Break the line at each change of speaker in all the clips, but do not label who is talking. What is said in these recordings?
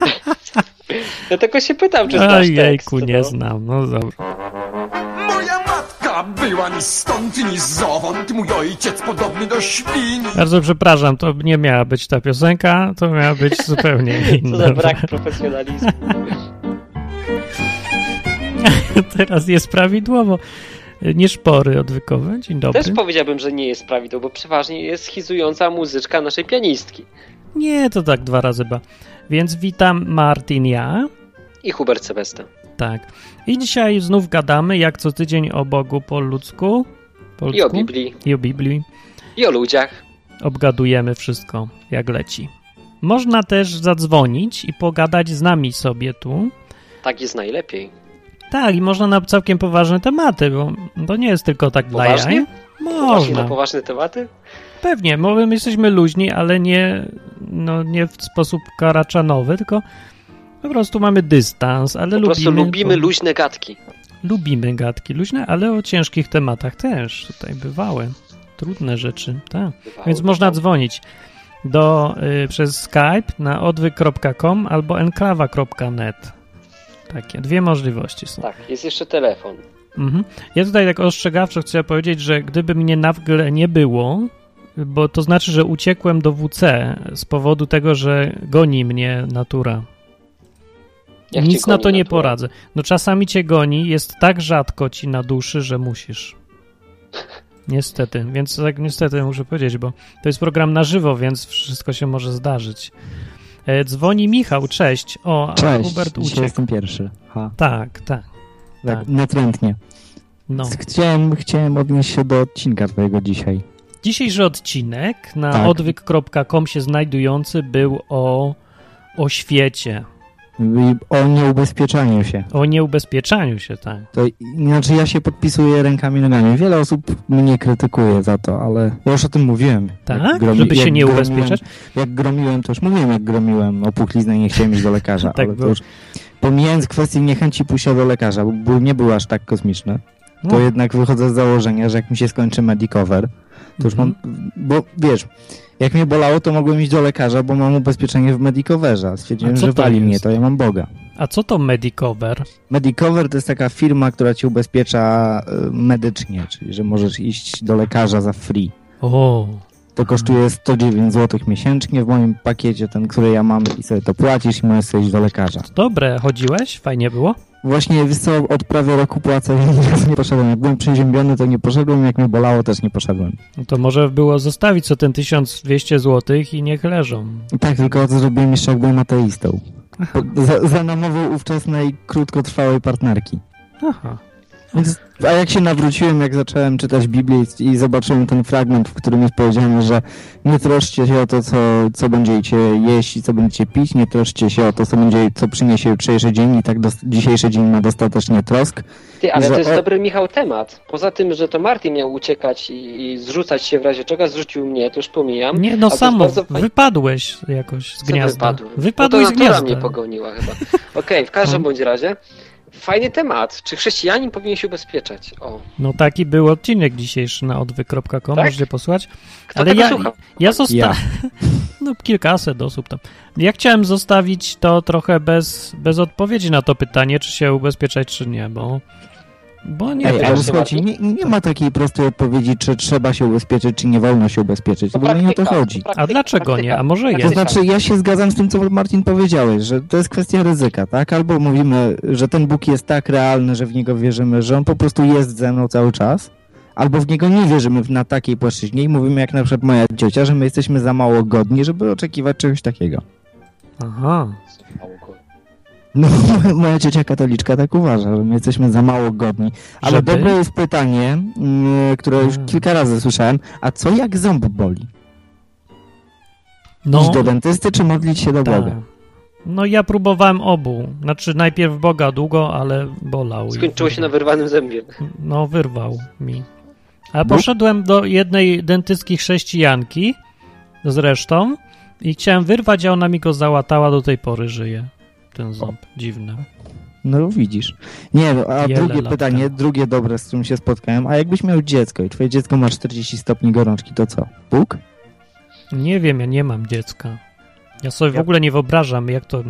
Ja No tylko się pytam, czy znasz tekst.
Ojejku, nie
no.
znam. No dobra.
Moja matka była ni stąd, ni zowąd, mój ojciec podobny do świni.
Bardzo przepraszam, to nie miała być ta piosenka, to miała być zupełnie
Co
inna.
za brak profesjonalizmu.
Teraz jest prawidłowo. Nie szpory odwykowe. Dzień dobry.
Też powiedziałbym, że nie jest prawidłowo, bo przeważnie jest schizująca muzyczka naszej pianistki.
Nie, to tak dwa razy ba. Więc witam Martin ja.
I Hubert Sebesta.
Tak. I dzisiaj znów gadamy, jak co tydzień, o Bogu po ludzku. Po
I o
ludzku?
Biblii,
I o Biblii.
i o ludziach.
Obgadujemy wszystko, jak leci. Można też zadzwonić i pogadać z nami sobie tu.
Tak jest najlepiej.
Tak, i można na całkiem poważne tematy, bo to nie jest tylko tak dla
Poważnie?
jaj.
Właśnie na
Można.
poważne tematy?
Pewnie, bo my jesteśmy luźni, ale nie, no, nie w sposób karaczanowy, tylko po prostu mamy dystans, ale
Po
lubimy.
prostu lubimy
bo-
luźne gadki.
lubimy gadki luźne, ale o ciężkich tematach też. Tutaj bywały trudne rzeczy, tak.
Bywało,
Więc
bywało.
można dzwonić do, y, przez Skype na odwyk.com albo enklawa.net. Takie dwie możliwości są.
Tak, jest jeszcze telefon.
Mhm. Ja tutaj tak ostrzegawczo chcę powiedzieć, że gdyby mnie nagle nie było, bo to znaczy, że uciekłem do WC z powodu tego, że goni mnie natura.
Jak cię
Nic na
goni
to nie
natura?
poradzę. No czasami cię goni, jest tak rzadko ci na duszy, że musisz. Niestety, więc tak niestety muszę powiedzieć, bo to jest program na żywo, więc wszystko się może zdarzyć. E, Dzwoni Michał, cześć. O, a
Cześć,
Hubert
dzisiaj
uciekł.
jestem pierwszy. Ha,
Tak, tak.
tak,
Tak.
natrętnie.
No.
Chciałem, chciałem odnieść się do odcinka twojego dzisiaj.
Dzisiejszy odcinek na
Tak.
odwyk.com się znajdujący był o, o świecie,
I O nieubezpieczaniu się.
o nieubezpieczaniu się, tak.
To inaczej ja się podpisuję rękami i nogami. Wiele osób mnie krytykuje za to, ale ja już o tym mówiłem.
Tak?
Jak
Żeby się
jak
nie ubezpieczać?
Gromiłem, jak gromiłem, to już mówiłem, jak gromiłem opuchliznę i nie chciałem iść do lekarza.
Tak
ale to
było.
już, pomijając kwestię niechęci pójścia do lekarza, bo ból nie był aż tak kosmiczny,
No.
to jednak wychodzę z założenia, że jak mi się skończy medicover, to już mam...
Mhm.
Bo wiesz, jak mnie bolało, to mogłem iść do lekarza, bo mam ubezpieczenie w medicoverze. a Stwierdziłem,
A co
że
to
wali
jest?
mnie, to ja mam Boga.
A co to Medicover?
Medicover to jest taka firma, która ci ubezpiecza y, medycznie, czyli że możesz iść do lekarza za free.
O,
To kosztuje 109 zł miesięcznie w moim pakiecie, ten, który ja mam i sobie to płacisz i możesz sobie iść do lekarza.
dobre, chodziłeś? Fajnie było?
Właśnie wiesz co, od prawie roku płacę, więc nie poszedłem. Jak byłem przeziębiony, to nie poszedłem, jak mnie bolało, też nie poszedłem.
No to może było zostawić co ten 1200 zł i niech leżą.
I tak tylko to zrobiłem jeszcze, jak byłem ateistą. Po- Za, za namową ówczesnej, krótkotrwałej partnerki.
Aha.
Więc, a jak się nawróciłem, jak zacząłem czytać Biblię i- i zobaczyłem ten fragment, w którym jest powiedziane, że nie troszcie się o to, co, co będziecie jeść i co będziecie pić, nie troszcie się o to, co, będzie, co przyniesie jutrzejszy dzień i tak dos- dzisiejszy dzień ma dostatecznie trosk.
Ty, ale
Że-
to jest
o-
dobry Michał temat. Poza tym, że to Martin miał uciekać i, i zrzucać się w razie czego, zrzucił mnie, to już pomijam.
Nie, no
A to
samo,
jest bardzo fajne.
wypadłeś jakoś z
Co
gniazda.
wypadłem?
Wypadłeś
no
z
to natura mnie
gniazda. No.
pogoniła chyba. Okej, w każdym bądź razie. Fajny temat. Czy chrześcijanin powinien się ubezpieczać? O,
No taki był odcinek dzisiejszy na
Tak?
odwyk.com, możecie posłuchać.
kto
Ale
tego
ja-
słucha?
Ja zostałem.
Ja.
No, kilkaset osób tam. Ja chciałem zostawić to trochę bez, bez odpowiedzi na to pytanie, czy się ubezpieczać, czy nie, bo. Bo nie
Ej,
wiem.
ale
wiem.
słuchajcie, nie, nie ma takiej prostej odpowiedzi, czy trzeba się ubezpieczyć, czy nie wolno się ubezpieczyć, bo nie o to
praktyka,
chodzi.
praktyka,
A dlaczego
praktyka.
nie? A może
Praktyka.
To
jest?
znaczy, ja się zgadzam z tym, co Martin powiedziałeś, że to jest kwestia ryzyka, tak? Albo mówimy, że ten Bóg jest tak realny, że w niego wierzymy, że on po prostu jest ze mną cały czas, albo w niego nie wierzymy na takiej płaszczyźnie i mówimy, jak na przykład moja ciocia, że my jesteśmy za mało godni, żeby oczekiwać czegoś takiego.
Aha.
No, moja ciocia katoliczka tak uważa, że my jesteśmy za mało godni. Ale
Żeby?
dobre jest pytanie, mm, które już
Hmm.
kilka razy słyszałem, a co jak ząb boli?
No,
Iść do dentysty, czy modlić się do
tak.
Boga?
no ja próbowałem obu. Znaczy najpierw Boga długo, ale bolał. i-
Skończyło się na wyrwanym zębie.
No, wyrwał mi.
No.
A poszedłem do jednej dentystki chrześcijanki zresztą i chciałem wyrwać, a ona mi go załatała, do tej pory żyje. Ten ząb. Dziwne.
No widzisz. Nie, no, a
Wiele
drugie
lat
pytanie,
temu.
drugie dobre, z którym się spotkałem, a jakbyś miał dziecko i twoje dziecko ma 40 stopni gorączki, to co? Bóg?
Nie wiem, ja nie mam dziecka. Ja sobie w
Ja-
ogóle nie wyobrażam, jak to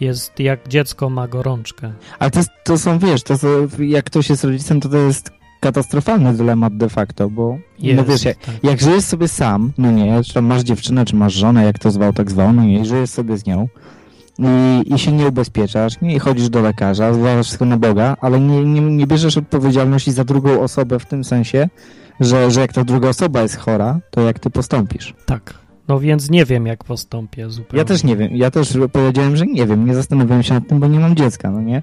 jest, jak dziecko ma gorączkę.
Ale to, jest, to są, wiesz, to są, jak ktoś jest rodzicem, to to jest katastrofalny dylemat de facto, bo no
Jest,
wiesz, jak,
tak.
jak żyjesz sobie sam, no nie, czy tam masz dziewczynę, czy masz żonę, jak to zwał, tak zwał, no nie, i żyjesz sobie z nią i, i się nie ubezpieczasz, nie, i chodzisz do lekarza, zważasz wszystko na Boga, ale nie, nie, nie bierzesz odpowiedzialności za drugą osobę w tym sensie, że, że jak ta druga osoba jest chora, to jak ty postąpisz?
Tak. No więc nie wiem, jak postąpię zupełnie.
Ja też nie wiem. Ja też powiedziałem, że nie wiem. Nie zastanawiałem się nad tym, bo nie mam dziecka, no nie?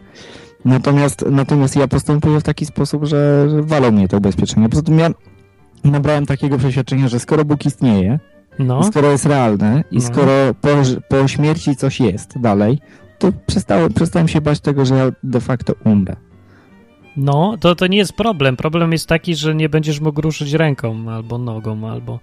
Natomiast, natomiast ja postępuję w taki sposób, że, że walą mnie to ubezpieczenie. Poza tym ja nabrałem takiego przeświadczenia, że skoro Bóg istnieje, i
No,
skoro jest realny i
No.
skoro po, po śmierci coś jest dalej, to przestało, przestałem się bać tego, że ja de facto umrę.
no to, to nie jest problem. Problem jest taki, że nie będziesz mógł ruszyć ręką albo nogą, albo.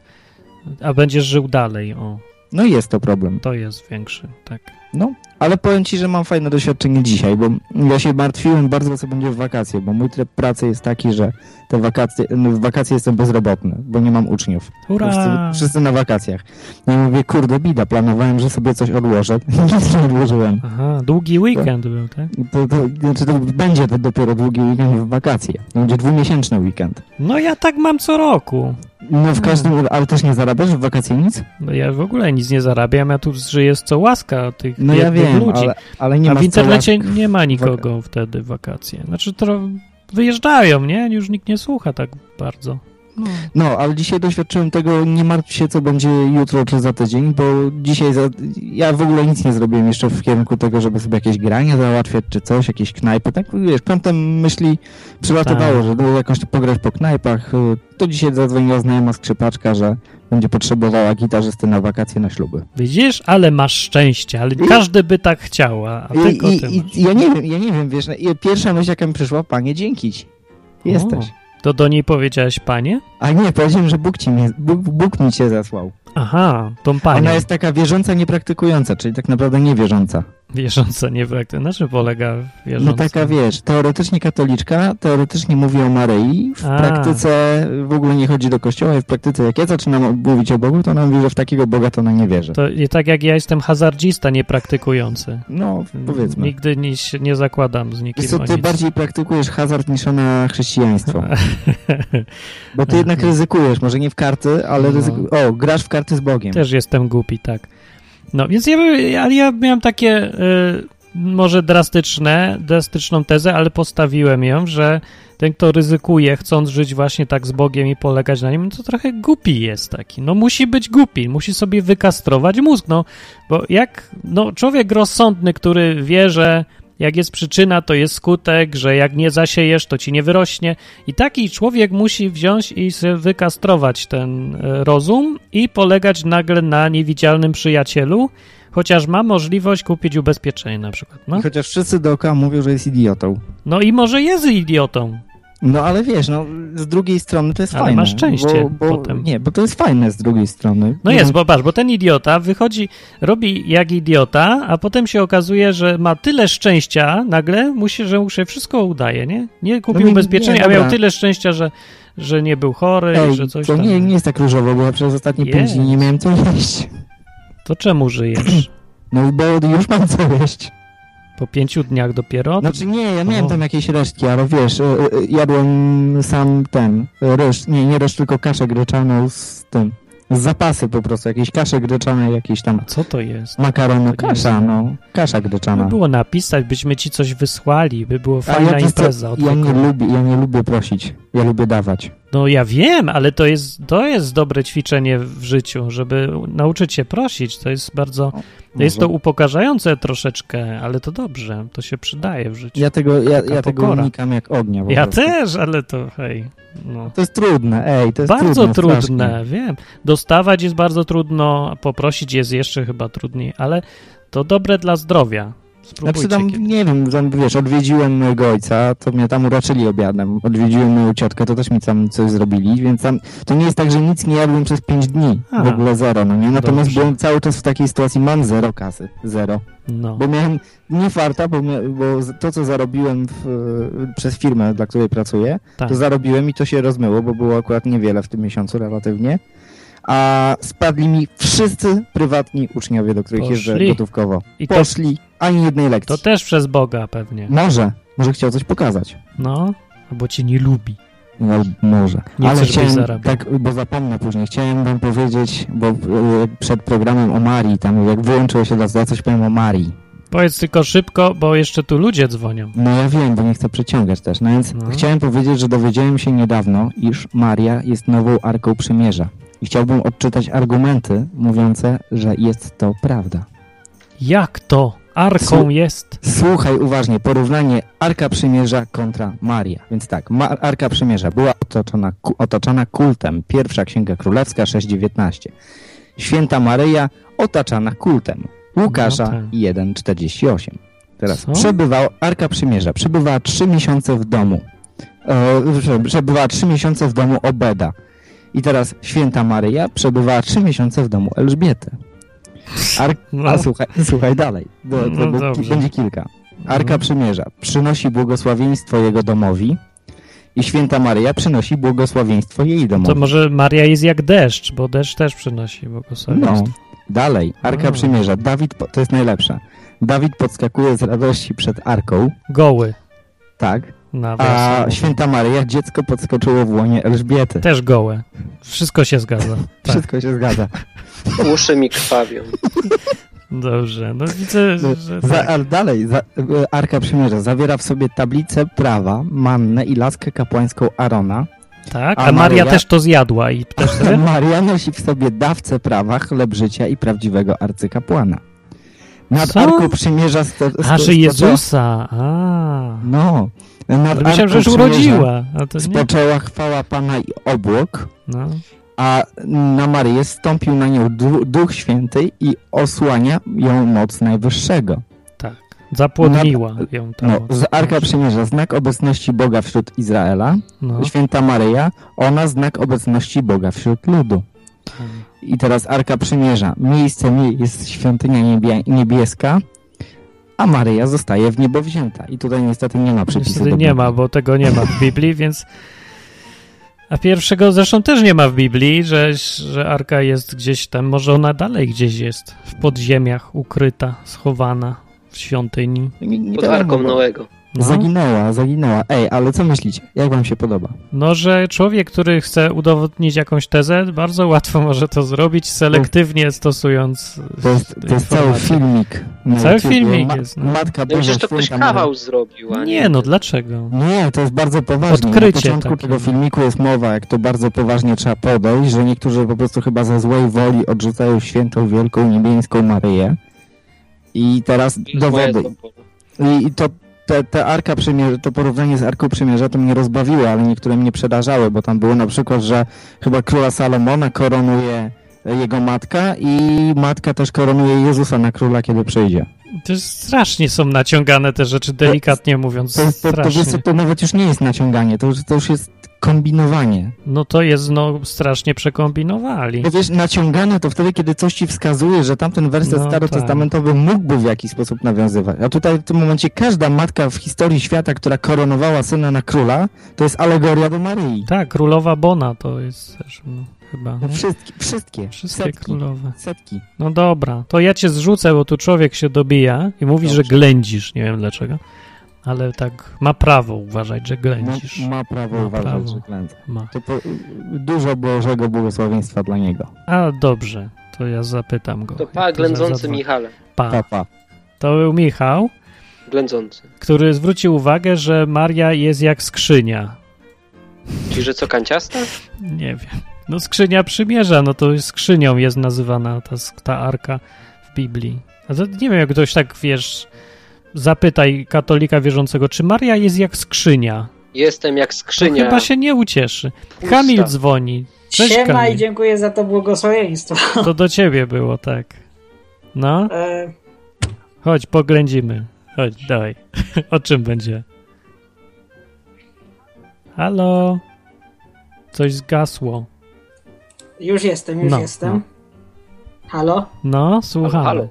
A będziesz żył dalej. O,
No i jest to problem.
to jest większy, tak.
No, ale powiem ci, że mam fajne doświadczenie dzisiaj, bo ja się martwiłem bardzo, co będzie w wakacje, bo mój tryb pracy jest taki, że te wakacje, no, w wakacje jestem bezrobotny, bo nie mam uczniów. Wszyscy,
Hurra!
wszyscy na wakacjach. No i mówię, kurde, bida, planowałem, że sobie coś odłożę. Nic nie odłożyłem.
Aha, długi weekend był, tak?
I To, to, znaczy, to będzie to dopiero długi weekend w wakacje. To będzie dwumiesięczny weekend.
No ja tak mam co roku.
No w każdym, ale też nie zarabiasz w wakacje nic?
No ja w ogóle nic nie zarabiam, ja tu żyję z co łaska tych
No ja
biednych
wiem,
ludzi.
ale, ale nie
A
masz
w
co
internecie
łas-
nie ma nikogo wtedy w wakacje. Znaczy, to wyjeżdżają, nie? Już nikt nie słucha tak bardzo. No.
No, ale dzisiaj doświadczyłem tego, nie martw się, co będzie jutro czy za tydzień, bo dzisiaj za... ja w ogóle nic nie zrobiłem jeszcze w kierunku tego, żeby sobie jakieś granie załatwiać czy coś, jakieś knajpy, tak wiesz, kątem myśli przylatywało,
Tak.
że było jakąś pograć po knajpach, y, to dzisiaj zadzwoniła znajoma skrzypaczka, że będzie potrzebowała gitarzysty na wakacje na śluby.
Widzisz? Ale masz szczęście, ale każdy by tak chciał, a a tylko
I,
ty
i,
masz.
i, ja nie wiem, ja nie wiem, wiesz, no, i pierwsza myśl jaka mi przyszła, panie, dzięki ci. Jesteś.
To do niej powiedziałeś, panie?
A nie, powiedziałem, że Bóg, ci mnie, Bóg, Bóg mi cię zasłał.
Aha, tą panią.
Ona jest taka wierząca, niepraktykująca, czyli tak naprawdę niewierząca.
Wierząca, nie wiem, na czym polega wierząca?
No taka, wiesz, teoretycznie katoliczka, teoretycznie mówi o Maryi, w
A.
praktyce w ogóle nie chodzi do kościoła i w praktyce jak ja zaczynam mówić o Bogu, to ona mówi, że w takiego Boga to ona nie wierzy.
To i tak jak ja jestem hazardzista niepraktykujący.
No, powiedzmy.
Nigdy nie, się nie zakładam z nikim
Wiesz co,
o
ty
nic.
bardziej praktykujesz hazard niż ona chrześcijaństwo. Bo ty jednak ryzykujesz, może nie w karty, ale
No.
ryzyku... O, grasz w karty z Bogiem.
Też jestem głupi, tak. No, więc ja, by- ale ja miałem takie y, może drastyczne, drastyczną tezę, ale postawiłem ją, że ten, kto ryzykuje, chcąc żyć właśnie tak z Bogiem i polegać na nim, to trochę głupi jest taki. No musi być głupi, musi sobie wykastrować mózg, no, bo jak, no, człowiek rozsądny, który wie, że jak jest przyczyna, to jest skutek, że jak nie zasiejesz, to ci nie wyrośnie. I taki człowiek musi wziąć i sobie wykastrować ten e, rozum i polegać nagle na niewidzialnym przyjacielu, chociaż ma możliwość kupić ubezpieczenie na przykład. No,
I chociaż wszyscy dookoła mówią, że jest idiotą.
no i może jest idiotą.
No ale wiesz, no z drugiej strony to jest
Ale
fajne.
masz szczęście
bo, bo,
potem.
Nie, bo to jest fajne z drugiej strony.
No
Nie
jest,
wiem,
bo patrz, bo ten idiota wychodzi, robi jak idiota, a potem się okazuje, że ma tyle szczęścia nagle, musi, że mu się wszystko udaje, nie? Nie kupił
No nie-
ubezpieczenia,
nie,
a miał
dobra.
tyle szczęścia, że, że nie był chory,
Ej,
że coś
to
tam.
nie, nie jest tak różowo, bo ja przez ostatnie pięć
Jest.
dni nie miałem co jeść.
To czemu żyjesz?
No bo już mam co jeść.
No Po pięciu dniach dopiero?
Znaczy nie, ja miałem
O.
tam jakieś resztki, ale wiesz, e, e, jadłem sam ten, e, ryż, nie, nie ryż, tylko kaszę gryczaną z tym, z zapasy po prostu, jakieś kasze gryczane, jakieś tam
A co to Tak jest?
makaron, no
To nie
kasza,
jest-
no, kasza
By
gryczana.
było napisać, byśmy ci coś wysłali, by było
A
fajna
wiesz co,
impreza. od
ja nie
tego.
lubię, ja nie lubię prosić, ja lubię dawać.
No ja wiem, ale to jest, to jest dobre ćwiczenie w życiu, żeby nauczyć się prosić. To jest bardzo, jest to upokarzające troszeczkę, ale to dobrze, to się przydaje w życiu.
Ja tego, ja,
Taka
ja tego
pokora.
unikam jak ognia. po
Ja
prostu.
też, ale to hej. No.
To jest trudne, ej, to jest
Bardzo
trudne. strasznie.
trudne, wiem. Dostawać jest bardzo trudno, a poprosić jest jeszcze chyba trudniej, ale to dobre dla zdrowia. Spróbujcie.
Znaczy tam,
kiedy-
nie wiem, tam, wiesz, odwiedziłem mojego ojca, to mnie tam uraczyli obiadem. Odwiedziłem moją ciotkę, to też mi tam coś zrobili, więc tam, to nie jest tak, że nic nie jadłem przez pięć dni.
A.
W ogóle zero, no nie? Natomiast
Dobrze.
byłem cały czas w takiej sytuacji, mam zero kasy, zero.
No.
Bo miałem nie farta, bo, mia- bo z- to, co zarobiłem w, e, przez firmę, dla której pracuję,
Tak.
to zarobiłem i to się rozmyło, bo było akurat niewiele w tym miesiącu relatywnie. a spadli mi wszyscy prywatni uczniowie, do których jeżdżę
Poszli.
gotówkowo.
I to,
Poszli, ani jednej lekcji.
to też przez Boga pewnie.
Może, może chciał coś pokazać.
No, albo cię nie lubi.
No, może.
Nie
Ale
chcesz, byś
chciałem,
zarabiał.
tak, bo zapomnę później, chciałem wam powiedzieć, bo e, przed programem o Marii, tam jak wyłączyło się za coś powiem o Marii.
Powiedz tylko szybko, bo jeszcze tu ludzie dzwonią.
No ja wiem, bo nie chcę przeciągać też, no więc
No.
chciałem powiedzieć, że dowiedziałem się niedawno, iż Maria jest nową Arką Przymierza. I chciałbym odczytać argumenty mówiące, że jest to prawda.
Jak to? Arką
Słu-
jest?
Słuchaj uważnie, porównanie Arka Przymierza kontra Maria. Więc tak, Ma- Arka Przymierza była otoczona, ku- otaczana kultem. Pierwsza Księga Królewska 6.19. Święta Maryja otaczana kultem. Łukasza
No tak.
1.48. Teraz
Co?
przebywał, Arka Przymierza przebywała trzy miesiące w domu. E, przepraszam, przebywała trzy miesiące w domu Obeda. I teraz Święta Maryja przebywała trzy miesiące w domu Elżbiety. Ar-
No.
A słuchaj, słuchaj dalej, bo to
No
bo-
dobrze. No.
będzie kilka. Arka Przymierza przynosi błogosławieństwo jego domowi i Święta Maryja przynosi błogosławieństwo jej
To
domowi.
może Maria jest jak deszcz, bo deszcz też przynosi
No,
błogosławieństwo.
dalej. Arka
A.
Przymierza. Dawid, po- to jest najlepsze. Dawid podskakuje z radości przed Arką,
Goły.
tak,
Na
a
wiosnę.
Święta Maryja, dziecko podskoczyło w łonie Elżbiety.
Też gołe. Wszystko się zgadza. Tak.
Wszystko się zgadza.
Uszy mi krwawią.
Dobrze. No widzę, że
Za,
tak.
ale dalej, za, e, Arka Przymierza zawiera w sobie tablicę prawa, mannę i laskę kapłańską Arona.
tak.
a
A Maria
Maria-
też to zjadła i też
Maria nosi w sobie dawcę prawa, chleb życia i prawdziwego arcykapłana. Nad
Co?
Arką Przymierza... Sto, sto,
A, że
stoczą-
Jezusa. A.
No. Nad
Ale myślałem, że już
Arką Przymierza
urodziła. A to nie.
Spoczęła chwała Pana i obłok,
No.
a na Maryję stąpił na nią du- Duch Święty i osłania ją moc Najwyższego.
Tak. Zapłodniła ją tam.
No, z Arka Przymierza znak obecności Boga wśród Izraela,
No.
Święta Maryja, ona znak obecności Boga wśród ludu. I teraz Arka Przymierza. Miejscem jej jest świątynia niebie niebieska, a Maryja zostaje w niebo wzięta. I tutaj niestety nie ma przepisu.
Niestety
do
nie
Biblii.
ma, bo tego nie ma w Biblii, więc... A pierwszego zresztą też nie ma w Biblii, że, że Arka jest gdzieś tam, może ona dalej gdzieś jest, w podziemiach, ukryta, schowana, w świątyni.
Nie, nie
Pod
wiadomo,
arką e,
bo-
Noego.
No.
Zaginęła, zaginęła. Ej, ale co myślicie? Jak wam się podoba?
No, że człowiek, który chce udowodnić jakąś tezę, bardzo łatwo może to zrobić, selektywnie stosując. e,
To jest, to jest cały
informacje.
filmik. na
Cały
YouTubie.
filmik jest, no.
Matka
No
Boża
przecież to ktoś
Święta Maryja-
kawał zrobił, a nie...
Nie, no dlaczego?
Nie, to jest bardzo poważne.
Odkrycie
Na początku
takie.
tego filmiku jest mowa, jak to bardzo poważnie trzeba podejść, że niektórzy po prostu chyba ze złej woli odrzucają świętą, wielką, niebieską Maryję. I teraz
To jest
dowody.
moje to-
I, i to te, te arka przymierza, to porównanie z Arką Przymierza to mnie rozbawiło, ale niektóre mnie przerażały, bo tam było na przykład, że chyba króla Salomona koronuje e, jego matka i matka też koronuje Jezusa na króla, kiedy przyjdzie.
To jest strasznie są naciągane te rzeczy, delikatnie mówiąc.
To, jest- to, to, to,
Strasznie.
wiecie, to nawet już nie jest naciąganie, to, już- to już jest kombinowanie.
No to jest, no, strasznie przekombinowali.
Bo wiesz, naciągane to wtedy, kiedy coś ci wskazuje, że tamten werset
No
starotestamentowy mógłby w jakiś sposób nawiązywać. A tutaj w tym momencie każda matka w historii świata, która koronowała syna na króla, to jest alegoria do Maryi.
Tak, królowa Bona to jest też, no, chyba.
No Wszystkie, wszystkie.
Wszystkie
setki,
królowe.
Setki.
No dobra, to ja cię zrzucę, bo tu człowiek się dobija i mówi, że
Dobrze.
ględzisz. Nie wiem dlaczego, ale tak ma prawo uważać, że
Ma,
ględzisz.
ma prawo
Ma
uważać,
prawo.
że klęca.
Ma.
To po, dużo Bożego błogosławieństwa dla niego.
A dobrze, to ja zapytam go.
To
Ja
pa,
za-
ględzący
zadbam.
Michale.
Pa.
Papa.
To był Michał,
Ględzący.
który zwrócił uwagę, że Maria jest jak skrzynia.
Czyli, że co, kanciasta?
Nie wiem. No skrzynia przymierza, no to skrzynią jest nazywana ta, sk- ta arka w Biblii. A to nie wiem, jak ktoś tak, wiesz, zapytaj katolika wierzącego, czy Maria jest jak skrzynia.
Jestem jak
To
skrzynia.
No chyba się nie ucieszy.
pusta.
Kamil dzwoni. Cześć,
Siema
Kamil.
i dziękuję za to błogosławieństwo.
To do ciebie było, tak. No,
E,
chodź, poględzimy. Chodź, dawaj. O czym będzie? Halo? Coś zgasło.
już jestem, już
No,
jestem.
no.
Halo?
No, słucham.
halo.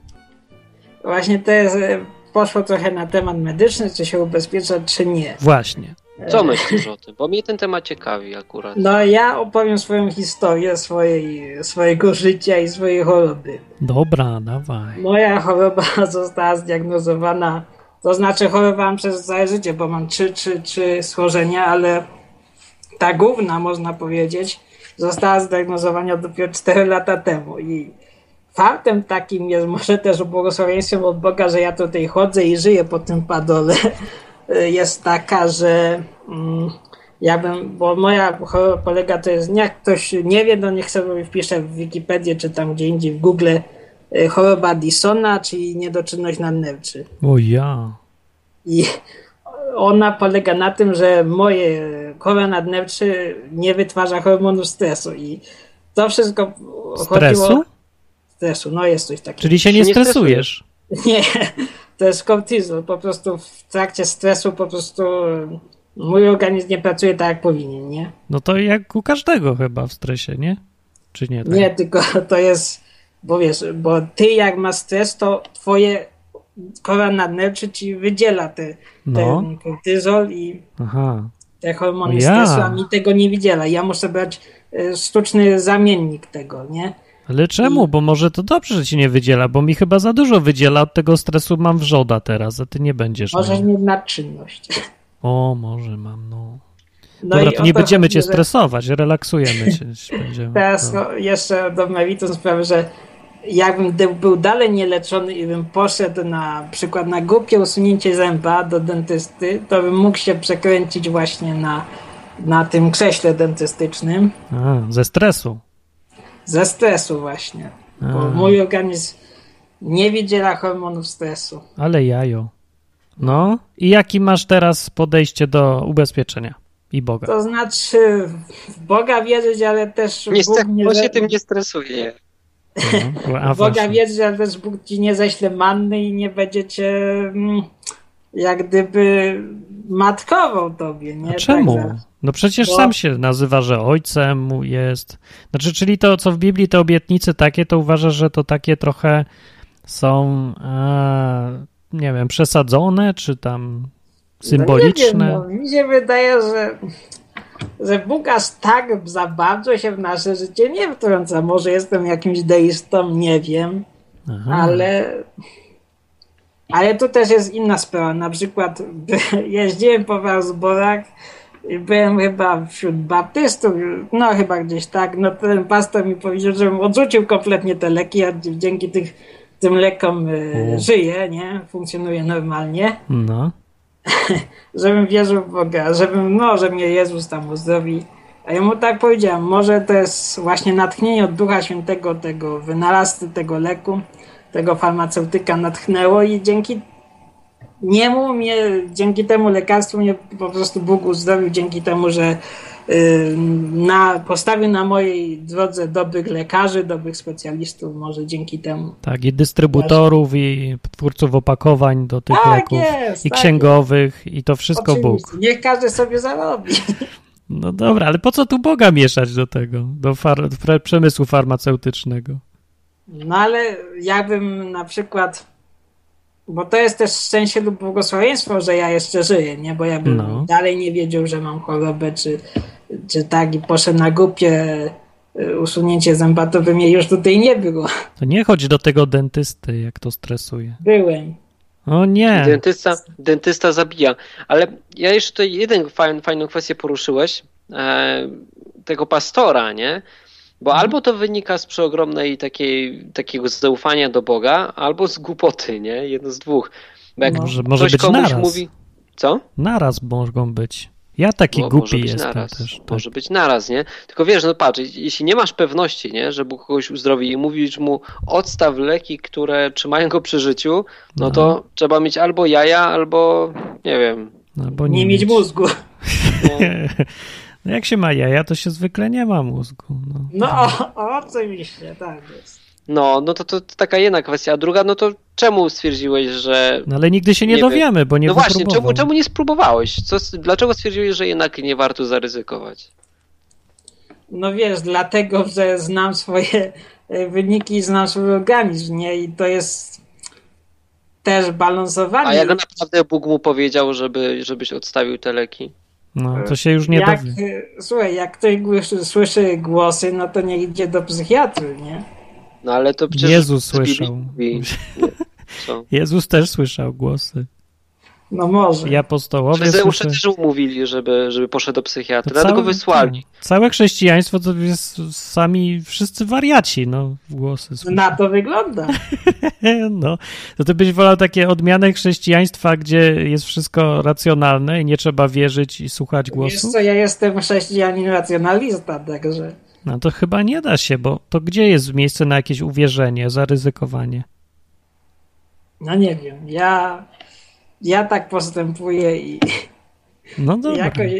Właśnie to jest, e, poszło trochę na temat medyczny, czy się ubezpieczać, czy nie.
Właśnie.
E,
Co myślisz o tym? Bo mnie ten temat ciekawi akurat.
No ja opowiem swoją historię swojej, swojego życia i swojej choroby.
Dobra, dawaj.
Moja choroba została zdiagnozowana, to znaczy chorowałam przez całe życie, bo mam trzy, trzy, trzy schorzenia, ale ta główna, można powiedzieć, została zdiagnozowana dopiero 4 lata temu i faktem takim jest może też błogosławieństwem od Boga, że ja tutaj chodzę i żyję po tym padole, jest taka, że mm, ja bym, bo moja choroba polega to jest, jak ktoś nie wie, to niech sobie wpisze w Wikipedię czy tam gdzie indziej w Google y, choroba Dissona, czyli niedoczynność nadnerczy.
O ja.
I ona polega na tym, że moje chore nadnerczy nie wytwarza hormonu stresu i to wszystko
Stresu?
chodziło... Stresu? No jest coś takiego.
Czyli się nie
Się nie
stresujesz.
Nie, to jest kortyzol. Po prostu w trakcie stresu po prostu mój organizm nie pracuje tak, jak powinien, nie?
No to jak u każdego chyba w stresie, nie? Czy nie? Tak?
Nie, tylko to jest, bo wiesz, bo ty jak masz stres, to twoje kora nadnerczy ci wydziela te,
No.
ten kortyzol i
Aha.
te hormony
Ja.
stresu, a mi tego nie wydziela. Ja muszę brać e, sztuczny zamiennik tego, nie?
Ale czemu? Bo może to dobrze, że ci nie wydziela, bo mi chyba za dużo wydziela. Od tego stresu mam wrzoda teraz, a ty nie będziesz.
Możesz
miał.
mieć nadczynność.
O, może mam, no.
No
Dobra,
i
to
o
nie
to
będziemy
chodzi,
cię
że-
stresować, relaksujemy cię. się Będziemy,
Teraz
no.
no, jeszcze do meritum sprawy, że jakbym de- był dalej nieleczony i bym poszedł na przykład na głupie usunięcie zęba do dentysty, to bym mógł się przekręcić właśnie na, na tym krześle dentystycznym no.
A, ze stresu.
ze stresu właśnie. Bo
A.
mój organizm nie wydziela hormonów stresu.
Ale jajo. No, i jaki masz teraz podejście do ubezpieczenia i Boga?
To znaczy w Boga wierzyć, ale też
Nie,
Bóg
stre- on tak, się
ze-
tym nie stresuje.
No, a
A Boga
właśnie.
wiedz, że też Bóg ci nie ześle manny i nie będzie cię mm, jak gdyby matkował tobie, nie?
A czemu?
Tak, za-
No przecież
Bo-
sam się nazywa, że ojcem mu jest. Znaczy, czyli to, co w Biblii, te obietnice takie, to uważasz, że to takie trochę są, a, nie wiem, przesadzone, czy tam
No, nie
symboliczne?
wiem, no, mi się wydaje, że, że Bóg aż tak za bardzo się w nasze życie nie wtrąca. Może jestem jakimś deistą, nie wiem,
Aha.
ale... Ale tu też jest inna sprawa. Na przykład by- jeździłem po Warsborach I byłem chyba wśród baptystów, no chyba gdzieś tak, no ten pastor mi powiedział, żebym odrzucił kompletnie te leki, a dzięki tych, tym lekom y,
O.
żyję, nie, funkcjonuje normalnie,
No.
żebym wierzył w Boga, żebym, no, że mnie Jezus tam uzdrowi. A ja mu tak powiedziałem, może to jest właśnie natchnienie od Ducha Świętego, tego wynalazcy, tego leku, tego farmaceutyka natchnęło i dzięki niemu mnie, dzięki temu lekarstwu mnie po prostu Bóg uzdrowił, dzięki temu, że y, na, postawił na mojej drodze dobrych lekarzy, dobrych specjalistów, może dzięki temu.
Tak, i dystrybutorów, i twórców opakowań do tych
Tak
leków,
jest,
i
tak
księgowych, i to wszystko Bóg.
Oczywiście, Niech każdy sobie zarobi.
No dobra, ale po co tu Boga mieszać do tego, do far- fre- przemysłu farmaceutycznego?
No ale ja bym na przykład, bo to jest też szczęście lub błogosławieństwo, że ja jeszcze żyję, nie? Bo ja bym
No.
dalej nie wiedział, że mam chorobę, czy, czy tak i poszedł na głupie y, usunięcie zęba, to by mnie już tutaj nie było.
To nie chodź do tego dentysty, jak to stresuje.
Byłem.
O nie,
Dentysta, dentysta zabija. Ale ja jeszcze tutaj jeden fajn, fajną kwestię poruszyłeś, e, tego pastora, nie? Bo
Mhm.
albo to wynika z przeogromnej takiej, takiego zaufania do Boga, albo z głupoty, nie? Jedno z dwóch. Bo jak
No.
może, może
ktoś
być
komuś
naraz.
mówi... Co?
Naraz mogą być. Ja taki
Bo może
głupi
być
jestem
naraz,
też. Tak.
Może być naraz, nie? Tylko wiesz, no patrz, jeśli nie masz pewności, nie, że Bóg kogoś uzdrowi i mówisz mu odstaw leki, które trzymają go przy życiu, no,
No.
to trzeba mieć albo jaja, albo nie wiem.
No, bo
nie mieć mózgu.
No,
No jak się ma jaja, to się zwykle nie ma mózgu. No.
No o, o, oczywiście, tak jest.
no, no to, to taka jedna kwestia. A druga, no to czemu stwierdziłeś, że...
no ale nigdy się nie,
Nie wiem.
dowiemy, bo nie
no właśnie, czemu,
wypróbował.
czemu nie spróbowałeś? Co, s- dlaczego stwierdziłeś, że jednak nie warto zaryzykować?
No wiesz, dlatego, że znam swoje e, wyniki i znam swój organizm, nie? I to jest też balansowanie.
A E, jak naprawdę Bóg mu powiedział, żeby, żebyś odstawił te leki?
No, to się już nie
jak,
dowie.
y, słuchaj, jak ktoś głyszy- słyszy głosy, no to nie idzie do psychiatry, nie?
No ale to przecież...
Jezus
z Biblii
słyszał.
mówi, co?
Jezus też słyszał głosy.
No może.
I apostołowie
Faryzeusze
słyszeli.
też umówili, żeby, żeby poszedł do
To
psychiatry, dlatego wysłali.
Całe chrześcijaństwo to jest sami wszyscy wariaci, no, głosy słyszą.
Na to wygląda.
No, to ty byś wolał takie odmiany chrześcijaństwa, gdzie jest wszystko racjonalne i nie trzeba wierzyć i słuchać
Wiesz
głosu?
co, ja jestem chrześcijanin racjonalista, także
No to chyba nie da się, bo to gdzie jest miejsce na jakieś uwierzenie, zaryzykowanie?
no nie wiem, ja, ja tak postępuję i
No dobra,
jakoś,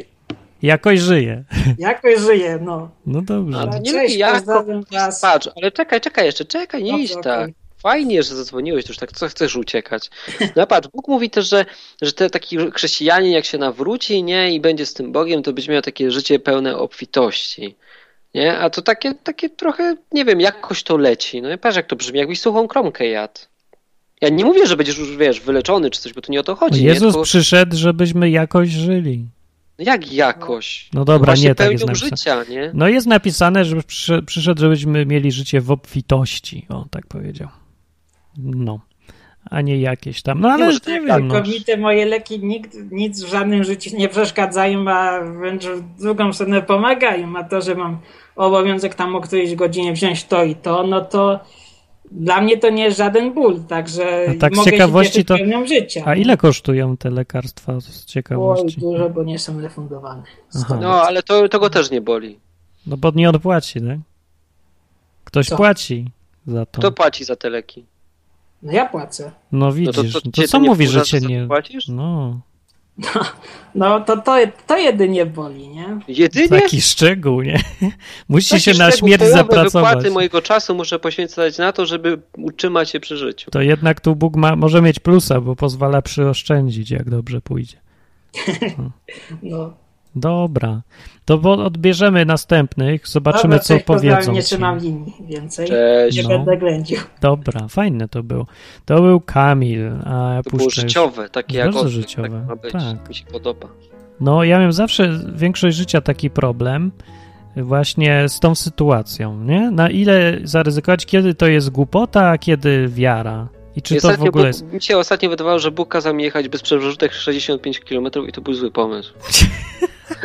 jakoś żyje.
jakoś żyję, no.
No dobrze.
Ale-
Nie
Cześć,
lubię jak
pozdrawiam was. No,
patrz, ale czekaj, czekaj jeszcze, czekaj, nie
Dobrze,
iść
okej.
tak. Fajnie, że zadzwoniłeś, to już tak co chcesz uciekać. No patrz, Bóg mówi też, że, że te taki chrześcijanin jak się nawróci nie, i będzie z tym Bogiem, to będzie miał takie życie pełne obfitości. Nie? A to takie, takie trochę, nie wiem, jakoś to leci. No i patrz, jak to brzmi, jakbyś suchą kromkę jadł. Ja nie mówię, że będziesz już, wiesz, wyleczony czy coś, bo tu nie o to chodzi. nie?
Jezus
Tylko, no
przyszedł, żebyśmy jakoś żyli.
Jak jakoś?
No dobra,
Właśnie
nie tak jest
pełnią
napisane.
życia, nie?
No jest napisane, że przyszedł, przyszedł, żebyśmy mieli życie w obfitości. O, tak powiedział. No. A nie jakieś tam. No ale
może
nie,
tak,
wiem. No.
Tylko mi te moje leki nikt, nic w żadnym życiu nie przeszkadzają, a wręcz w drugą stronę pomagają. A to, że mam obowiązek tam o którejś godzinie wziąć to i to, no to dla mnie to nie jest żaden ból, także
A tak z
mogę
ciekawości
się cieszyć
to-
pełnią życia.
A ile kosztują te lekarstwa z
Oj,
ciekawości?
dużo, bo nie są refundowane.
Aha.
No, ale to, to go też nie boli.
No bo nie on płaci, tak? Ktoś
Co?
płaci za to.
Kto płaci za te leki?
No ja płacę.
No
No
widzisz, no to,
cię
co
nie
mówi, że
wkurza,
cię
za to
nie...
Płacisz?
No,
No to, to, to jedynie boli, nie?
Jedynie
taki szczegół, nie? Musi
Taki
się na
szczegół,
śmierć
połowę
zapracować.
wypłaty mojego czasu muszę poświęcać na to, żeby utrzymać się przy życiu.
To jednak tu Bóg ma, może mieć plusa, bo pozwala przyoszczędzić, jak dobrze pójdzie.
No.
Dobra, to bo odbierzemy następnych, zobaczymy,
Dobra,
co
cześć, pozdrawiam,
powiedzą.
Nie
ci.
trzymam linii więcej.
Cześć.
Nie
No.
będę ględził.
Dobra, fajne to był. To był Kamil, a ja
To było
puszczę już.
życiowe, takie jak
Bardzo
ostrzyk,
życiowe,
Tak ma być.
tak.
Mi się podoba.
No, ja miałem zawsze większość życia taki problem właśnie z tą sytuacją, nie? Na ile zaryzykować, kiedy to jest głupota, a kiedy wiara? I czy to w
Ostatnio
ogóle
Bóg-
jest...
Mi się ostatnio wydawało, że Bóg kazał mi jechać bez przewrzutek 65 km i to był zły pomysł.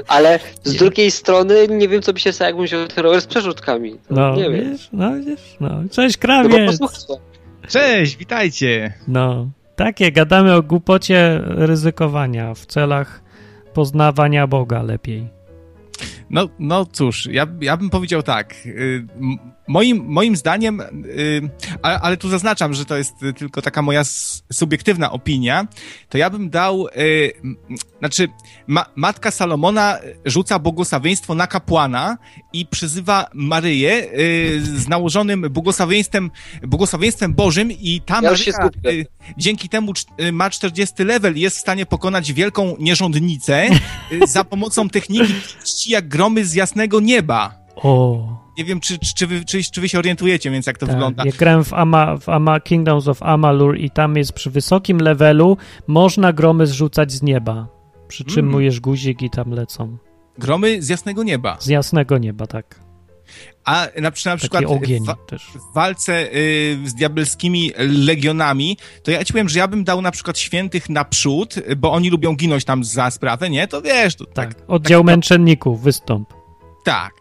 Ale z
Nie.
drugiej strony nie wiem, co by się stało, jakbym wziął ten rower z przerzutkami. To
No,
nie wiem.
wiesz, no, wiesz, no. Cześć,
No bo
krawiec!
posłuchaj.
Cześć, witajcie!
No, takie, gadamy o głupocie ryzykowania w celach poznawania Boga lepiej.
No, no cóż, ja, ja bym powiedział tak. y, m- Moim, moim zdaniem, y, a- ale tu zaznaczam, że to jest y, tylko taka moja s- subiektywna opinia, to ja bym dał, y, m- znaczy, ma, matka Salomona y, rzuca błogosławieństwo na kapłana i przyzywa Maryję y, z nałożonym błogosławieństwem, błogosławieństwem Bożym i ta
Ja już się
Maryja
zgubiłem.
y, dzięki temu cz- y, ma 40 level i jest w stanie pokonać wielką nierządnicę y, za pomocą techniki ści jak gromy z jasnego nieba.
O,
Nie wiem, czy, czy, czy, wy, czy, czy wy się orientujecie, więc jak to
tak.
wygląda.
Ja grałem w, Ama, w Ama, Kingdoms of Amalur i tam jest przy wysokim levelu można gromy zrzucać z nieba. Przytrzymujesz
Mm.
guzik i tam lecą.
Gromy z jasnego nieba.
Z jasnego nieba, tak.
A na, przy- na przykład y, tak,
Taki ogień
wa-
też.
w walce y, z diabelskimi legionami, to ja ci powiem, że ja bym dał na przykład świętych naprzód, y, bo oni lubią ginąć tam za sprawę, nie? To wiesz, to tak.
Tak, oddział męczenników, wystąp.
Tak.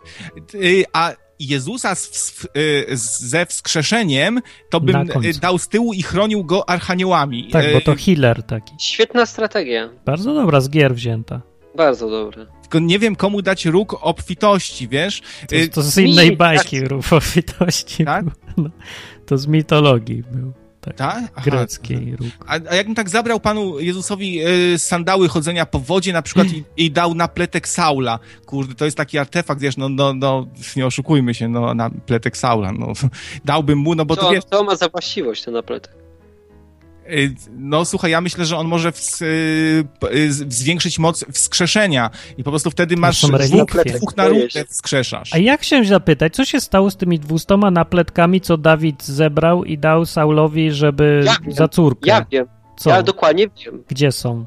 Y, A Jezusa z, z, y, ze wskrzeszeniem, to
Na
bym y,
końcu.
dał z tyłu i chronił go archaniołami.
Tak, bo to
Y,
healer taki.
Świetna strategia.
Bardzo dobra z gier wzięta.
Bardzo dobra.
Tylko nie wiem, komu dać róg obfitości, wiesz?
To,
Y,
to z innej
mi-
bajki rufowitości
Tak?
był. No, to z mitologii był. Tak.
Tak? Aha.
Greckiej róg.
A, a jakbym tak zabrał panu Jezusowi y, sandały chodzenia po wodzie na przykład i, i dał na pletek Saula. Kurde, to jest taki artefakt, wiesz, no, no, no nie oszukujmy się, no na pletek Saula, no. Dałbym mu, no bo
co,
to wiesz,
co ma za właściwość ten apletek?
y, no słuchaj, ja myślę, że on może ws, y, p- y, z- zwiększyć moc wskrzeszenia i po prostu wtedy masz
są
dwóch,
relikwie.
dwóch na
Boję
równe
się.
wskrzeszasz.
A ja chciałem zapytać, co się stało z tymi dwustoma napletkami, co Dawid zebrał i dał Saulowi, żeby
Ja wiem,
za córkę?
Ja wiem,
co?
ja dokładnie wiem.
Gdzie są?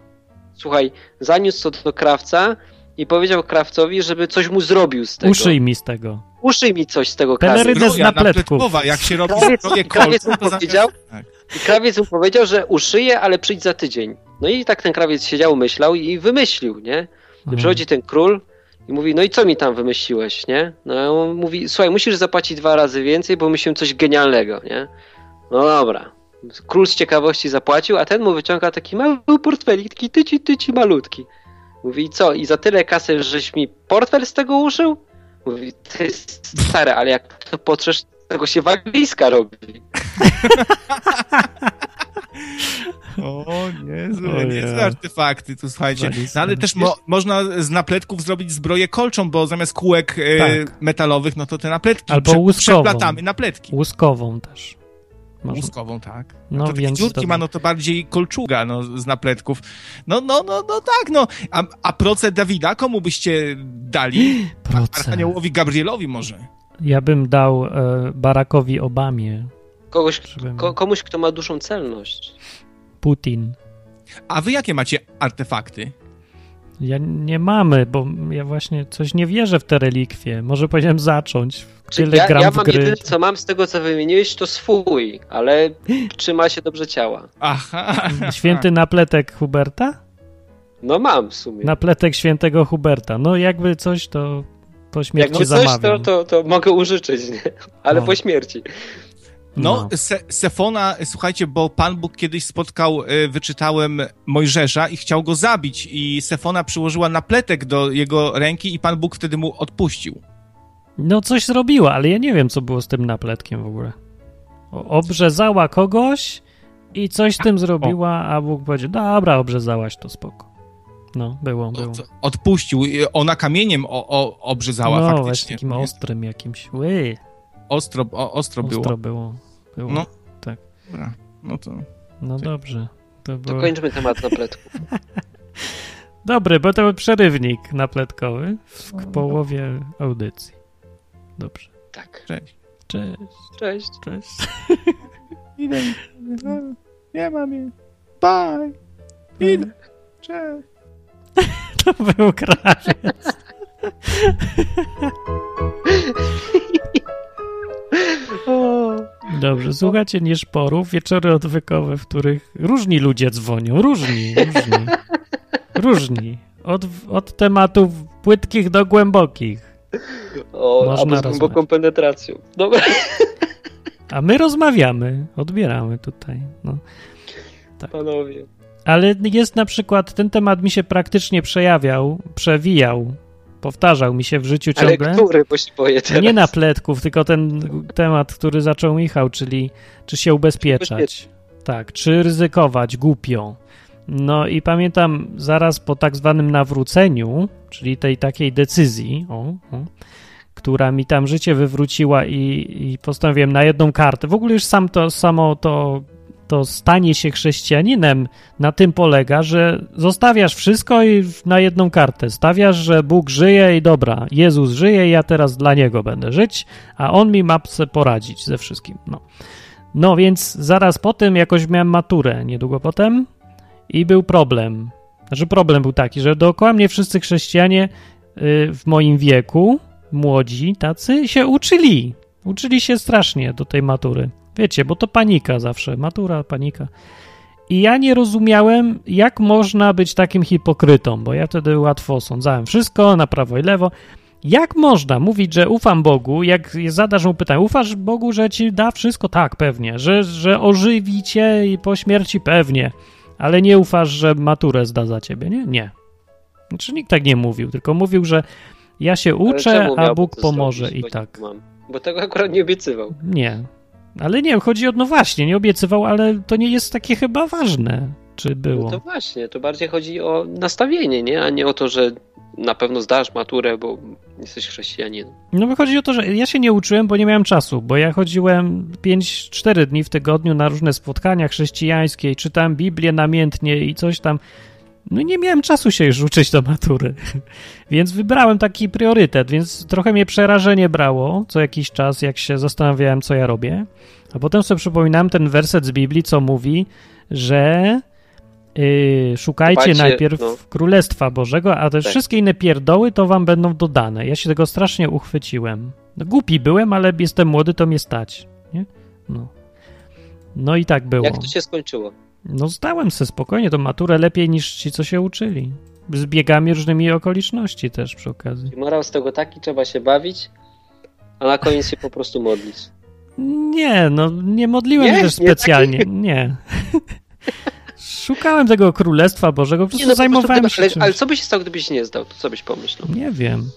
Słuchaj, zaniósł to do krawca i powiedział Krawcowi, żeby coś mu zrobił z tego.
Uszyj mi z tego.
Uszyj mi coś z tego
Telery-
krawiec.
Rydes na pletku.
napletkowa, jak się robi
Krawiec-
zdrowie
krawiec
kolce, to
mu
zamiast-
powiedział,
tak.
I krawiec mu powiedział, że uszyje, ale przyjdź za tydzień. No i tak ten krawiec siedział, myślał i wymyślił, nie? I
Mhm.
przychodzi ten król i mówi, no i co mi tam wymyśliłeś, nie? No a on mówi, słuchaj, musisz zapłacić dwa razy więcej, bo myślałem coś genialnego, nie? No dobra. Król z ciekawości zapłacił, a ten mu wyciąga taki mały portfelik, taki tyci, tyci, malutki. Mówi, co, i za tyle kasy, żeś mi portfel z tego uszył? Mówi, ty stary, ale jak to potrzesz, z tego się walizka robi.
O
O
niezłe,
nie.
niezłe artefakty tu, słuchajcie.
Walizka.
No, ale też mo można z napletków zrobić zbroję kolczą, bo zamiast kółek e,
Tak.
metalowych, no to te napletki
Albo łuskową.
przeplatamy napletki.
Mhm. Łuskową też. Można.
Łuskową, tak.
No
to takie
więc
dziurki
to-
ma, no to bardziej kolczuga no, z napletków. No, no, no, no tak, no. A, a proce Dawida komu byście dali?
Proce.
Archaniołowi Gabrielowi może.
Ja bym dał e, Barackowi Obamie,
Kogoś,
żeby
ko, komuś, kto ma dużą celność.
Putin.
A wy jakie macie artefakty?
Ja nie mamy, bo ja właśnie coś nie wierzę w te relikwie. Może powinienem zacząć.
Czy
Tyle
ja,
gram
ja
w
mam
gry.
jedyne, co mam z tego, co wymieniłeś, to swój, ale trzyma się dobrze ciała.
Aha.
Mm. Święty napletek Huberta?
No mam w sumie.
Napletek świętego Huberta. No jakby coś, to po śmierci
Jakby coś, to,
zamawiam.
to, to mogę użyczyć, nie? ale
No.
po śmierci.
No, se, Sefona, słuchajcie, bo Pan Bóg kiedyś spotkał, e, wyczytałem Mojżesza i chciał go zabić i Sefona przyłożyła napletek do jego ręki i Pan Bóg wtedy mu odpuścił.
No coś zrobiła, ale ja nie wiem, co było z tym napletkiem w ogóle. O- Obrzezała kogoś i coś z tym zrobiła, a Bóg powiedział, dobra, obrzezałaś, to spoko. No, było, było.
Od, odpuścił. I Ona kamieniem o, o, obrzezała
no, właśnie
faktycznie.
takim
Nie?
ostrym jakimś. Ły,
ostro, o, ostro było.
ostro było. było. No,
No. Dobra. No to...
dobrze. To było...
Dokończmy temat napletków.
Dobry, bo to był przerywnik napletkowy w k- połowie audycji. Dobrze.
Tak.
Cześć,
Cześć.
cześć.
Idę. No, Nie mam jej. Bye. Idę. Cześć.
To był krawiec. Dobrze, słuchacie nieszporów, wieczory odwykowe, w których różni ludzie dzwonią, różni, różni, różni. Od, od tematów płytkich do głębokich.
O,
Można
albo z
rozmawiać.
głęboką penetracją. Dobra.
A my rozmawiamy, odbieramy tutaj. No.
Panowie.
Ale jest na przykład, ten temat mi się praktycznie przejawiał, przewijał, powtarzał mi się w życiu
Ale
ciągle.
który, bo się boję teraz.
Nie na pletków, tylko ten temat, który zaczął Michał, czyli czy się ubezpieczać. Tak, czy ryzykować głupio. No i pamiętam zaraz po tak zwanym nawróceniu, czyli tej takiej decyzji, o, o, która mi tam życie wywróciła i, i postanowiłem na jedną kartę. W ogóle już sam to, samo to, to stanie się chrześcijaninem na tym polega, że zostawiasz wszystko i na jedną kartę. Stawiasz, że Bóg żyje i dobra, Jezus żyje, ja teraz dla Niego będę żyć, a On mi ma se poradzić ze wszystkim. No. no więc zaraz po tym jakoś miałem maturę niedługo potem i był problem. Znaczy problem był taki, że dookoła mnie wszyscy chrześcijanie y, w moim wieku, młodzi tacy, się uczyli. Uczyli się strasznie do tej matury. Wiecie, bo to panika zawsze. Matura, panika. I ja nie rozumiałem, jak można być takim hipokrytą, bo ja wtedy łatwo sądzałem wszystko na prawo i lewo. Jak można mówić, że ufam Bogu, jak zadasz mu pytanie, ufasz Bogu, że ci da wszystko? Tak, pewnie, że, że ożywi cię i po śmierci pewnie, ale nie ufasz, że maturę zda za ciebie, nie? Nie. Znaczy nikt tak nie mówił, tylko mówił, że ja się
Ale
uczę,
czemu
a
miałby
Bóg
to
pomoże
zrobić,
i
bo
tak.
Mam. Bo tego akurat nie obiecywał.
Nie. Ale nie, chodzi o, no właśnie, nie obiecywał, ale to nie jest takie chyba ważne, czy
No
było.
to właśnie, to bardziej chodzi o nastawienie, nie? A nie o to, że na pewno zdasz maturę, bo jesteś chrześcijaninem.
No bo chodzi o to, że ja się nie uczyłem, bo nie miałem czasu, bo ja chodziłem 5-4 dni w tygodniu na różne spotkania chrześcijańskie i czytałem Biblię namiętnie i coś tam. No nie miałem czasu się już uczyć do matury, więc wybrałem taki priorytet, więc trochę mnie przerażenie brało co jakiś czas, jak się zastanawiałem, co ja robię. A potem sobie przypominałem ten werset z Biblii, co mówi, że Yy, szukajcie
Chowajcie,
najpierw
no.
Królestwa Bożego, a te
Tak.
wszystkie inne pierdoły to wam będą dodane. Ja się tego strasznie uchwyciłem. No, głupi byłem, ale jestem młody, to mnie stać. Nie? No. no i tak było.
Jak to się skończyło?
No zdałem se spokojnie tą maturę lepiej niż ci, co się uczyli. Z biegami różnymi okoliczności też przy okazji.
I Morał z tego taki, trzeba się bawić, a na koniec się po prostu modlić.
Nie, no nie modliłem
Nie?
się
Nie
też specjalnie. Nie. Szukałem tego Królestwa Bożego, po prostu
Nie, no, po
zajmowałem
prostu,
się
gdyby-
czymś.
ale, ale co byś stał, gdybyś nie zdał? To co byś pomyślał?
Nie wiem.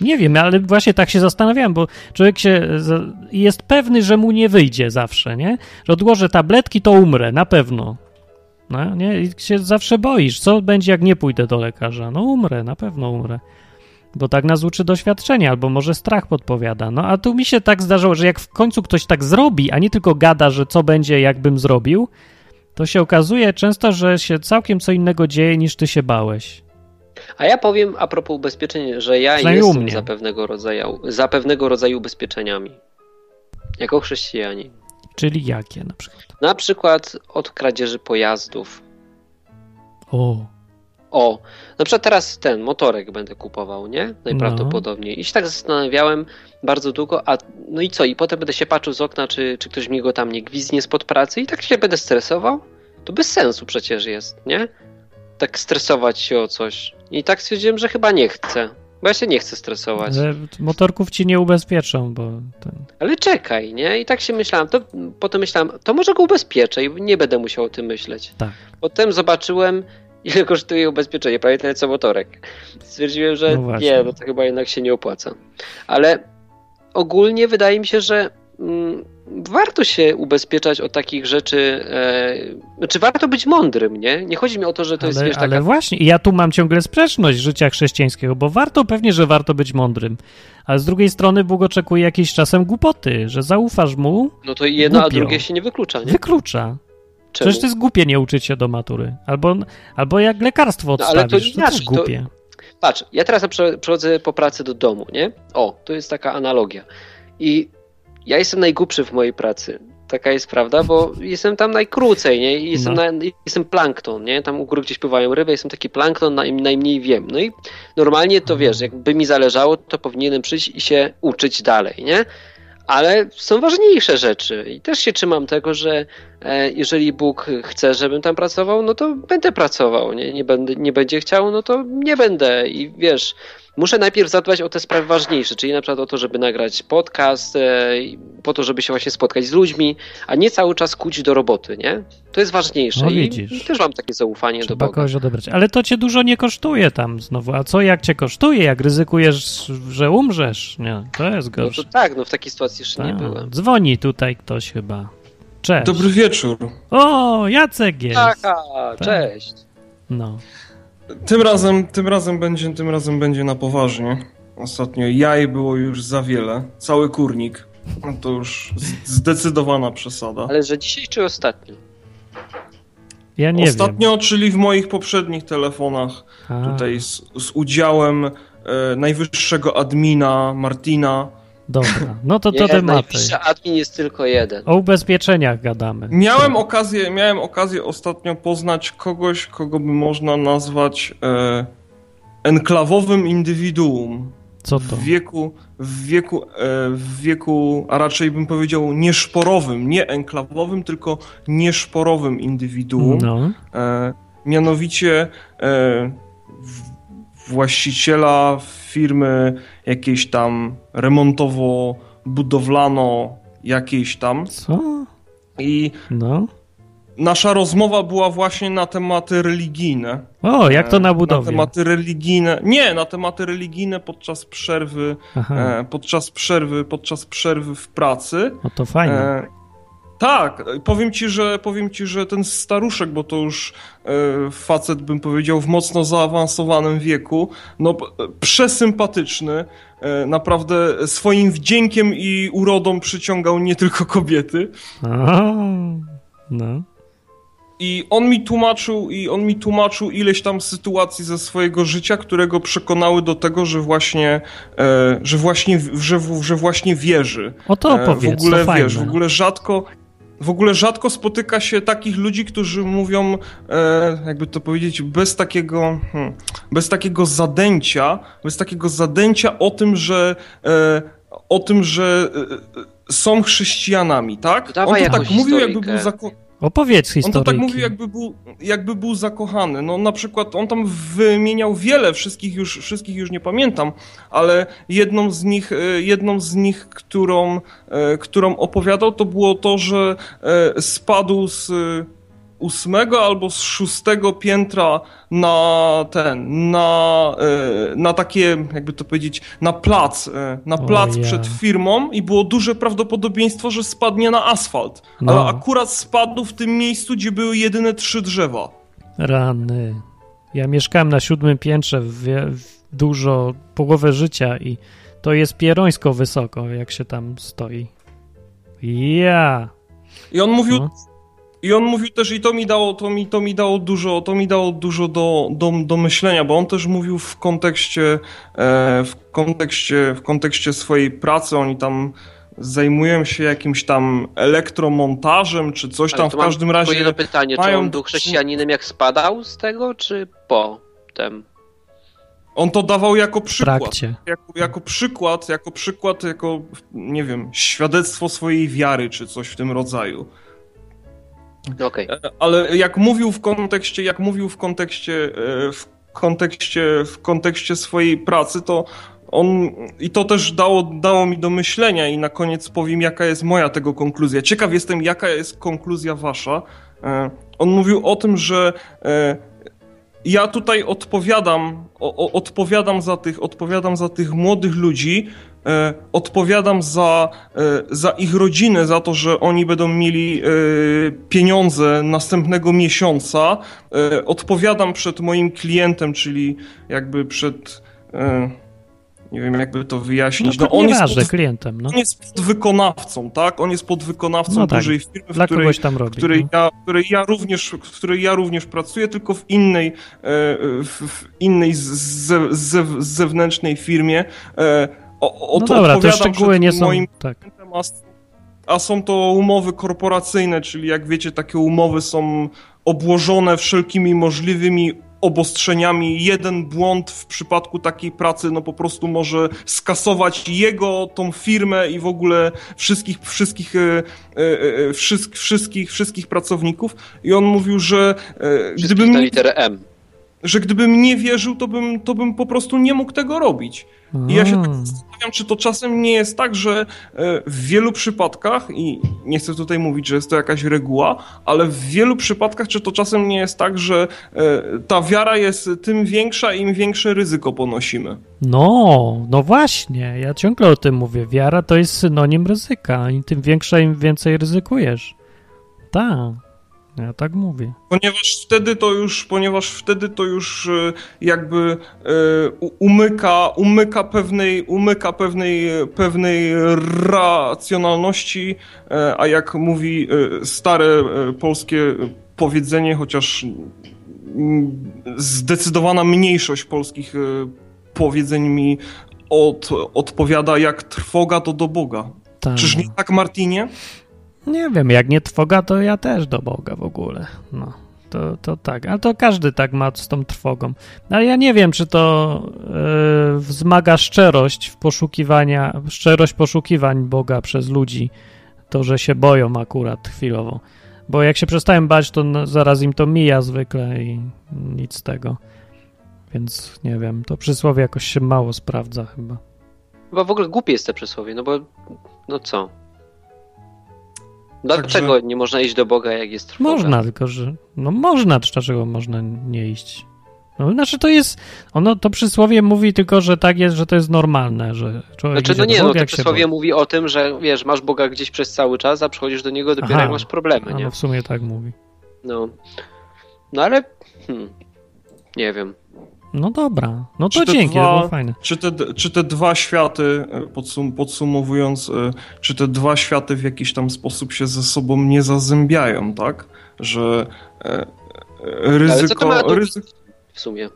Nie wiem, ale właśnie tak się zastanawiałem, bo człowiek się za- jest pewny, że mu nie wyjdzie zawsze, nie? Że odłożę tabletki, to umrę, na pewno. No, nie? I się zawsze boisz, co będzie, jak nie pójdę do lekarza. No umrę, na pewno umrę. Bo tak nas uczy doświadczenie, albo może strach podpowiada. No a tu mi się tak zdarzyło, że jak w końcu ktoś tak zrobi, a nie tylko gada, że co będzie, jakbym zrobił, to się okazuje często, że się całkiem co innego dzieje, niż ty się bałeś.
A ja powiem a propos ubezpieczeń, że ja
Przynajmniej u
jestem
mnie.
za pewnego, rodzaju, za pewnego rodzaju ubezpieczeniami. Jako chrześcijanin.
Czyli jakie na przykład?
Na przykład od kradzieży pojazdów.
O,
O, na przykład teraz ten motorek będę kupował, nie? Najprawdopodobniej. I się tak zastanawiałem bardzo długo, a no i co? I potem będę się patrzył z okna, czy, czy ktoś mi go tam nie gwizdnie spod pracy i tak się będę stresował? To bez sensu przecież jest, nie? Tak stresować się o coś. I tak stwierdziłem, że chyba nie chcę. Bo ja się nie chcę stresować.
że motorków ci nie ubezpieczą, bo ten,
Ale czekaj, nie? I tak się myślałem, to potem myślałem, to może go ubezpieczę i nie będę musiał o tym myśleć.
Tak.
Potem zobaczyłem, ile kosztuje ubezpieczenie, prawie tyle co motorek. Stwierdziłem, że
No właśnie.
nie, no to chyba jednak się nie opłaca. Ale ogólnie wydaje mi się, że mm, warto się ubezpieczać od takich rzeczy, e, znaczy warto być mądrym, nie? Nie chodzi mi o to, że No to jest,
ale,
wiesz, taka
ale właśnie, i ja tu mam ciągle sprzeczność życia chrześcijańskiego, bo warto, pewnie, że warto być mądrym, ale z drugiej strony Bóg oczekuje jakiejś czasem głupoty, że zaufasz mu,
no to jedno, a
głupio.
drugie się nie wyklucza, No nie?
wyklucza.
Czemu?
Przecież to jest głupie nie uczyć się do matury, albo, albo jak lekarstwo
No, ale to
odstawisz, to, też
inaczej, to-
głupie.
Patrz, ja teraz prze- przechodzę po pracy do domu, nie? O, to jest taka analogia. I ja jestem najgłupszy w mojej pracy. Taka jest prawda, bo jestem tam najkrócej, nie? I jestem,
No.
na, jestem plankton, nie? Tam u góry gdzieś pływają ryby, jestem taki plankton, naj, najmniej wiem. No i normalnie to wiesz, jakby mi zależało, to powinienem przyjść i się uczyć dalej, nie? Ale są ważniejsze rzeczy i też się trzymam tego, że e, jeżeli Bóg chce, żebym tam pracował, no to będę pracował, nie, nie, będę, nie będzie chciał, no to nie będę i wiesz, muszę najpierw zadbać o te sprawy ważniejsze, czyli na przykład o to, żeby nagrać podcast, e, i po to, żeby się właśnie spotkać z ludźmi, a nie cały czas kuć do roboty, nie? To jest ważniejsze
No,
I,
widzisz.
i też mam takie zaufanie do
Trzeba
Boga.
kogoś odebrać. Ale to cię dużo nie kosztuje tam znowu. A co jak cię kosztuje, jak ryzykujesz, że umrzesz? Nie, to jest
No
gorsze.
to tak, no w takiej sytuacji jeszcze nie
Tak.
byłem.
Dzwoni tutaj ktoś chyba. Cześć.
Dobry wieczór.
O, Jacek jest.
Taka,
Tak.
cześć.
No.
Tym razem, tym razem będzie, tym razem będzie na poważnie. Ostatnio jaj było już za wiele. Cały kurnik. No to już z- zdecydowana przesada.
No.
Ale że dzisiaj czy ostatnio?
Ja nie
Ostatnio, czyli w moich poprzednich telefonach,
wiem. A,
tutaj z, z udziałem e, najwyższego admina Martina,
Dobra. No to to
Nie,
tematy.
najwyższy admin jest tylko jeden.
No,
O ubezpieczeniach gadamy.
Miałem okazję, miałem okazję ostatnio poznać kogoś, kogo by można nazwać e, enklawowym indywiduum.
Co to?
W wieku, w wieku, e, w wieku, a raczej bym powiedział nieszporowym, nie enklawowym, tylko nieszporowym indywiduum.
No.
E, mianowicie e, w- właściciela firmy jakiejś tam remontowo-budowlano jakiejś tam.
Co?
I
No.
nasza rozmowa była właśnie na tematy religijne.
O, jak to
E,
na budowie.
Na tematy religijne. Nie, na tematy religijne podczas przerwy,
Aha.
e, podczas przerwy, podczas przerwy w pracy.
No to fajnie.
E, tak, e, powiem ci, że powiem ci, że ten staruszek, bo to już e, facet bym powiedział w mocno zaawansowanym wieku, no p- przesympatyczny, e, naprawdę swoim wdziękiem i urodą przyciągał nie tylko kobiety.
A, no.
I on mi tłumaczył, i on mi tłumaczył ileś tam sytuacji ze swojego życia, które go przekonały do tego, że właśnie, e, że właśnie, w- że, w- że właśnie wierzy.
O to
E,
opowiedz,
W ogóle
to
wiesz,
fajne.
w ogóle rzadko, W ogóle rzadko spotyka się takich ludzi, którzy mówią, e, jakby to powiedzieć, bez takiego, hmm, bez takiego zadęcia, bez takiego zadęcia o tym, że, e, o tym, że e, e, są chrześcijanami, tak?
Dawaj
On to tak
jakąś
mówił, jakby
historyjkę.
był zakon.
Opowiedz
On to
historię.
tak mówił, jakby był, jakby był zakochany. No na przykład on tam wymieniał wiele, wszystkich już, wszystkich już nie pamiętam, ale jedną z nich, e, jedną z nich którą, e, którą opowiadał, to było to, że e, spadł z e, ósmego albo z szóstego piętra na ten, na, e, na takie, jakby to powiedzieć, na plac, e, na
O
plac
ja.
przed firmą i było duże prawdopodobieństwo, że spadnie na asfalt.
No.
Ale akurat spadł w tym miejscu, gdzie były jedyne trzy drzewa.
Rany. Ja mieszkałem na siódmym piętrze w, w dużo, połowę życia i to jest pierońsko wysoko, jak się tam stoi. Ja.
I on mówił,
No.
i on mówił też, i to mi dało, to mi, to mi dało dużo, to mi dało dużo do, do, do myślenia, bo on też mówił w kontekście, e, w kontekście, w kontekście swojej pracy, oni tam zajmują się jakimś tam elektromontażem, czy coś tam,
Ale
w
to mam
każdym
tylko
razie
jedno pytanie, czy
mają-
on był chrześcijaninem jak spadał z tego, czy po tym?
on to dawał jako
W
przykład.
trakcie.
jako, jako przykład, jako przykład, jako, nie wiem, świadectwo swojej wiary, czy coś w tym rodzaju.
No Okej.
E, Ale jak mówił w kontekście, jak mówił w kontekście, e, w kontekście, w kontekście swojej pracy, to on, i to też dało, dało mi do myślenia i na koniec powiem, jaka jest moja tego konkluzja. Ciekaw jestem, jaka jest konkluzja wasza. E, On mówił o tym, że e, ja tutaj odpowiadam, o, o, odpowiadam, za tych, odpowiadam za tych młodych ludzi, e, odpowiadam za, e, za ich rodzinę, za to, że oni będą mieli e, pieniądze następnego miesiąca. E, odpowiadam przed moim klientem, czyli jakby przed. E, nie wiem, jakby to
No,
wyjaśnić.
to
on, jest
nieważne,
pod,
klientem, no.
on jest podwykonawcą, tak? On jest podwykonawcą
No tak.
dużej firmy,
Dla
w której
kogoś tam robi.
w której,
no.
ja, w której ja również, w której ja również pracuję, tylko w innej, e, w, w innej z, z, z, z zewnętrznej firmie. E, o, o
no
to
dobra, te
odpowiadam
szczegóły
przed
nie są...
moim
Tak.
klientem, a, s- a są to umowy korporacyjne, czyli jak wiecie, takie umowy są obłożone wszelkimi możliwymi obostrzeniami. Jeden błąd w przypadku takiej pracy no po prostu może skasować jego, tą firmę i w ogóle wszystkich, wszystkich, e, e, e, wszystk, wszystkich, wszystkich pracowników. I on mówił, że e,
Gdybym...
gdybym,
na
nie-
literę M.
że gdybym nie wierzył, to bym, to bym po prostu nie mógł tego robić. I ja się tak
Mm.
zastanawiam, czy to czasem nie jest tak, że e, w wielu przypadkach, i nie chcę tutaj mówić, że jest to jakaś reguła, ale w wielu przypadkach, czy to czasem nie jest tak, że e, ta wiara jest tym większa, im większe ryzyko ponosimy.
No, no właśnie, ja ciągle o tym mówię. Wiara to jest synonim ryzyka. I tym większa, im więcej ryzykujesz. Tak, ja tak mówię.
Ponieważ wtedy to już, ponieważ wtedy to już e, jakby e, u- umyka, umyka pewnej, umyka pewnej, pewnej racjonalności, e, a jak mówi e, stare e, polskie powiedzenie, chociaż mm, zdecydowana mniejszość polskich e, powiedzeń mi od, odpowiada jak trwoga to do Boga.
Tak.
Czyż nie tak, Martinie?
Nie wiem, jak nie trwoga, to ja też do Boga w ogóle. No, to, to tak. Ale to każdy tak ma z tą trwogą. Ale ja nie wiem, czy to yy, wzmaga szczerość w poszukiwania, szczerość poszukiwań Boga przez ludzi. To, że się boją akurat chwilowo. Bo jak się przestają bać, to no, zaraz im to mija zwykle i nic z tego. Więc nie wiem, to przysłowie jakoś się mało sprawdza chyba.
Chyba w ogóle głupie jest te przysłowie, no bo no co? Dlaczego nie można iść do Boga, jak jest trwoga?
Można, tylko że. No można, dlaczego można nie iść? No, znaczy to jest. Ono to przysłowie mówi tylko, że tak jest, że to jest normalne, że człowiek.
Znaczy,
idzie
no
do
nie,
Boga,
no to
jak się
przysłowie
boi.
mówi o tym, że wiesz, masz Boga gdzieś przez cały czas, a przychodzisz do Niego dopiero
Aha.
jak masz problemy,
A
nie?
no w sumie tak mówi.
No, no ale hmm, nie wiem.
No dobra. No to
Czy te
dzięki,
dwa-
to było fajne.
Czy te, czy te dwa światy, e, podsum, podsumowując, e, czy te dwa światy w jakiś tam sposób się ze sobą nie zazębiają, tak? Że e, e,
Ale co to
ryzyko.
ma do-
ryzy-
w sumie.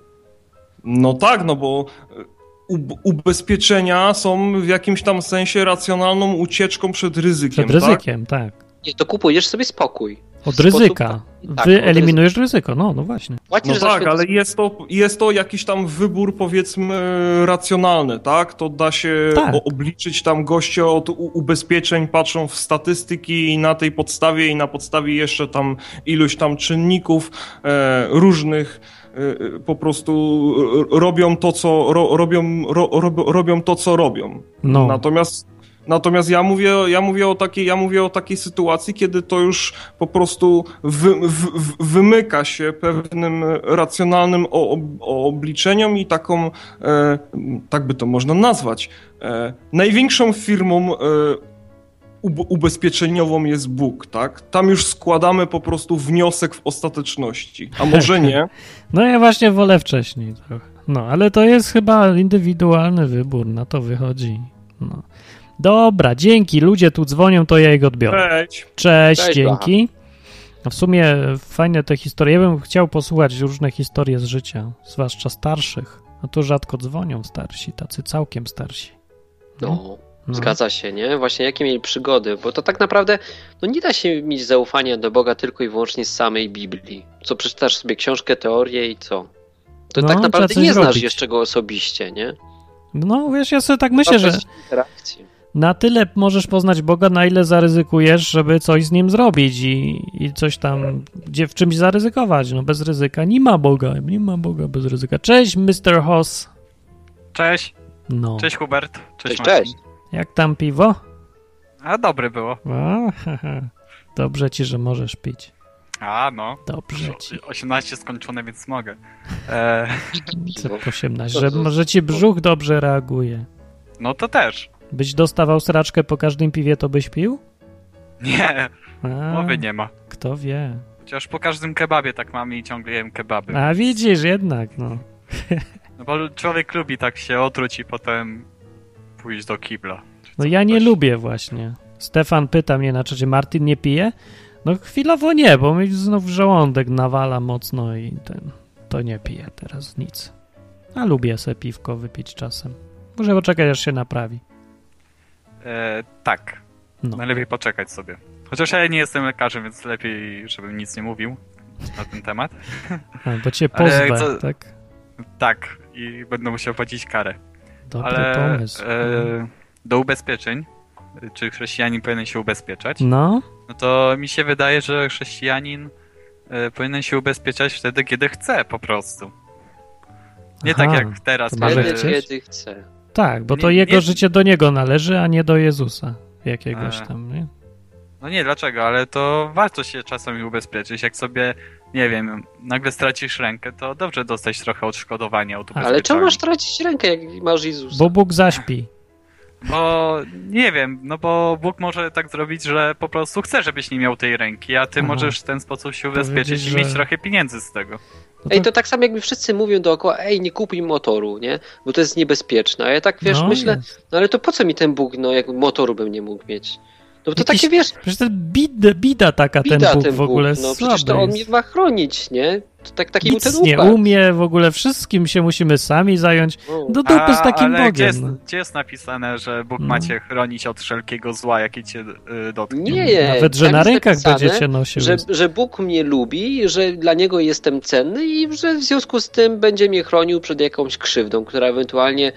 No tak, no bo e, ub- ubezpieczenia są w jakimś tam sensie racjonalną ucieczką przed ryzykiem.
Przed ryzykiem, tak.
Nie, to kupujesz sobie spokój.
Od
Sposób-
ryzyka.
tak, od
Wyeliminujesz ryzyko, no, no właśnie.
Płacisz
No
za
tak,
święty
ale jest to, jest to jakiś tam wybór, powiedzmy, racjonalny, tak? To da się
Tak.
o- obliczyć tam goście od u- ubezpieczeń, patrzą w statystyki i na tej podstawie i na podstawie jeszcze tam iluś tam czynników e, różnych e, po prostu e, robią to, co ro, robią, ro, rob, robią to, co robią.
No,
Natomiast Natomiast ja mówię, ja, mówię o takiej, ja mówię o takiej sytuacji, kiedy to już po prostu wy, w, w, wymyka się pewnym racjonalnym o, ob- o obliczeniom i taką, e, tak by to można nazwać, e, największą firmą e, ub, ubezpieczeniową jest Bóg, tak? Tam już składamy po prostu wniosek w ostateczności. A może nie?
no ja właśnie wolę wcześniej trochę. No, ale to jest chyba indywidualny wybór, na to wychodzi. No. Dobra, dzięki, ludzie tu dzwonią, to ja ich odbiorę.
Cześć.
Cześć,
Cześć,
dzięki. No w sumie fajne te historie. Ja bym chciał posłuchać różne historie z życia, zwłaszcza starszych. No tu rzadko dzwonią starsi, tacy całkiem starsi.
No,
No.
zgadza się, nie? Właśnie jakie mieli przygody, bo to tak naprawdę no nie da się mieć zaufania do Boga tylko i wyłącznie z samej Biblii. Co przeczytasz sobie książkę, teorię i co? To
No,
tak
trzeba
naprawdę
coś
nie znasz
robić.
jeszcze go osobiście, nie?
No wiesz, ja sobie tak myślę,
Trzeba
że
coś- interakcji.
na tyle możesz poznać Boga, na ile zaryzykujesz, żeby coś z nim zrobić i, i coś tam, gdzie w czymś zaryzykować. No bez ryzyka nie ma Boga, nie ma Boga bez ryzyka. Cześć, Mr. Hoss.
Cześć,
No,
cześć Hubert. Cześć,
Cześć,
Marcin.
cześć.
jak tam piwo?
A dobre było.
A, haha. Dobrze ci, że możesz pić.
A no.
Dobrze ci.
18 skończone, więc mogę. E,
Cep 18, że, że ci brzuch dobrze reaguje.
no to też.
Byś dostawał sraczkę po każdym piwie, to byś pił?
Nie,
A,
mowy nie ma.
kto wie.
Chociaż po każdym kebabie tak mamy i ciągle jem kebaby.
A widzisz jednak, no.
No bo człowiek lubi tak się otruć i potem pójść do kibla. Czy
No
co,
ja nie
coś.
lubię właśnie. Stefan pyta mnie na czacie, Martin nie pije? No chwilowo nie, bo mi znów żołądek nawala mocno i ten, to nie piję teraz nic. A lubię se piwko wypić czasem. Muszę poczekać, aż się naprawi.
E, tak.
No.
Najlepiej poczekać sobie. Chociaż ja nie jestem lekarzem, więc lepiej, żebym nic nie mówił na ten temat.
A, bo cię
Ale
pozwę,
co-
tak?
Tak, i będę musiał płacić karę.
Dobry
Ale
pomysł. Mhm.
e, do ubezpieczeń, czy chrześcijanin powinien się ubezpieczać,
No,
no to mi się wydaje, że chrześcijanin e, powinien się ubezpieczać wtedy, kiedy chce po prostu. Nie
Aha,
tak jak teraz.
to
mamy-
Może
Kiedy,
chcieć?
kiedy chce.
tak, bo to
Nie-
jego
nie-
życie do niego należy, a nie do Jezusa jakiegoś
A.
tam, nie?
No nie, dlaczego, ale to warto się czasami ubezpieczyć. Jak sobie, nie wiem, nagle stracisz rękę, to dobrze dostać trochę odszkodowania od ubezpieczenia.
Ale czemu masz tracić rękę, jak masz Jezusa?
Tak. Bo Bóg zaśpi.
Bo nie wiem, no bo Bóg może tak zrobić, że po prostu chce, żebyś nie miał tej ręki, a ty
Aha.
możesz w ten sposób się
Powiedzieć,
ubezpieczyć i
Mhm. że-
mieć trochę pieniędzy z tego.
No
Ej, to tak samo jak mi wszyscy mówią dookoła, ej, nie kupuj motoru, nie? Bo to jest niebezpieczne. A ja tak, wiesz,
no,
myślę,
jest.
no ale to po co mi ten Bóg, no, jak motoru bym nie mógł mieć? No bo to
Jakiś
takie, wiesz,
Przecież ten bida, bida taka,
bida
ten Bóg
ten
w ogóle
Bóg, no przecież
słaby
to on mnie
jest.
ma chronić, nie? To tak, taki był ten
Nic nie
ufak.
umie, w ogóle wszystkim się musimy sami zająć.
No.
Do dupy z
A,
takim
ale Gdzie
Bogiem.
jest,
no.
gdzie jest napisane, że Bóg
No.
ma cię chronić od wszelkiego zła, jakie cię y, dotknie?
Nie,
Nawet, że
tam
na
jest
rękach
napisane,
będziecie nosił.
Że, że Bóg mnie lubi, że dla Niego jestem cenny i że w związku z tym będzie mnie chronił przed jakąś krzywdą, która ewentualnie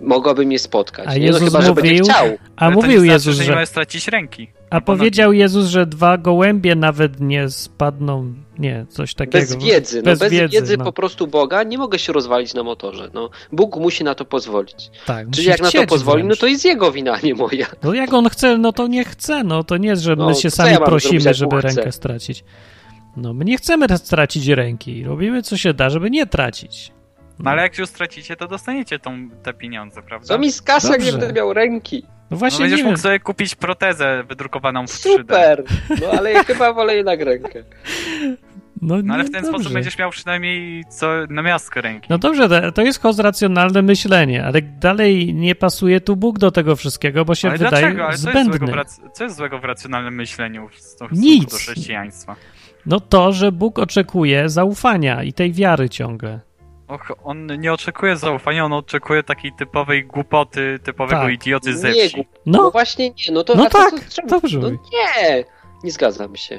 mogłaby mnie spotkać.
A
nie?
Jezus
no, chyba, że będzie
mówił-
chciał.
A
Ale to
mówił
nie znaczy,
Jezus,
że... nie
że...
masz stracić ręki. no,
A powiedział Jezus, że dwa gołębie nawet nie spadną, nie, coś takiego.
Bez wiedzy, no,
tak bez
bez,
wiedzy,
wiedzy,
no.
po prostu Boga nie mogę się rozwalić na motorze. No, Bóg musi na to pozwolić.
Tak,
Czyli
musi
jak na to
chcieć
pozwoli, no
wręcz.
to jest jego wina, nie moja.
No jak on chce, no to nie chce, no to nie jest, że
No,
my
to
się
co
sami
ja mam
prosimy,
zrobić, jak
żeby
Bóg chce?
rękę stracić. No my nie chcemy raz stracić ręki, robimy co się da, żeby nie tracić.
No ale jak już stracicie, to dostaniecie tą, te pieniądze, prawda?
Co mi z kasą, jak nie
Dobrze.
będę miał ręki?
No
No
właśnie
będziesz
nie
mógł
wiem,
sobie kupić protezę wydrukowaną w 3D.
Super! No ale ja chyba wolę jednak rękę.
no,
No ale
nie,
w ten
dobrze.
sposób będziesz miał przynajmniej co na miastkę ręki.
No dobrze, to- to jest racjonalne myślenie, ale dalej nie pasuje tu Bóg do tego wszystkiego, bo się
ale
wydaje
dlaczego? Ale co jest, złego w
zbędny.
rac- co jest złego w racjonalnym myśleniu w stosunku
Nic.
do chrześcijaństwa?
No to, że Bóg oczekuje zaufania i tej wiary ciągle.
Och, on nie oczekuje zaufania, on oczekuje takiej typowej głupoty, typowego
Tak.
idioty ze
Nie,
wsi.
głup- no
No,
właśnie nie, no to
no
a to
tak,
co- czemu?
dobrze
No
mówi.
nie! Nie zgadzam się.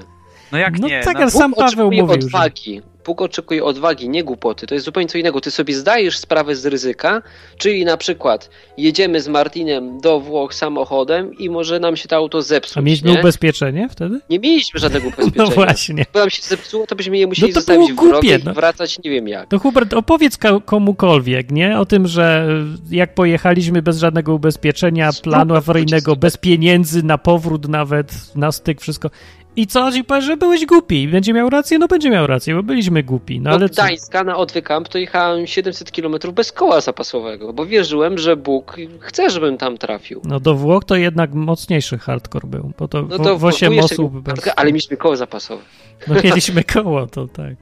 No jak
no
nie?
tak,
no,
ale sam
Bóg
Paweł
oczekuje
mówił, że...
odwagi. Bóg oczekuje odwagi, nie głupoty. To jest zupełnie co innego. Ty sobie zdajesz sprawę z ryzyka, czyli na przykład jedziemy z Martinem do Włoch samochodem i może nam się to auto
A
zepsuć.
mieliśmy
nie?
ubezpieczenie wtedy?
nie mieliśmy żadnego
No
ubezpieczenia.
właśnie.
Gdyby nam się zepsuło, to byśmy je musieli
No to
zostawić
było
w
głupie,
grobie
no.
i wracać nie wiem jak.
To Hubert, opowiedz ka- komukolwiek, nie? O tym, że y, jak pojechaliśmy bez żadnego ubezpieczenia,
no,
planu awaryjnego,
tak.
bez pieniędzy, na powrót nawet, na styk, wszystko. I co? I powiesz, że byłeś głupi. Będzie miał rację? No będzie miał rację, bo byliśmy głupi. No ale
Do
co?
Gdańska na Odwykamp to jechałem 700 km bez koła zapasowego, bo wierzyłem, że Bóg chce, żebym tam trafił.
No do Włoch to jednak mocniejszy hardcore był, bo to,
No
w-
to
w 8
jeszcze-
osób bez...
Ale mieliśmy koło zapasowe.
No mieliśmy koło, to tak.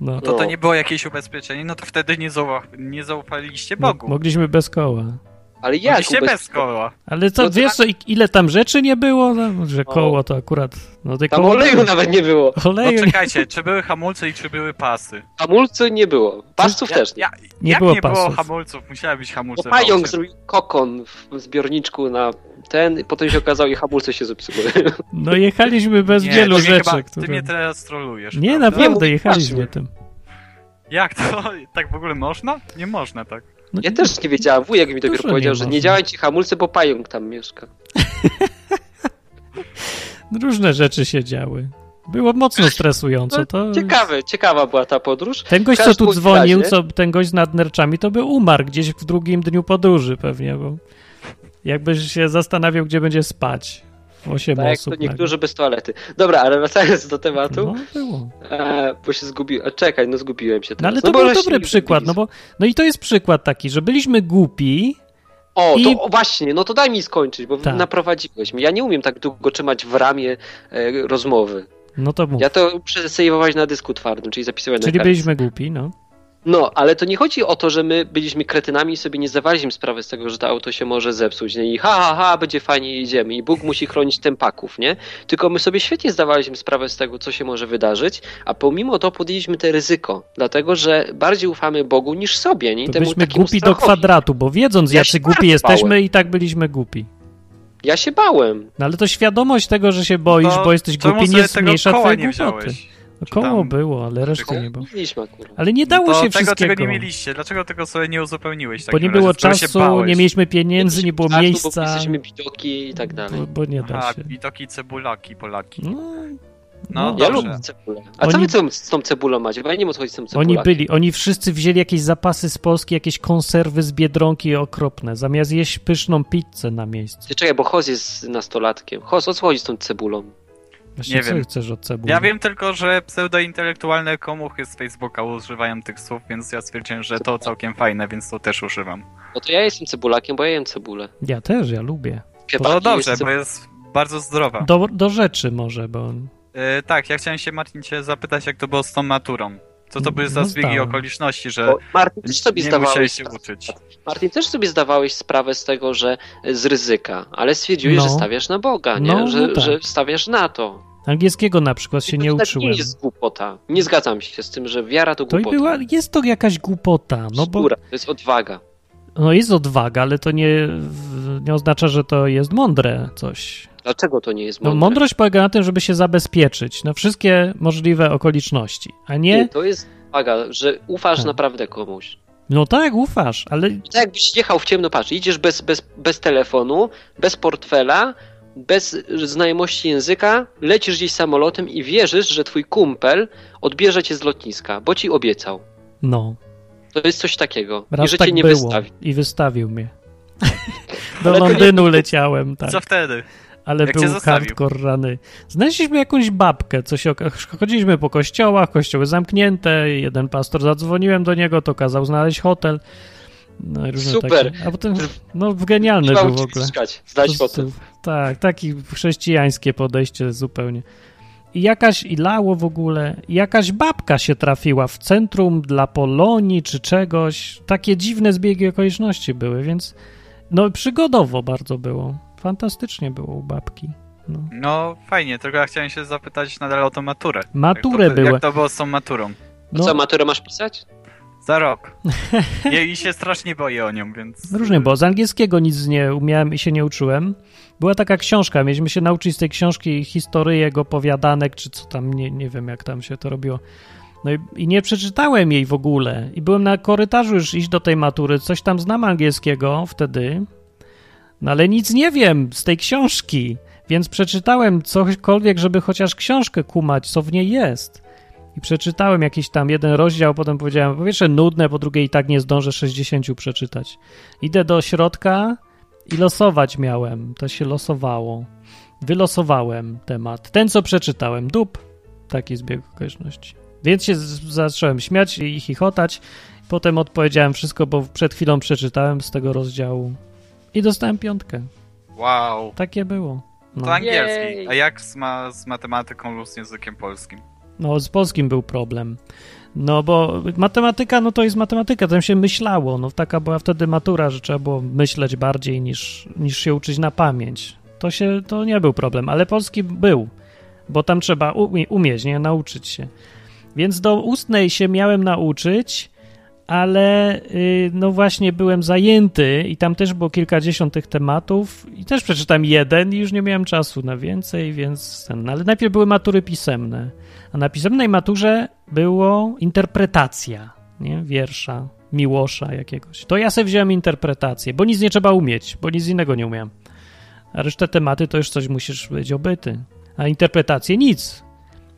No.
To, to
No.
nie było jakieś ubezpieczenie, no to wtedy nie, zauwa- nie zaufaliście
no,
Bogu.
mogliśmy bez koła.
Ale jak?
Mogliście
ubez-
bez koła.
Ale to
No to-
wiesz, co, i- ile tam rzeczy nie było, no, że
O.
koło to akurat... No, te
Tam
koło-
oleju nawet nie było.
No
Oleju nie
czekajcie, czy były hamulce i czy były pasy?
Hamulcy nie było. Pasów też nie.
Ja,
Nie
jak
było
nie było
pasów.
hamulców? Musiały być
Bo
hamulce. w
No pająk
aucie.
zrobił kokon w zbiorniczku na ten, i potem się okazało, i hamulce się zepsuły.
No jechaliśmy bez
Nie,
wielu
ty mnie
rzeczy,
chyba-
które...
Ty mnie teraz trolujesz.
Nie,
prawda?
naprawdę
Nie,
jechaliśmy
właśnie.
tym.
Jak to? Tak w ogóle można? Nie można tak.
No,
Ja też nie wiedziałem, wujek mi dopiero
Dużo nie
powiedział, że
można.
nie działają ci hamulce, bo pająk tam mieszka.
Różne rzeczy się działy. Było mocno stresująco. To...
no, Ciekawe, ciekawa była ta podróż.
Ten gość,
W
co tu
każdym
dzwonił,
razie-
co, ten gość z nad nerczami, to by umarł gdzieś w drugim dniu podróży pewnie, bo jakbyś się zastanawiał, gdzie będzie spać. w Osiem
Tak jak
osób.
to
nagle.
niektórzy bez toalety. Dobra, ale wracając do tematu,
No, było.
e, bo się zgubiłem. A czekaj, no zgubiłem się.
No,
Teraz.
ale to
bo
był
żeście
dobry
mi
przykład, no
zrobili.
bo no i to jest przykład taki, że byliśmy głupi,
O, to
no i-
o, właśnie, no to daj mi skończyć, bo
Tak.
naprowadziłeś mnie. Ja nie umiem tak długo trzymać w ramie e, rozmowy.
no to mów.
Ja tak to muszę sejwować na dysku twardym, czyli zapisywać na
Czyli
kartce.
byliśmy głupi, no.
No, ale to nie chodzi o to, że my byliśmy kretynami i sobie nie zdawaliśmy sprawy z tego, że to auto się może zepsuć. Nie? I ha, ha, ha, będzie fajnie, jedziemy. I Bóg musi chronić tępaków, nie? Tylko my sobie świetnie zdawaliśmy sprawę z tego, co się może wydarzyć, a pomimo to podjęliśmy te ryzyko, dlatego że bardziej ufamy Bogu niż sobie, nie? I
To
temu
byliśmy
takiemu
głupi do
strachowi.
kwadratu, bo wiedząc,
Ja
jacy
się
głupi
bardzo
jesteśmy,
bałem.
i tak byliśmy głupi.
Ja się bałem.
No ale to świadomość tego, że się boisz,
No, To
bo jesteś
czemu
głupi,
sobie
nie
tego
zmniejsza
koła
twojej
nie
głupoty.
wziąłeś?
No,
Czy
koło
tam-
było, ale reszty
Czekaj.
nie było.
Mieliśmy akurat.
Ale nie dało
to
się
tego,
wszystkiego.
czego nie mieliście. Dlaczego tego sobie nie uzupełniłeś? w
bo
takim
nie było
razie, skoro się
czasu,
bałeś?
nie mieliśmy pieniędzy, nie było
Żartu, Bo
miejsca,
jesteśmy widoki i tak dalej.
bo, bo nie da
Aha,
się.
widoki cebulaki, Polaki.
No,
No,
Ja
dobrze.
lubię cebulę. A co
Oni-
wy co- z tą cebulą macie? Bo ja nie wiem, o co chodzi z tą cebulą.
Oni byli, oni wszyscy wzięli jakieś zapasy z Polski, jakieś konserwy z Biedronki okropne, zamiast jeść pyszną pizzę na miejscu.
Czekaj, bo Hoz jest nastolatkiem. Hoz, o co chodzi z tą cebulą?
Właśnie
Nie
co
wiem.
chcesz od cebuli?
Ja wiem tylko, że pseudointelektualne komuchy z Facebooka używają tych słów, więc ja stwierdziłem, że to całkiem fajne, więc to też używam.
No to ja jestem cebulakiem, bo ja jem cebulę.
Ja też, ja lubię.
No dobrze,
jest
bo jest bardzo zdrowa.
Do, do rzeczy może, bo...
E, tak, ja chciałem się Martin cię zapytać, jak to było z tą maturą. Co to były za
No
zbiegi
zdałem.
okoliczności, że
Bo Martin, też sobie
nie
zdawałeś,
musiałeś się uczyć.
Martin, też sobie zdawałeś sprawę z tego, że e, z ryzyka, ale stwierdziłeś,
No.
że stawiasz na Boga, nie?
No, no
że,
tak.
że stawiasz na to.
Angielskiego na przykład się
I to
nie
jednak
uczyłem.
Nie jest głupota. Nie zgadzam się z tym, że wiara to
To i
głupota.
była, jest to jakaś głupota, no bo
Bzdura, To jest odwaga.
no jest odwaga, ale to nie, nie oznacza, że to jest mądre coś.
Dlaczego to nie jest
No,
mądre?
mądrość polega na tym, żeby się zabezpieczyć na wszystkie możliwe okoliczności, a nie,
To jest odwaga, że ufasz
Tak.
naprawdę komuś.
no tak, ufasz, ale
Tak jakbyś jechał w ciemno, patrz, idziesz bez, bez, bez telefonu, bez portfela, bez znajomości języka, lecisz gdzieś samolotem i wierzysz, że twój kumpel odbierze cię z lotniska, bo ci obiecał.
no,
To jest coś takiego. I
raz
że
tak
cię nie
było
wystawi.
i wystawił mnie. Do
Ale to nie-
Londynu leciałem, tak.
Co wtedy?
Ale
Jak cię
był
zostawił?
hardcore rany. Znaleźliśmy jakąś babkę, co się oka- chodziliśmy po kościołach, kościoły zamknięte, jeden pastor zadzwoniłem do niego, to kazał znaleźć hotel. No i różne
Super.
Takie. A potem, no genialny
Trzeba
był w
uczyć
ogóle.
mieszkać, zdać
To-
potem.
Tak, takie chrześcijańskie podejście zupełnie. I jakaś, i lało w ogóle, i jakaś babka się trafiła w centrum dla Polonii czy czegoś. Takie dziwne zbiegi okoliczności były, więc no przygodowo bardzo było. Fantastycznie było u babki. No.
No fajnie, tylko ja chciałem się zapytać nadal o tą maturę.
Maturę
jak to,
były.
Jak to było z tą maturą?
Co,
No,
maturę masz pisać?
Za rok. Ja I się strasznie boję o nią, więc.
Różnie, bo z angielskiego nic nie umiałem i się nie uczyłem. Była taka książka, mieliśmy się nauczyć z tej książki historyjek, opowiadanek, czy co tam, nie, nie wiem jak tam się to robiło. No i, i nie przeczytałem jej w ogóle. I byłem na korytarzu już iść do tej matury, coś tam znam angielskiego wtedy, no ale nic nie wiem z tej książki, więc przeczytałem cokolwiek, żeby chociaż książkę kumać, co w niej jest. I przeczytałem jakiś tam jeden rozdział, potem powiedziałem, po pierwsze nudne, po drugie i tak nie zdążę 60 przeczytać. Idę do środka i losować miałem, to się losowało. Wylosowałem temat. Ten, co przeczytałem, dup. Taki zbieg okoliczności. Więc się z- zacząłem śmiać i chichotać. Potem odpowiedziałem wszystko, bo przed chwilą przeczytałem z tego rozdziału i dostałem piątkę.
Wow.
Takie było.
To
No,
angielski.
Jej.
A jak z, ma, z matematyką lub z językiem polskim?
no z polskim był problem. No bo matematyka, no to jest matematyka, tam się myślało. No taka była wtedy matura, że trzeba było myśleć bardziej niż, niż się uczyć na pamięć. To się, to nie był problem, ale polski był, bo tam trzeba umie, umieć, nie? Nauczyć się. Więc do ustnej się miałem nauczyć, ale y, no właśnie byłem zajęty i tam też było kilkadziesiąt tych tematów i też przeczytałem jeden i już nie miałem czasu na więcej, więc ten. no Ale najpierw były matury pisemne, a na pisemnej maturze było interpretacja, nie? Wiersza, Miłosza jakiegoś. To ja sobie wziąłem interpretację, bo nic nie trzeba umieć, bo nic innego nie umiałem. A resztę tematy to już coś musisz być obyty. A interpretację nic.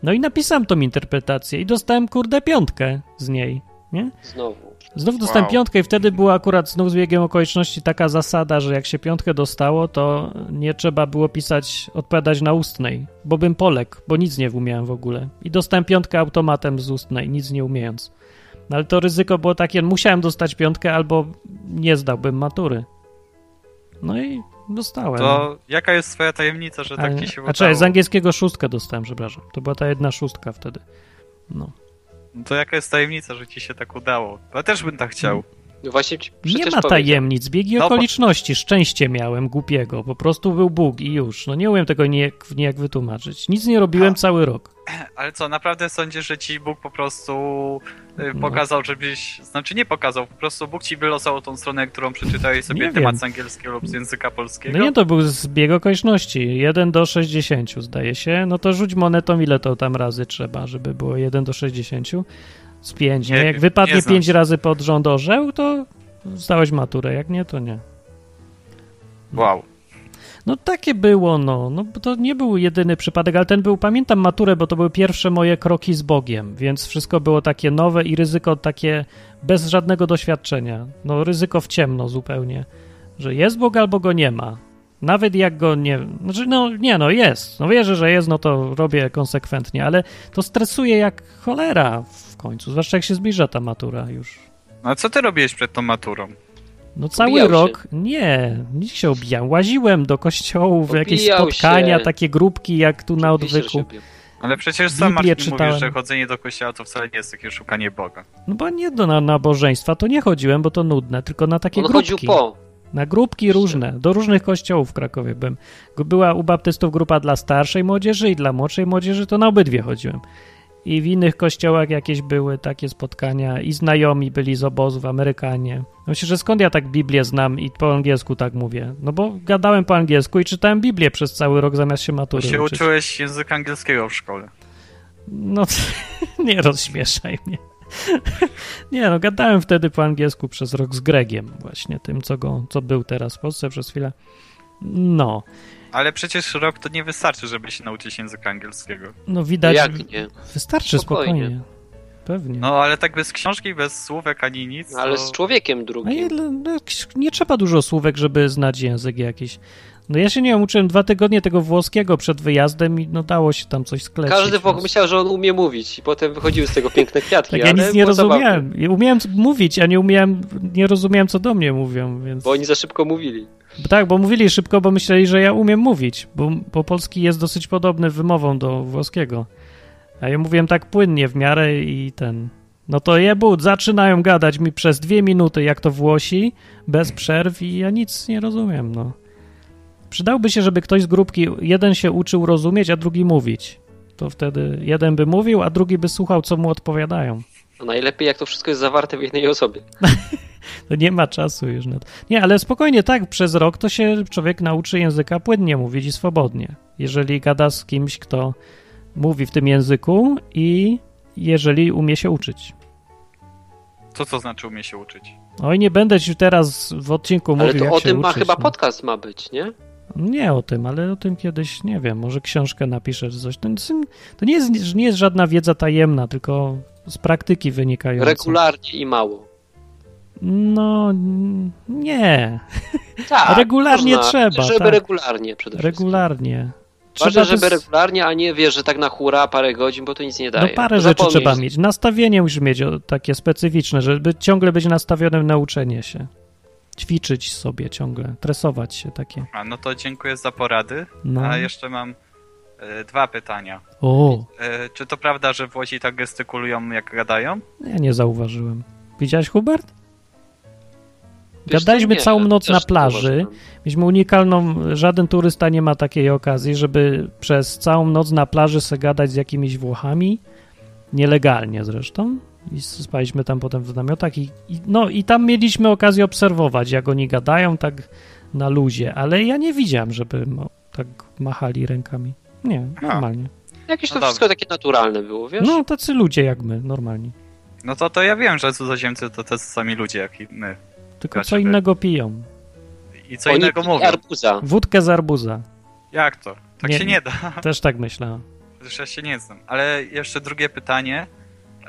No i napisałem tą interpretację i dostałem kurde piątkę z niej, nie?
Znowu.
Znów dostałem
Wow.
piątkę i wtedy była akurat znów z biegiem okoliczności taka zasada, że jak się piątkę dostało, to nie trzeba było pisać, odpowiadać na ustnej, bo bym polekł, bo nic nie umiałem w ogóle. I dostałem piątkę automatem z ustnej, nic nie umiejąc. No ale to ryzyko było takie, musiałem dostać piątkę albo nie zdałbym matury. No i dostałem.
To jaka jest twoja tajemnica, że tak
A-
ci się
A czekaj,
udało?
z angielskiego szóstkę dostałem, przepraszam. To była ta jedna szóstka wtedy. No.
No To jaka jest tajemnica, że ci się tak udało? Ja też bym tak chciał.
Mm.
No właśnie ci przecież
nie ma
powiedział.
tajemnic, biegi
No, bo-
okoliczności, szczęście miałem głupiego, po prostu był Bóg i już. No nie umiem tego nijak, nijak wytłumaczyć. Nic nie robiłem
A.
cały rok.
Ale co, naprawdę sądzisz, że ci Bóg po prostu y,
No.
pokazał, żebyś. Znaczy nie pokazał, po prostu Bóg ci wylosował tą stronę, którą przeczytałeś sobie
Nie
temat
wiem.
z angielskiego lub z języka polskiego.
No nie, to był zbieg okoliczności, 1 do 60 zdaje się, no to rzuć monetą ile to tam razy trzeba, żeby było 1 do 60 z 5, nie?
Nie
Jak
wiem,
wypadnie
nie znam
5
się.
razy pod rząd orzeł, to zdałeś maturę, jak nie, to nie.
Wow.
No takie było, no. no. bo To nie był jedyny przypadek, ale ten był, pamiętam maturę, bo to były pierwsze moje kroki z Bogiem, więc wszystko było takie nowe i ryzyko takie bez żadnego doświadczenia. No ryzyko w ciemno zupełnie, że jest Bóg albo go nie ma. Nawet jak go nie... Znaczy, no nie, no jest. No wierzę, że jest, no to robię konsekwentnie, ale to stresuje jak cholera w końcu, zwłaszcza jak się zbliża ta matura już.
No a co ty robiłeś przed tą maturą?
No cały
Obijał się.
rok nie, nikt się obijał. Łaziłem do kościołów, jakieś
Obijał
spotkania,
się.
takie grupki jak tu na
Oczywiście, że
odwyku.
się bił.
Ale przecież sam
Biblię
Marcin
czytałem.
mówisz, że chodzenie do kościoła to wcale nie jest takie szukanie Boga.
No bo nie do na nabożeństwa to nie chodziłem, bo to nudne, tylko na takie
On chodził
grupki.
po.
Na grupki różne, do różnych kościołów w Krakowie byłem. G- Była u baptystów grupa dla starszej młodzieży i dla młodszej młodzieży, to na obydwie chodziłem. I w innych kościołach jakieś były takie spotkania i znajomi byli z obozów, Amerykanie. Myślę, że skąd ja tak Biblię znam i po angielsku tak mówię? No bo gadałem po angielsku i czytałem Biblię przez cały rok zamiast się
Bo
matury
się
uczyć.
uczyłeś języka angielskiego w szkole.
No nie rozśmieszaj mnie. Nie, no gadałem wtedy po angielsku przez rok z Gregiem właśnie, tym co, go, co był teraz w Polsce przez chwilę. No,
Ale przecież rok to nie wystarczy, żeby się nauczyć języka angielskiego.
no widać,
Jak nie?
wystarczy spokojnie.
Spokojnie.
Pewnie.
No ale tak bez książki, bez słówek ani nic.
No, Ale
to...
z człowiekiem
A
drugim.
ile, no, jakś- nie trzeba dużo słówek, żeby znać język jakiś. No ja się nie wiem, uczyłem dwa tygodnie tego włoskiego przed wyjazdem i no dało się tam coś sklecić.
Każdy
więc-
wokół myślał, że on umie mówić i potem wychodziły z tego piękne kwiatki.
no. Tak, ja
ale
nic nie
było zabawne,
rozumiałem. Ja Umiałem mówić, a nie umiałem, nie rozumiałem co do mnie mówią, więc...
Bo oni za szybko mówili.
Bo Tak, bo mówili szybko, bo myśleli, że ja umiem mówić, bo, bo polski jest dosyć podobny wymową do włoskiego. A ja mówiłem tak płynnie w miarę i ten. No to jebut, zaczynają gadać mi przez dwie minuty, jak to Włosi, bez przerw i ja nic nie rozumiem, no. Przydałby się, żeby ktoś z grupki, jeden się uczył rozumieć, a drugi mówić. To wtedy jeden by mówił, a drugi by słuchał, co mu odpowiadają.
No najlepiej jak to wszystko jest zawarte w jednej osobie.
To nie ma czasu już na to. Nie, ale spokojnie, tak, przez rok to się człowiek nauczy języka płynnie mówić i swobodnie. Jeżeli gada z kimś, kto mówi w tym języku i jeżeli umie się uczyć.
Co to znaczy umie się uczyć?
Oj, nie będę ci teraz w odcinku
Ale
mówił,
to
jak
o
się
tym ma
uczyć,
chyba
no.
podcast ma być, nie?
Nie o tym, ale o tym kiedyś, nie wiem, może książkę napiszesz, coś. To, nic- to nie, jest, nie jest żadna wiedza tajemna, tylko z praktyki wynikająca.
Regularnie i mało.
No, n- nie.
Tak,
Regularnie
można,
trzeba,
Żeby
tak.
regularnie przede wszystkim.
Regularnie.
Ważne,
to
żeby
z-
regularnie, a nie wiesz, że tak na hura parę godzin, bo to nic nie
No
daje.
parę
To
rzeczy
zapomnisz.
trzeba mieć. Nastawienie musisz mieć o, takie specyficzne, żeby ciągle być nastawionym na uczenie się. Ćwiczyć sobie ciągle, tresować się takie.
A no to dziękuję za porady.
No.
A jeszcze mam e, dwa pytania.
O,
E, czy to prawda, że Włosi tak gestykulują, jak gadają?
ja nie zauważyłem. Widziałeś, Hubert?
Wiesz co,
Gadaliśmy
nie,
całą noc
też
na
nie
plaży.
zauważyłem.
Mieliśmy unikalną, żaden turysta nie ma takiej okazji, żeby przez całą noc na plaży se gadać z jakimiś Włochami, nielegalnie zresztą. I spaliśmy tam potem w namiotach i, i, no, i tam mieliśmy okazję obserwować, jak oni gadają tak na luzie, ale ja nie widziałem, żeby no, tak machali rękami. Nie,
Aha.
normalnie.
Jakieś to
No
wszystko takie naturalne było, wiesz?
No, tacy ludzie jak my, normalni.
No to, to ja wiem, że cudzoziemcy to te sami ludzie jak i my.
Tylko co
Znaczy,
innego piją.
I co
Oni
innego
pili
mówią.
arbuza.
Wódkę z arbuza.
Jak to? Tak
Nie.
się nie da.
Też tak myślałem.
Przecież ja się nie znam. Ale jeszcze drugie pytanie.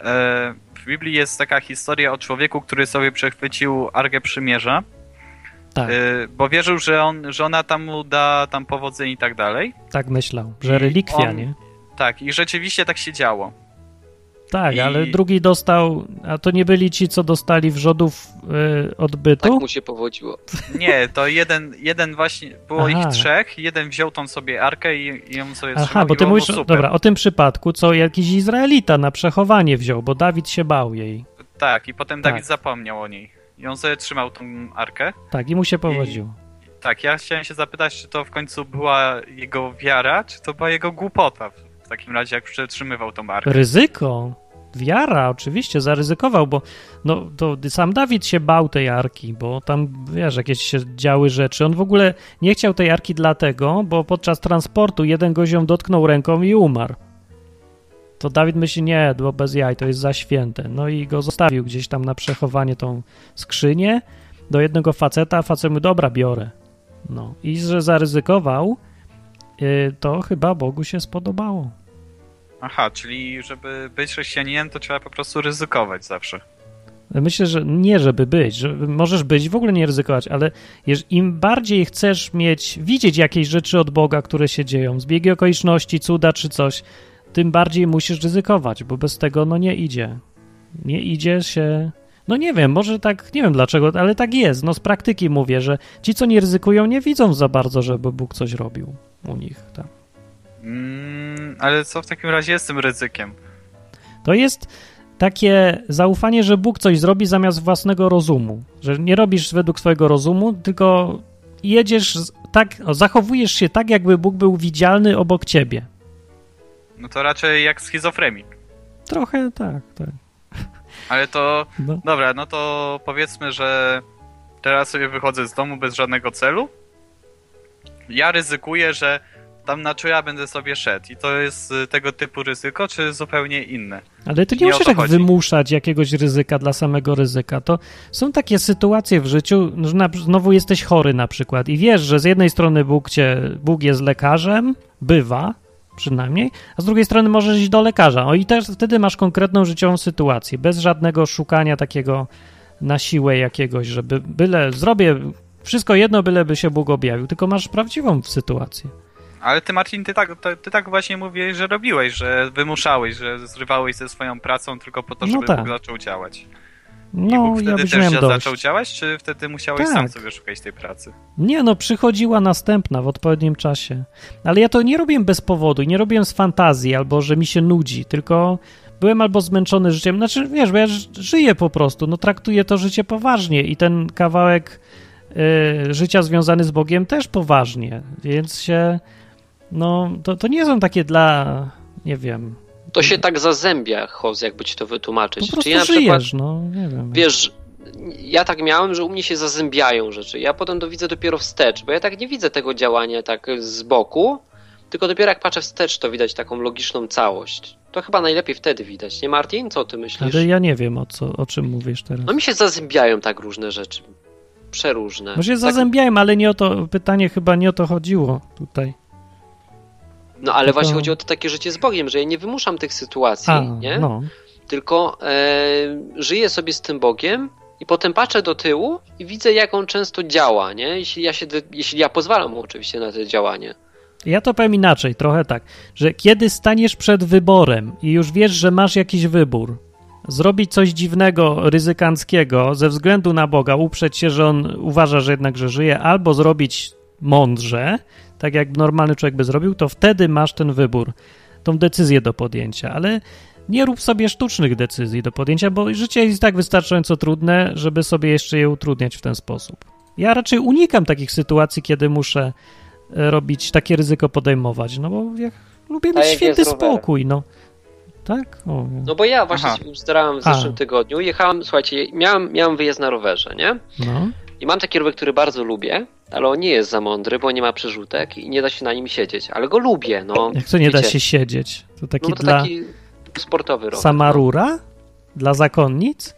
E, W Biblii jest taka historia o człowieku, który sobie przechwycił Argę Przymierza,
Tak,
e, bo wierzył, że on, że ona tam mu da tam powodzenie i tak dalej.
tak myślał, że
i
relikwia,
on-
nie?
Tak, i rzeczywiście tak się działo.
Tak,
I-
ale drugi dostał, a to nie byli ci, co dostali wrzodów y,
Tak
odbytu?
mu się powodziło.
Nie, to jeden, jeden właśnie, było
Aha.
ich trzech, jeden wziął tą sobie Arkę i, i ją sobie
Aha,
trzymał
bo
i
ty
było mu
mówisz,
super.
dobra, o tym przypadku, co jakiś Izraelita na przechowanie wziął, bo Dawid się bał jej.
Tak, i potem
Tak.
Dawid zapomniał o niej. I on sobie trzymał tą Arkę.
Tak, i mu się powodziło.
Tak, ja chciałem się zapytać, czy to w końcu była jego wiara, czy to była jego głupota w takim razie, jak przetrzymywał tą arkę.
Ryzyko, wiara oczywiście, zaryzykował, bo no, to sam Dawid się bał tej arki, bo tam, wiesz, jakieś się działy rzeczy. On w ogóle nie chciał tej arki dlatego, bo podczas transportu jeden gość ją dotknął ręką i umarł. To Dawid myśli, nie, bo bez jaj, to jest za święte. No i go zostawił gdzieś tam na przechowanie tą skrzynię do jednego faceta, a facet mu, dobra, biorę. No i że zaryzykował, yy, to chyba Bogu się spodobało.
Aha, czyli żeby być chrześcijaninem, to trzeba po prostu ryzykować zawsze.
Myślę, że nie, żeby być. Że możesz być, w ogóle nie ryzykować, ale jeż- im bardziej chcesz mieć, widzieć jakieś rzeczy od Boga, które się dzieją, zbiegi okoliczności, cuda czy coś, tym bardziej musisz ryzykować, bo bez tego no nie idzie. Nie idzie się. No nie wiem, może tak, nie wiem dlaczego, ale tak jest. No z praktyki mówię, że ci, co nie ryzykują, nie widzą za bardzo, żeby Bóg coś robił u nich. Tak.
Mm, ale co w takim razie jest tym ryzykiem?
To jest takie zaufanie, że Bóg coś zrobi zamiast własnego rozumu. Że nie robisz według swojego rozumu, tylko jedziesz z- tak, o, zachowujesz się tak, jakby Bóg był widzialny obok ciebie.
No to raczej jak schizofrenik.
Trochę tak, tak.
Ale to,
No.
dobra, no to powiedzmy, że teraz sobie wychodzę z domu bez żadnego celu. Ja ryzykuję, że tam na czuja będę sobie szedł. I to jest y, tego typu ryzyko, czy zupełnie inne?
Ale ty nie,
Nie o
musisz
to
tak
chodzi.
wymuszać jakiegoś ryzyka dla samego ryzyka. To są takie sytuacje w życiu, no, że na, znowu jesteś chory na przykład i wiesz, że z jednej strony Bóg, cię, Bóg jest lekarzem, bywa przynajmniej, a z drugiej strony możesz iść do lekarza. O i też wtedy masz konkretną życiową sytuację, bez żadnego szukania takiego na siłę jakiegoś, żeby byle zrobię wszystko jedno, byleby się Bóg objawił, tylko masz prawdziwą sytuację.
Ale ty, Marcin, ty tak, ty, ty tak właśnie mówiłeś, że robiłeś, że wymuszałeś, że zrywałeś ze swoją pracą tylko po to,
No
żeby
tak.
Bóg zaczął działać. I
No,
Bóg
ja
wtedy
już
też
miałem
za-
dość.
zaczął działać, czy wtedy musiałeś
Tak.
sam sobie szukać tej pracy?
Nie, no przychodziła następna w odpowiednim czasie. Ale ja to nie robiłem bez powodu, i nie robiłem z fantazji albo że mi się nudzi, tylko byłem albo zmęczony życiem. Znaczy, wiesz, bo ja ż- żyję po prostu, no traktuję to życie poważnie i ten kawałek y, życia związany z Bogiem też poważnie, więc się, no to, to nie są takie dla, nie wiem,
To się tak zazębia, Hoz, jakby ci to
Po
wytłumaczyć.
prostu
Czy ja na przykład,
żyjesz, no nie wiem.
wiesz, ja tak miałem, że u mnie się zazębiają rzeczy. Ja potem to widzę dopiero wstecz, bo ja tak nie widzę tego działania tak z boku, tylko dopiero jak patrzę wstecz, to widać taką logiczną całość. To chyba najlepiej wtedy widać, nie Martin? Co ty myślisz?
Ale ja nie wiem, o, co, o czym mówisz teraz.
No mi się zazębiają tak różne rzeczy. Przeróżne.
Może się
tak,
zazębiałem, ale nie o to, pytanie chyba nie o to chodziło tutaj.
No ale właśnie
tylko-
chodzi o to takie życie z Bogiem, że ja nie wymuszam tych sytuacji,
A,
nie?
no.
tylko e, żyję sobie z tym Bogiem i potem patrzę do tyłu i widzę, jak on często działa, nie? Jeśli ja, się, de- jeśli ja pozwalam mu oczywiście na to działanie.
Ja to powiem inaczej, trochę tak, że kiedy staniesz przed wyborem i już wiesz, że masz jakiś wybór, zrobić coś dziwnego, ryzykanckiego ze względu na Boga, uprzeć się, że on uważa, że jednak, że żyje, albo zrobić mądrze, tak jak normalny człowiek by zrobił, to wtedy masz ten wybór, tą decyzję do podjęcia, ale nie rób sobie sztucznych decyzji do podjęcia, bo życie jest tak wystarczająco trudne, żeby sobie jeszcze je utrudniać w ten sposób. Ja raczej unikam takich sytuacji, kiedy muszę e, robić, takie ryzyko podejmować, no bo ja lubię mieć
Tak jak
święty
jest rowerem?
spokój, no. Tak? O,
No bo ja właśnie
Aha.
się uzdrałem w
A.
zeszłym tygodniu, jechałem, słuchajcie, miałem, miałem wyjazd na rowerze, nie?
no.
I mam taki rower, który bardzo lubię, ale on nie jest za mądry, bo nie ma przerzutek i nie da się na nim siedzieć, ale go lubię, no.
Jak to nie da
wiecie.
się siedzieć? To taki
No bo to
dla
taki no. sportowy rower.
samarura? Dla zakonnic?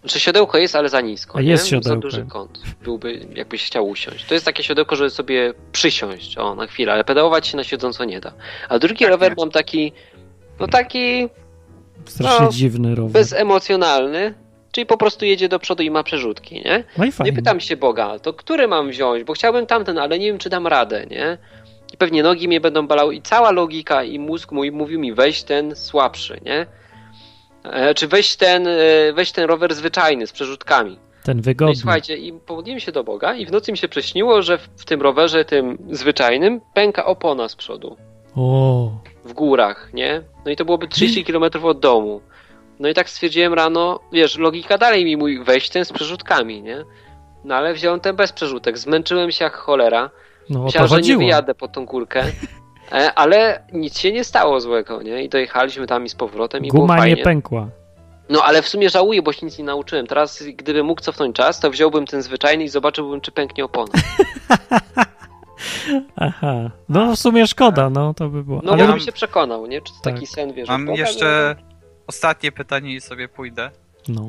Znaczy siodełko jest, ale za nisko.
A
nie?
jest
Za
siodełko.
duży kąt. Byłby, jakbyś chciał usiąść. To jest takie siodełko, żeby sobie przysiąść o, na chwilę, ale pedałować się na siedząco nie da. A drugi rower mam taki, no taki
Strasznie
No,
dziwny rower.
bezemocjonalny, czyli po prostu jedzie do przodu i ma przerzutki, nie?
No i fajnie.
Nie pytam się Boga, to który mam wziąć, bo chciałbym tamten, ale nie wiem, czy dam radę, nie? I pewnie nogi mnie będą balały i cała logika i mózg mój mówił mi weź ten słabszy, nie? E, Czy weź ten, e, weź ten rower zwyczajny z przerzutkami.
Ten
No i
wygodny.
słuchajcie, i pomodliłem się do Boga i w nocy mi się prześniło, że w, w tym rowerze tym zwyczajnym pęka opona z przodu.
O,
W górach, nie? No i to
Mhm.
byłoby 30 km od domu. No i tak stwierdziłem rano, wiesz, logika dalej mi mój weź ten z przerzutkami, nie? No ale wziąłem ten bez przerzutek. Zmęczyłem się jak cholera.
no o to
Myślałem, że nie
chodziło.
wyjadę pod tą górkę. E, Ale nic się nie stało złego, nie? I dojechaliśmy tam i z powrotem i było
Guma
fajnie.
nie pękła.
No ale w sumie żałuję, bo się nic nie nauczyłem. Teraz, gdybym mógł cofnąć czas, to wziąłbym ten zwyczajny i zobaczyłbym, czy pęknie opona.
Aha. No w sumie szkoda, no to by było.
No
Ale
bo bym
mam-
się przekonał, nie? Czy to
Tak.
taki sen wiesz?
Mam
Boga,
jeszcze ostatnie pytanie i sobie pójdę,
no,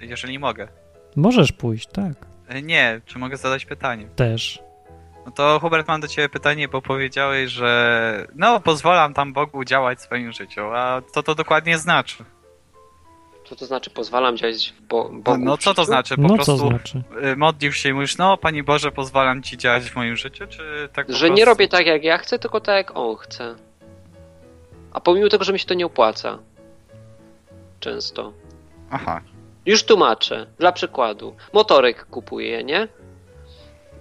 jeżeli mogę.
możesz pójść, tak.
E, Nie, czy mogę zadać pytanie?
Też.
No to Hubert, mam do ciebie pytanie, bo powiedziałeś, że no pozwalam tam Bogu działać w swoim życiu, a co to dokładnie znaczy?
że- Co to znaczy pozwalam działać w bo-
No,
Bogu?
no
w
co to
życiu?
znaczy? Po
No
prostu
co znaczy?
y, modlisz się i mówisz, no Panie Boże, pozwalam Ci działać w moim życiu, czy tak po
Że nie
prostu?
robię tak, jak ja chcę, tylko tak, jak on chce. A pomimo tego, że mi się to nie opłaca. Często.
Aha.
Już tłumaczę, dla przykładu. Motorek kupuję, nie?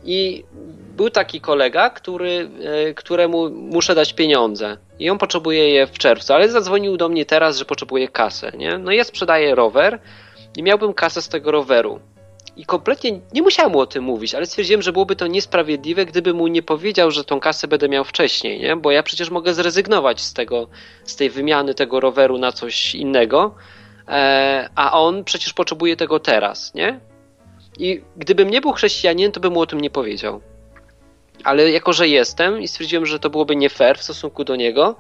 I był taki kolega, który, e, któremu muszę dać pieniądze. I on potrzebuje je w czerwcu, ale zadzwonił do mnie teraz, że potrzebuje kasę, nie? No i ja sprzedaję rower i miałbym kasę z tego roweru. I kompletnie nie musiałem mu o tym mówić, ale stwierdziłem, że byłoby to niesprawiedliwe, gdyby mu nie powiedział, że tą kasę będę miał wcześniej, nie? Bo ja przecież mogę zrezygnować z tego, z tej wymiany tego roweru na coś innego, E, a on przecież potrzebuje tego teraz, nie? I gdybym nie był chrześcijaninem, to bym mu o tym nie powiedział. Ale jako, że jestem i stwierdziłem, że to byłoby nie fair w stosunku do niego,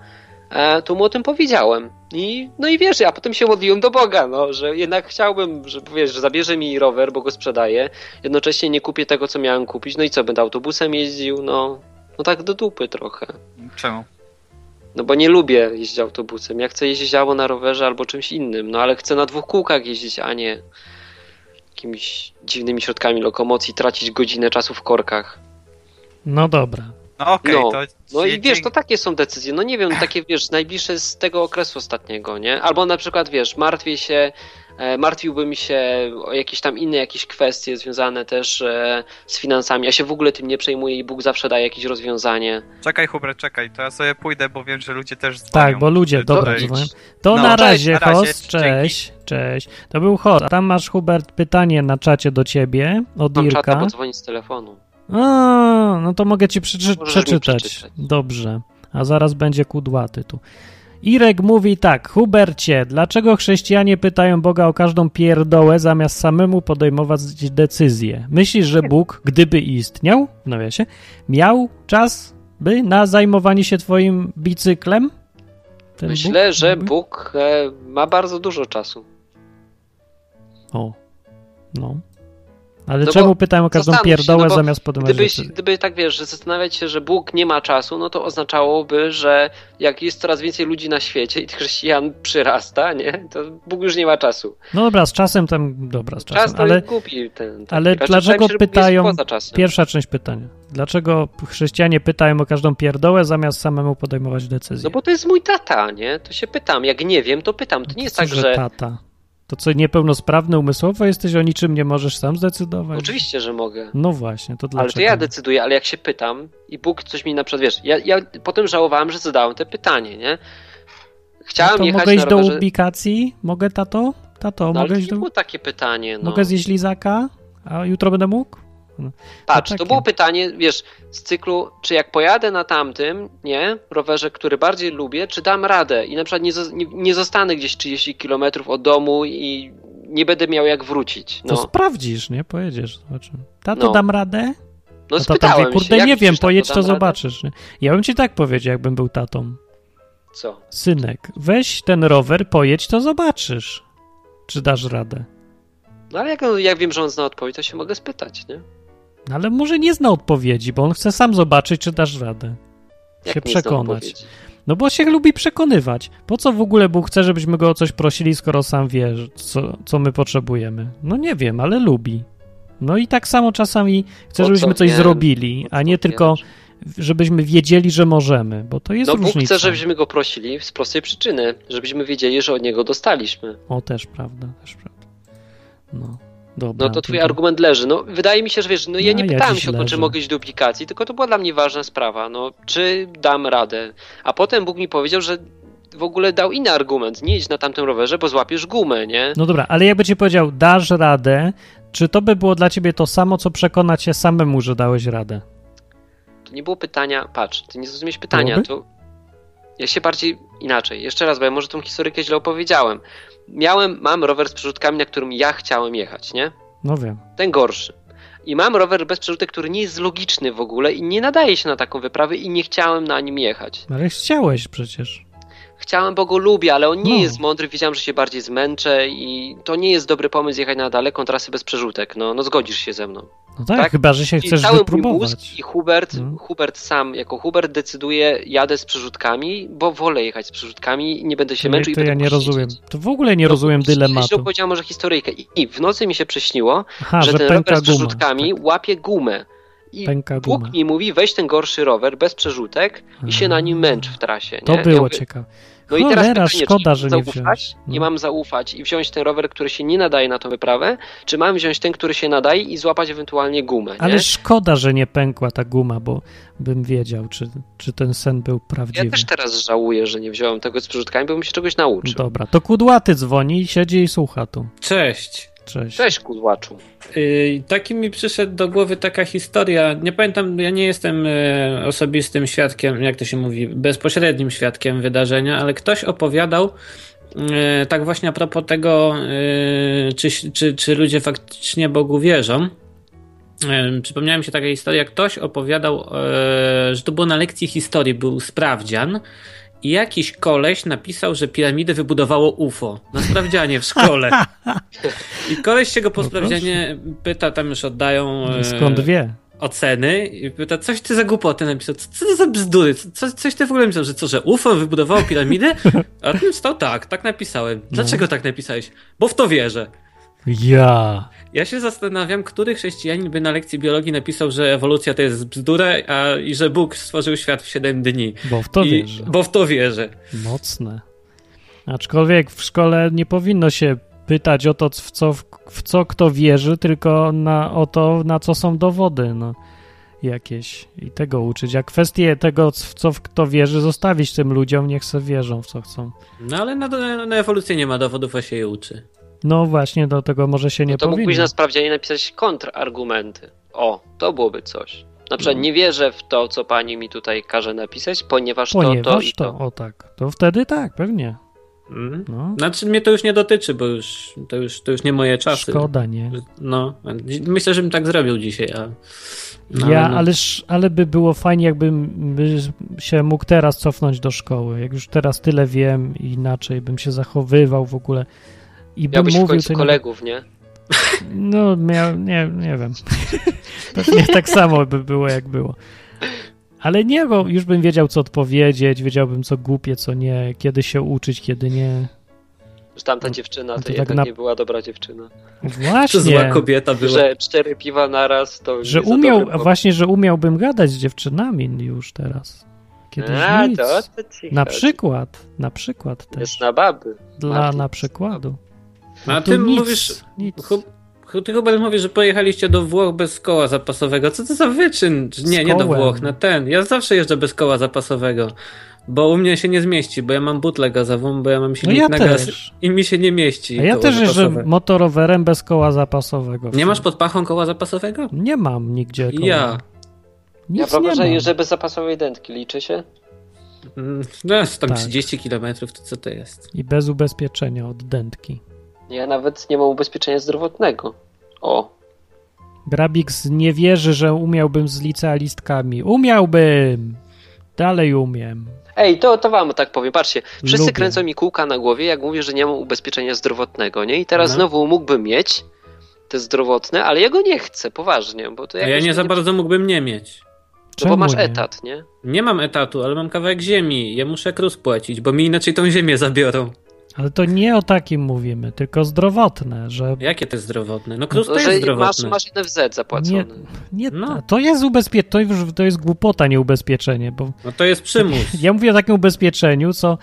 e, to mu o tym powiedziałem. I, no i wiesz, a potem się modliłem do Boga, no, że jednak chciałbym, że wiesz, że zabierze mi rower, bo go sprzedaję, jednocześnie nie kupię tego, co miałem kupić, no i co, będę autobusem jeździł, no, no tak do dupy trochę.
Czemu?
No bo nie lubię jeździć autobusem. Ja chcę jeździć albo na rowerze, albo czymś innym. No ale chcę na dwóch kółkach jeździć, a nie jakimiś dziwnymi środkami lokomocji, tracić godzinę czasu w korkach.
No dobra.
No okej,
No.
to...
No i wiesz,
dzięki-
to takie są decyzje. No nie wiem, takie wiesz, najbliższe z tego okresu ostatniego, nie? Albo na przykład, wiesz, martwię się, e, martwiłbym się o jakieś tam inne jakieś kwestie związane też e, z finansami. Ja się w ogóle tym nie przejmuję i Bóg zawsze daje jakieś rozwiązanie.
Czekaj Hubert, czekaj, to ja sobie pójdę, bo wiem, że ludzie też dzwonią.
Tak, bo ludzie,
Cześć.
dobra,
Cześć.
dzwonią. To
No,
na
cześć,
razie,
na razie,
host, cześć, cześć. To był host, a tam masz, Hubert, pytanie na czacie do ciebie od
Mam czata,
Irka.
bo dzwoni z telefonu.
A, no to mogę ci przeczy-
Możesz mi
przeczytać.
przeczytać.
Dobrze. A zaraz będzie kudłaty tu. Irek mówi tak, Hubercie, dlaczego chrześcijanie pytają Boga o każdą pierdołę, zamiast samemu podejmować decyzje? Myślisz, że Bóg, gdyby istniał, w nawiasie, miał czas by na zajmowanie się twoim bicyklem? Ten
Myślę, że
mówi?
Bóg e, ma bardzo dużo czasu.
O, no. Ale
No
czemu
bo
pytają o każdą
zastanów się,
pierdołę
no bo
zamiast podejmować
Gdybyś,
decyzje?
gdyby tak wiesz, że zastanawiać się, że Bóg nie ma czasu, no to oznaczałoby, że jak jest coraz więcej ludzi na świecie i tych chrześcijan przyrasta, nie, to Bóg już nie ma czasu.
No dobra, z czasem tam, dobra, z
Czas
czasem,
to
ale...
ale, kupi ten. ten
ale
Raczej wydaje mi się,
dlaczego
że Bóg jest
pytają
Poza czasem.
Tak. Pierwsza część pytania. Dlaczego chrześcijanie pytają o każdą pierdołę, zamiast samemu podejmować decyzje?
No bo to jest mój tata, nie? To się pytam. Jak nie wiem, to pytam. To
No To
nie jest
co,
tak, że.
Tata. To co, niepełnosprawny umysłowo jesteś, o niczym nie możesz sam zdecydować?
Oczywiście, że mogę.
No właśnie, to dlaczego?
Ale
No
to ja decyduję, ale jak się pytam i Bóg coś mi na przykład, wiesz, ja, ja potem żałowałem, że zadałem te pytanie, nie? Chciałem
to
jechać
mogę iść
na
do
rowerze,
ubikacji? Mogę, tato? Tato,
no, ale
mogę
to
iść
nie
do...
było takie pytanie, no.
Mogę zjeść lizaka? A jutro będę mógł?
Patrz,
takie.
to było pytanie, wiesz, z cyklu, czy jak pojadę na tamtym, nie, rowerze, który bardziej lubię, czy dam radę i na przykład nie, zo- nie, nie zostanę gdzieś 30 kilometrów od domu i nie będę miał jak wrócić,
To
no.
sprawdzisz, nie? Pojedziesz, zobaczymy. Tato,
No.
dam radę?
No
A tata mówi,
spytałem
kurde,
się, jak
nie wiem,
myślisz, tato,
pojedź,
dam
to
radę?
zobaczysz. Nie? Ja bym ci tak powiedział, jakbym był tatą.
Co?
Synek, weź ten rower, pojedź, to zobaczysz, czy dasz radę.
No ale jak, on- jak wiem, że on zna odpowiedź, to się mogę spytać, nie?
No, Ale może nie zna odpowiedzi, bo on chce sam zobaczyć, czy dasz radę.
Jak
się
nie zna
przekonać.
odpowiedzi?
No bo się lubi przekonywać. Po co w ogóle Bóg chce, żebyśmy go o coś prosili, skoro sam wie, że- co, co my potrzebujemy? No nie wiem, ale lubi. No i tak samo czasami chce,
Po co
żebyśmy coś
wiem,
zrobili, a nie
co
tylko,
wiesz?
żebyśmy wiedzieli, że możemy, bo to jest
no
różnica.
Bóg chce, żebyśmy go prosili z prostej przyczyny, żebyśmy wiedzieli, że od niego dostaliśmy.
O, też prawda, też prawda. No, dobra.
No to twój
dziękuję.
argument leży. No wydaje mi się, że wiesz, no ja
No,
nie
ja
pytałem
dziś
się o to,
leżę.
czy mogę iść do aplikacji, tylko to była dla mnie ważna sprawa, no czy dam radę. A potem Bóg mi powiedział, że w ogóle dał inny argument, nie idź na tamtym rowerze, bo złapiesz gumę, nie?
No dobra, ale jakby ci powiedział, dasz radę, czy to by było dla ciebie to samo, co przekonać się samemu, że dałeś radę?
No, To nie było pytania, patrz, ty nie zrozumiałeś pytania,
Byłoby?
to ja się bardziej inaczej, jeszcze raz, bo ja może tą historykę źle opowiedziałem. Miałem, mam rower z przerzutkami, na którym ja chciałem jechać, nie?
No wiem.
ten gorszy. I mam rower bez przerzutek, który nie jest logiczny w ogóle i nie nadaje się na taką wyprawę i nie chciałem na nim jechać.
Ale chciałeś przecież.
Chciałem, bo go lubię, ale on nie
No.
jest mądry, wiedziałem, że się bardziej zmęczę i to nie jest dobry pomysł jechać na daleką trasę bez przerzutek. No, no zgodzisz się ze mną.
No tak,
Tak?
chyba, że się
I
chcesz
cały mój mózg
wypróbować.
i Hubert,
No.
Hubert sam jako Hubert decyduje, jadę z przerzutkami, bo wolę jechać z przerzutkami i nie będę się
To,
męczył.
to
i
ja
będę
nie
mógł
rozumiem.
siedzieć. No,
To w ogóle nie rozumiem
Źle
dylematu.
opowiedziałem może historyjkę. I, I w nocy mi się prześniło,
Aha,
że,
że
ten rower
pęka
z
guma. Tak,
przerzutkami łapie gumę. I
Pęka guma.
Bóg mi mówi, weź ten gorszy rower bez przerzutek i się na nim męcz w trasie. Nie?
To
Ja
było
mówię,
ciekawe.
No i teraz
Cholera,
pytanie, czy
szkoda,
mam
że nie
zaufać,
wziąłeś. No.
Nie mam zaufać i wziąć ten rower, który się nie nadaje na tą wyprawę, czy mam wziąć ten, który się nadaje i złapać ewentualnie gumę. Nie?
Ale szkoda, że nie pękła ta guma, bo bym wiedział, czy, czy ten sen był prawdziwy.
ja też tak teraz żałuję, że nie wziąłem tego z przerzutkami, bo bym się czegoś nauczył.
Dobra, to kudłaty dzwoni, siedzi i słucha tu.
Cześć.
Cześć.
Cześć, kudłaczu.
Yy, taki mi przyszedł do głowy taka historia. Nie pamiętam, ja nie jestem yy, osobistym świadkiem, jak to się mówi, bezpośrednim świadkiem wydarzenia, ale ktoś opowiadał yy, tak właśnie a propos tego, yy, czy, czy, czy ludzie faktycznie Bogu wierzą. Yy, Przypomniała mi się taka historia. Ktoś opowiadał, yy, że to było na lekcji historii, był sprawdzian. I jakiś koleś napisał, że piramidę wybudowało UFO na sprawdzianie w szkole. I koleś się go po
No proszę. No
sprawdzianie pyta, tam już oddają e,
Skąd wie?
oceny i pyta, coś ty za głupoty napisał, co, co to za bzdury, co, coś ty w ogóle napisał, że co, że UFO wybudowało piramidę? A ten stał tak, tak napisałem. Dlaczego tak napisałeś? Bo w to wierzę.
Ja.
Ja się zastanawiam, który chrześcijanin by na lekcji biologii napisał, że ewolucja to jest bzdura a, i że Bóg stworzył świat w 7 dni.
Bo w to
No I,
wierzę.
Bo w to wierzę.
Mocne. Aczkolwiek w szkole nie powinno się pytać o to, w co, w, w co kto wierzy, tylko na, o to, na co są dowody no, jakieś i tego uczyć. A kwestie tego, w co w kto wierzy, zostawić tym ludziom, niech se wierzą w co chcą.
No ale na, na ewolucję nie ma dowodów, a się je uczy.
No właśnie, do tego może się nie
No to
powinno.
mógłbyś na sprawdzianie napisać kontrargumenty. O, to byłoby coś. Na
No.
przykład nie wierzę w to, co pani mi tutaj każe napisać, ponieważ, to, to
Ponieważ
i
to,
to.
o tak, to wtedy tak, pewnie.
Mhm.
No,
Znaczy mnie to już nie dotyczy, bo już, to, już, to już nie moje czasy.
szkoda, nie?
No, dzi- myślę, żebym tak zrobił dzisiaj, a... no,
ja,
no.
ale, sz- ale by było fajnie, jakbym by się mógł teraz cofnąć do szkoły. Jak już teraz tyle wiem, inaczej bym się zachowywał w ogóle. I bym
Miałbyś w
mówił
końcu
tym-
kolegów, nie?
No, miał, nie, nie wiem. Pewnie tak samo by było, jak było. Ale nie, bo już bym wiedział, co odpowiedzieć, wiedziałbym, co głupie, co nie, kiedy się uczyć, kiedy nie.
Że tamta dziewczyna to,
No to tak
jednak
na-
nie była dobra dziewczyna.
To zła
Właśnie,
kobieta była.
Że cztery piwa naraz to
że
nie za
umiał,
dobry pomysł.
właśnie, że umiałbym gadać z dziewczynami już teraz. Kiedyś
A,
nic.
to, to ci
Na
chodzi.
przykład, na przykład
Jest
też.
na baby.
Dla
Martin.
na przykładu.
No, a
Tu
ty
nic,
mówisz...
Nic.
Chub- chub- Ty chyba mówisz, że pojechaliście do Włoch bez koła zapasowego. Co to za wyczyn? Czy Nie,
Z
nie do
kołem.
Włoch, na ten. Ja zawsze jeżdżę bez koła zapasowego, bo u mnie się nie zmieści, bo ja mam butlę gazową, bo ja mam
No
silnik
ja
na gaz
też.
i mi się nie mieści.
A ja
koło
też jeżdżę
zapasowe.
motorowerem bez koła zapasowego.
Nie masz pod pachą koła zapasowego?
Nie mam nigdzie koła.
Ja.
Nic
Ja
nie
wyobrażam,
mam.
że bez zapasowej dętki liczy się.
Mm, No, tam
Tak.
30 kilometrów, to co to jest?
I bez ubezpieczenia od dętki.
Ja nawet nie mam ubezpieczenia zdrowotnego. O,
Grabix nie wierzy, że umiałbym z licealistkami. Umiałbym! Dalej umiem.
Ej, to, to wam tak powiem, patrzcie, wszyscy
Lubię.
kręcą mi kółka na głowie, jak mówię, że nie mam ubezpieczenia zdrowotnego, nie? I teraz
No.
znowu mógłbym mieć te zdrowotne, ale ja go nie chcę, poważnie, bo to
A
jakoś
ja nie za
mnie-
bardzo mógłbym nie mieć.
No bo masz
nie?
etat, nie?
Nie mam etatu, ale mam kawałek ziemi. Ja muszę krus płacić, bo mi inaczej tą ziemię zabiorą.
Ale to nie o takim mówimy, tylko zdrowotne, że
Jakie to jest zdrowotne? No krus
No,
to
że masz,
jest zdrowotne.
masz NFZ zapłacony.
Nie. nie,
No.
to jest ubezpie... to, już, to jest głupota, nie ubezpieczenie, bo
No to jest przymus.
ja mówię o takim ubezpieczeniu, co
Ale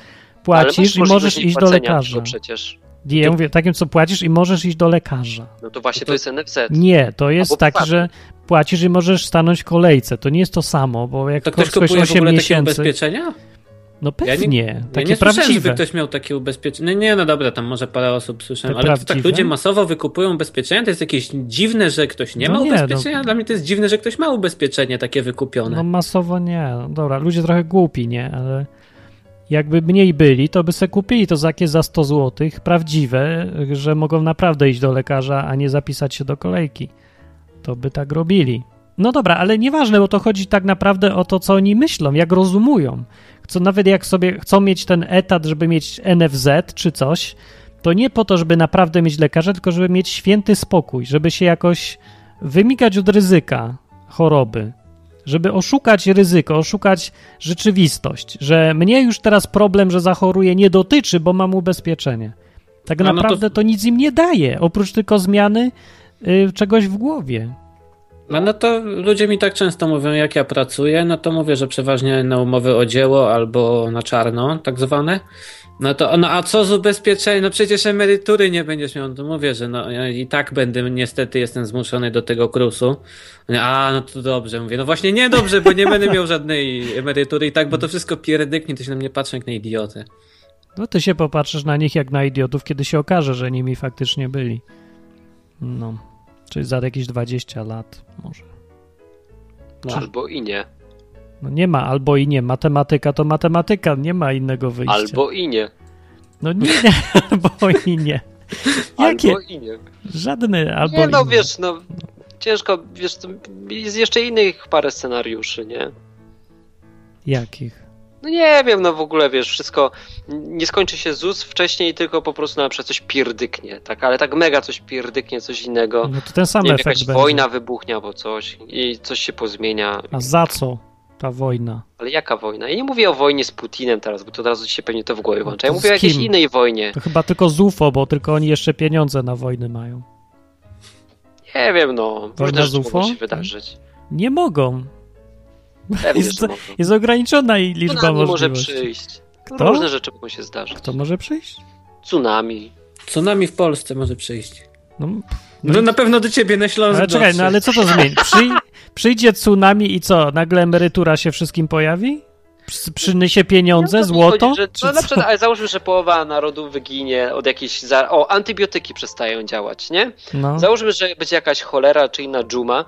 płacisz i
możliwość
możesz iść do
płacenia
lekarza.
tego przecież.
Nie, ja mówię o takim, co płacisz i możesz iść do lekarza.
No to właśnie to,
To-
jest NFZ.
Nie, to jest
Albo
tak,
płatny.
że płacisz i możesz stanąć w kolejce. To nie jest to samo, bo jak
To ktoś
ktoś
kupuje w
8
ogóle takie
miesięcy...
ubezpieczenia?
No
Ja nie-
pewnie, takie
ja nie słyszałem, żeby
prawdziwe.
ktoś miał takie ubezpieczenie. Nie, no dobra, tam może parę osób słyszałem,
Te
ale to tak
prawdziwe?
ludzie masowo wykupują ubezpieczenia, to jest jakieś dziwne, że ktoś nie
No
ma
nie,
ubezpieczenia.
no.
Dla mnie to jest dziwne, że ktoś ma ubezpieczenie takie
No
wykupione.
masowo nie. No Dobra, ludzie trochę głupi, nie? Ale jakby mniej byli, to by se kupili to za jakieś za 100 zł, prawdziwe, że mogą naprawdę iść do lekarza, a nie zapisać się do kolejki. To by tak robili. No dobra, ale nieważne, bo to chodzi tak naprawdę o to, co oni myślą, jak rozumują. Chcą, nawet jak sobie chcą mieć ten etat, żeby mieć NFZ czy coś, to nie po to, żeby naprawdę mieć lekarza, tylko żeby mieć święty spokój, żeby się jakoś wymikać od ryzyka choroby żeby oszukać ryzyko, oszukać rzeczywistość, że mnie już teraz problem, że zachoruję, nie dotyczy, bo mam ubezpieczenie. Tak
A no to-
naprawdę to... nic im nie daje, oprócz tylko zmiany y, czegoś w głowie.
No, no to ludzie mi tak często mówią, jak ja pracuję, no to mówię, że przeważnie na umowy o dzieło albo na czarno, tak zwane. No to, no a co z ubezpieczeniem? No przecież emerytury nie będziesz miał. No To mówię, że no ja i tak będę, niestety jestem zmuszony do tego krusu. A, no to dobrze. Mówię, no właśnie nie dobrze, bo nie będę miał żadnej emerytury i tak, bo to wszystko pierdyknie, to się na mnie patrzą jak na idiotę.
No ty się popatrzysz na nich jak na idiotów, kiedy się okaże, że nimi faktycznie byli. No, czyli za jakieś 20 lat może.
Albo i nie.
No nie ma albo i nie. Matematyka to matematyka, nie ma innego wyjścia.
Albo i nie.
No nie, albo i nie. Jakie?
Albo i nie.
Żadne albo
nie, no
i nie.
wiesz, no ciężko, wiesz, to jest jeszcze innych parę scenariuszy, nie?
Jakich?
No nie wiem, no w ogóle wiesz, wszystko nie skończy się ZUS wcześniej, tylko po prostu na przykład coś pierdyknie, tak, ale tak mega coś pierdyknie, coś innego.
No to ten sam
Nie wiem,
efekt
jakaś
będzie.
wojna wybuchnie albo coś i coś się pozmienia.
A za co ta wojna?
Ale jaka wojna? Ja nie mówię o wojnie z Putinem teraz, bo to od razu ci się pewnie to w głowie włącza. Ja
To z
mówię o jakiejś
kim?
innej wojnie.
To chyba tylko z UFO, bo tylko oni jeszcze pieniądze na wojny mają.
Nie wiem, no.
Wojna
Różne
z
rzeczy mogą
UFO?
się wydarzyć.
Nie mogą.
Pewnie,
Jest,
że mogą.
jest ograniczona i liczba
Tsunami No może
możliwości.
przyjść.
Kto?
Różne rzeczy mogą się zdarzyć.
Kto może przyjść?
Tsunami.
Tsunami w Polsce może przyjść.
No,
No na pewno do ciebie na Śląsk
ale czekaj,
dotrze.
no ale co to zmieni? Przyj, przyjdzie tsunami i co? Nagle emerytura się wszystkim pojawi? Przy, przyniesie pieniądze,
No to mi
złoto?
Chodzi, że,
czy
no na
co?
przykład, ale załóżmy, że połowa narodu wyginie od jakiejś. Za... O, antybiotyki przestają działać, nie?
No.
Załóżmy, że będzie jakaś cholera czy inna dżuma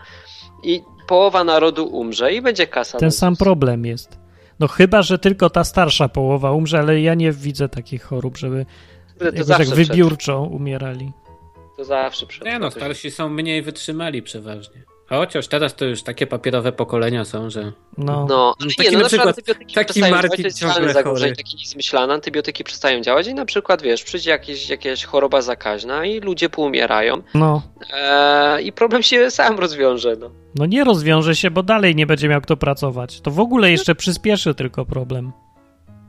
i połowa narodu umrze i będzie kasa.
Ten
na
sam
ZUS.
problem jest. No chyba, że tylko ta starsza połowa umrze, ale ja nie widzę takich chorób, żeby
Kurde, To
jakoś tak
zawsze przed,
wybiórczo umierali.
To zawsze przed.
Nie no, starsi są mniej wytrzymali przeważnie. A Chociaż teraz to już takie papierowe pokolenia są, że...
No,
No, ale
taki
nie,
na
no na przykład
przykład
antybiotyki
taki
przestają działać,
Martin
to jest
ciągle
realne zagrożenie,
chory.
takie niezmyślane, antybiotyki przestają działać i na przykład, wiesz, przyjdzie jakieś, jakaś choroba zakaźna i ludzie poumierają
no.
eee, i problem się sam rozwiąże, no.
No nie rozwiąże się, bo dalej nie będzie miał kto pracować. To w ogóle jeszcze przyspieszy tylko problem.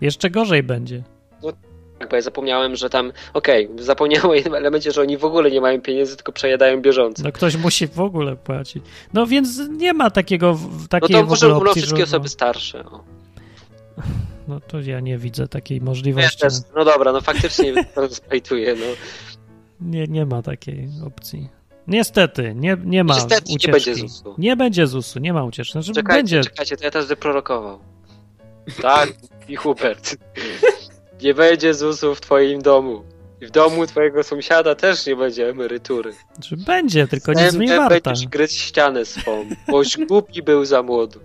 Jeszcze gorzej będzie.
Tak, bo ja zapomniałem, że tam, okej, zapomniałem o jednym elemencie, że oni w ogóle nie mają pieniędzy, tylko przejadają bieżąco.
No ktoś musi w ogóle płacić. No więc nie ma takiego w-
No
takiej
to
w
może
ogóle
umrą
opcji,
wszystkie
że,
osoby starsze. O.
No to ja nie widzę takiej
No, ja
możliwości.
też, no dobra, no faktycznie to spejtuję, no.
Nie, nie ma takiej opcji. Niestety, nie, nie ma
Niestety nie
ucieczki.
będzie ZUS-u.
Nie będzie ZUS-u, nie ma ucieczki. Znaczy,
Czekajcie,
będzie,
czekajcie, to ja też wyprorokował. Tak, i Hubert. Nie będzie ZUS-u w twoim domu. I w domu twojego sąsiada też nie będzie emerytury.
czy będzie, tylko nic
Zębem
nie warta.
będziesz gryć ścianę swą, boś głupi był za młody.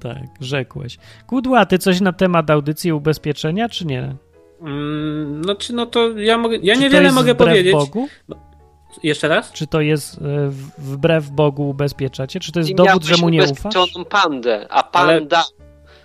Tak, rzekłeś. Kudła, ty coś na temat audycji ubezpieczenia, czy nie?
Mm, no czy no to ja mogę... Ja
Czy to
niewiele
jest
mogę
wbrew
powiedzieć.
Bogu?
Jeszcze raz?
Czy to jest e, w- wbrew Bogu ubezpieczacie? Czy to jest
I
dowód,
miałbyś
że mu nie ufasz?
ubezpieczoną pandę, a
Ale-
panda...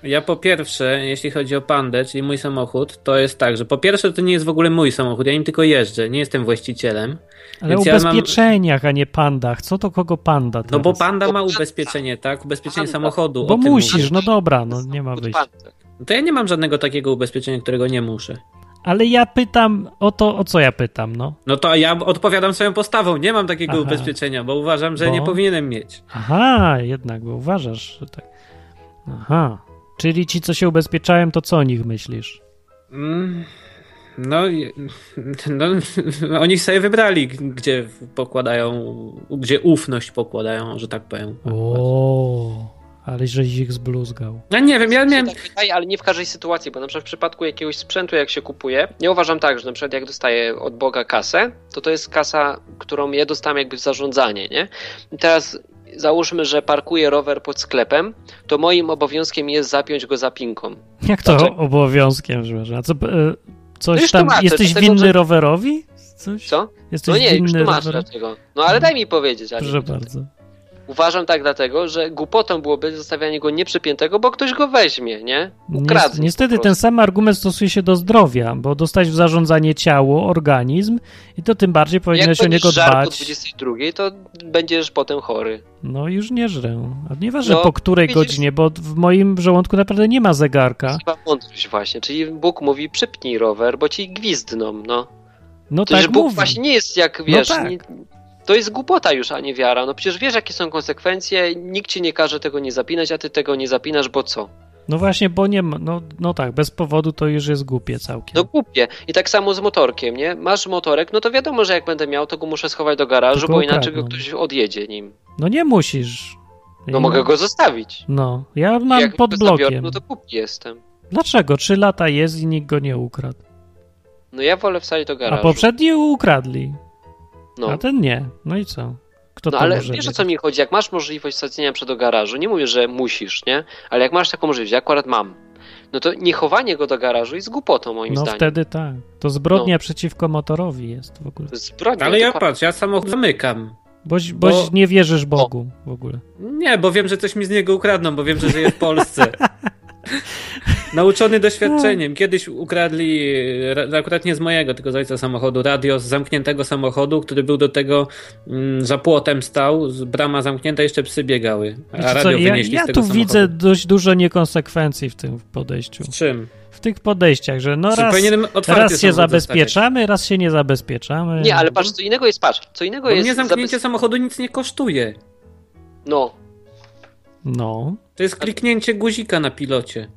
Ja po pierwsze, jeśli chodzi o pandę, czyli mój samochód, to jest tak, że po pierwsze to nie jest w ogóle mój samochód, ja nim tylko jeżdżę, nie jestem właścicielem.
Ale o
Więc ja mam-
ubezpieczeniach, a nie pandach. Co to kogo panda teraz?
No bo panda
Bo
ma
panda.
ubezpieczenie, tak? Ubezpieczenie
Panda.
samochodu.
Bo
o tym
musisz,
mówię.
no dobra, no nie ma
od
wyjścia.
pandy.
To ja nie mam żadnego takiego ubezpieczenia, którego nie muszę.
Ale ja pytam o to, o co ja pytam, no.
No to ja odpowiadam swoją postawą, nie mam takiego
Aha.
ubezpieczenia, bo uważam, że
Bo?
nie powinienem mieć.
Aha, jednak, bo uważasz, że tak. Aha. Czyli ci, co się ubezpieczałem, to co o nich myślisz?
Mm, No, i- no oni sobie wybrali, gdzie pokładają, gdzie ufność pokładają, że tak powiem.
O, ale żeś ich zbluzgał.
Ja nie wiem, ja
Mi się
miałem
tak wydaje, ale nie w każdej sytuacji, bo na przykład w przypadku jakiegoś sprzętu, jak się kupuje, ja uważam tak, że na przykład jak dostaję od Boga kasę, to to jest kasa, którą ja dostałem jakby w zarządzanie, nie? I teraz załóżmy, że parkuję rower pod sklepem, to moim obowiązkiem jest zapiąć go zapinką.
Jak to
Znaczy-
obowiązkiem, że A co, e,
No
coś
już
tam,
tłumaczę,
jesteś
dlatego,
winny
że-
rowerowi? Coś?
Co?
Jesteś
No nie, już
winny
tłumaczę
rowerowi?
dlaczego. No ale daj mi powiedzieć. Ani.
Proszę bardzo.
Uważam tak dlatego, że głupotą byłoby zostawianie go nieprzypiętego, bo ktoś go weźmie, nie? Ukradnie.
Nies- Niestety
po prostu.
ten sam argument stosuje się do zdrowia, bo dostać w zarządzanie ciało, organizm i to tym bardziej powinno
Jak
się o
będziesz
niego
żarł po
dbać.
22, to będziesz potem chory.
No już nie żrę. A nieważne
No,
po której
widzisz-
godzinie, bo w moim żołądku naprawdę nie ma zegarka.
Chyba mądrość właśnie, czyli Bóg mówi przypnij rower, bo ci gwizdną, no.
No
To, tak
tak
że Bóg
mówi.
właśnie nie jest jak, wiesz,
tak.
nie, to jest głupota już, a nie wiara. No przecież wiesz, jakie są konsekwencje, nikt ci nie każe tego nie zapinać, a ty tego nie zapinasz, bo co?
No właśnie, bo nie ma, no, no tak, bez powodu to już jest głupie całkiem.
No głupie. I tak samo z motorkiem, nie? Masz motorek, no to wiadomo, że jak będę miał, to go muszę schować do garażu,
To go
bo inaczej go
ukradną.
ktoś odjedzie nim.
No nie musisz.
No mogę go zostawić.
No, ja mam
jak
pod
go zabiorę,
blokiem.
No to głupi jestem.
Dlaczego? Trzy lata jest i nikt go nie ukradł.
No ja wolę wsadzić do
A
garażu.
poprzedni ukradli,
no.
a ten nie. No i co? Kto
No
to
ale
może
wiesz o
być?
co mi chodzi, jak masz możliwość wsadzenia przed do garażu, nie mówię, że musisz, nie? Ale jak masz taką możliwość, ja akurat mam, no to nie chowanie go do garażu jest głupotą moim
No
zdaniem. No.
wtedy tak. To zbrodnia przeciwko motorowi jest w ogóle.
Zbrodnia,
Ale ja
dokładnie.
patrz, ja samochód zamykam.
Boś,
No.
boś
Bo-
nie wierzysz Bogu w ogóle.
Nie, bo wiem, że coś mi z niego ukradną, bo wiem, że żyje w Polsce. Nauczony doświadczeniem. Kiedyś ukradli, ra- akurat nie z mojego, tylko z ojca samochodu, radio z zamkniętego samochodu, który był do tego mm, za płotem stał, z brama zamknięta, jeszcze psy biegały. A
Wiecie
radio
co, ja
wynieśli
ja tu
z tego samochodu.
widzę dość dużo niekonsekwencji w tym podejściu.
Z czym?
W tych podejściach, że no
Czy
raz,
powinienem otwarty
raz się
samochód zostawiać?
zabezpieczamy, raz się nie zabezpieczamy.
Nie, ale patrz, co innego jest, patrz, co innego
Bo
jest...
No mnie zamknięcie
zabez-
samochodu nic nie kosztuje.
No,
No,
To jest kliknięcie guzika na pilocie.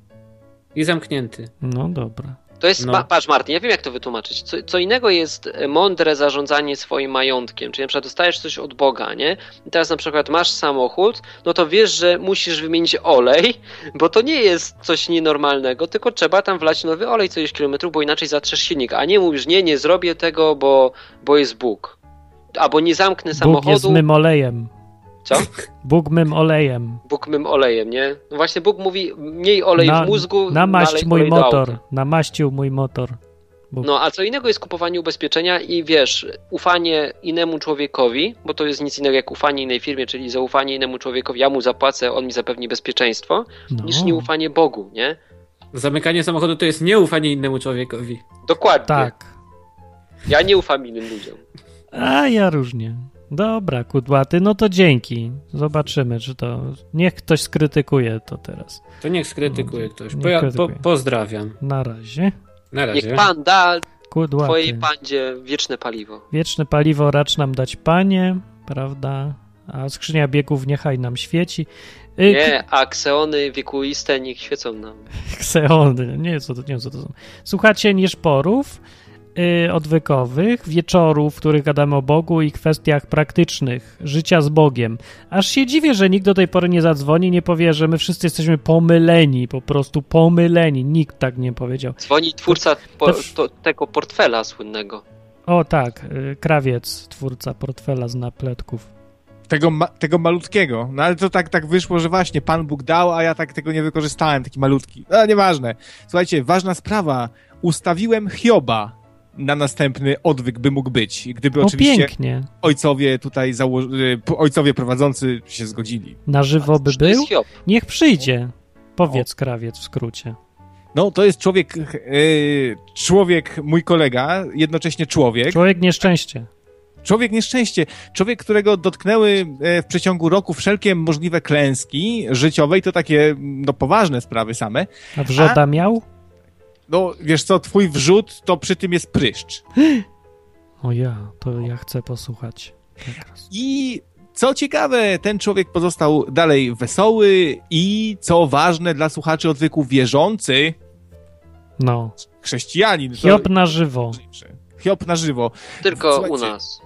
I zamknięty.
no dobra.
to jest,
No.
ma, patrz Martin, ja wiem jak to wytłumaczyć, co, co innego jest e, mądre zarządzanie swoim majątkiem, czyli na przykład dostajesz coś od Boga, nie? I teraz na przykład masz samochód, no to wiesz, że musisz wymienić olej, bo to nie jest coś nienormalnego, tylko trzeba tam wlać nowy olej co 10 km, bo inaczej zatrzesz silnik, a nie mówisz, nie, nie zrobię tego, bo, bo jest Bóg. Albo nie zamknę
Bóg jest
samochodu,
mym olejem.
Co?
Bóg mym olejem.
Bóg mym olejem, nie? No właśnie Bóg mówi mniej olej
Na-
w mózgu,
Namaść
nalej
mój
olej do auta.
motor. Namaścił mój motor.
No, a co innego jest kupowanie ubezpieczenia i wiesz, ufanie innemu człowiekowi, bo to jest nic innego jak ufanie innej firmie, czyli zaufanie innemu człowiekowi, ja mu zapłacę, on mi zapewni bezpieczeństwo,
No.
niż nieufanie Bogu, nie?
Zamykanie samochodu to jest nieufanie innemu człowiekowi.
Dokładnie.
Tak.
Ja nie ufam innym ludziom.
A ja różnie. Dobra, kudłaty, no to dzięki. Zobaczymy, czy to. Niech ktoś skrytykuje to teraz. No,
To niech skrytykuje ktoś.
Niech
Po, ja, po,
krytykuje.
pozdrawiam.
Na razie.
Na razie.
Niech Pan da
Kudłaty.
twojej pandzie wieczne paliwo.
Wieczne paliwo racz nam dać panie, prawda? A skrzynia biegów niechaj nam świeci. Y,
Nie, a kseony wiekuiste niech świecą nam.
Kseony, No nie wiem, co to, nie wiem, co to są. Słuchacie nieszporów y, odwykowych, wieczorów, w których gadamy o Bogu i kwestiach praktycznych, życia z Bogiem. Aż się dziwię, że nikt do tej pory nie zadzwoni, nie powie, że my wszyscy jesteśmy pomyleni, po prostu pomyleni. Nikt tak nie powiedział.
Dzwoni twórca po,
To w-
to, tego portfela słynnego.
O tak, y, krawiec, twórca portfela z napletków.
Tego, ma, tego malutkiego. No ale to tak, tak wyszło, że właśnie Pan Bóg dał, a ja tak tego nie wykorzystałem, taki malutki. No nieważne. Słuchajcie, ważna sprawa. Ustawiłem Hioba na następny odwyk, by mógł być. Gdyby
O,
oczywiście
No pięknie.
ojcowie tutaj, zało- y, p- ojcowie prowadzący się zgodzili.
Na żywo by
To
był?
jest Hiob.
Niech przyjdzie. Powiedz krawiec w skrócie.
No to jest człowiek, y, człowiek, mój kolega, jednocześnie człowiek.
Człowiek nieszczęście.
Człowiek nieszczęście, człowiek, którego dotknęły e, w przeciągu roku wszelkie możliwe klęski życiowe i to takie no, poważne sprawy same.
A wrzoda miał?
No wiesz co, twój wrzód to przy tym jest pryszcz.
O ja, to ja chcę posłuchać. Teraz.
I co ciekawe, ten człowiek pozostał dalej wesoły i co ważne dla słuchaczy odwyku wierzący,
No.
chrześcijanin. to-
Hiob na żywo.
Hiob na żywo.
Tylko u
Słuchajcie.
nas.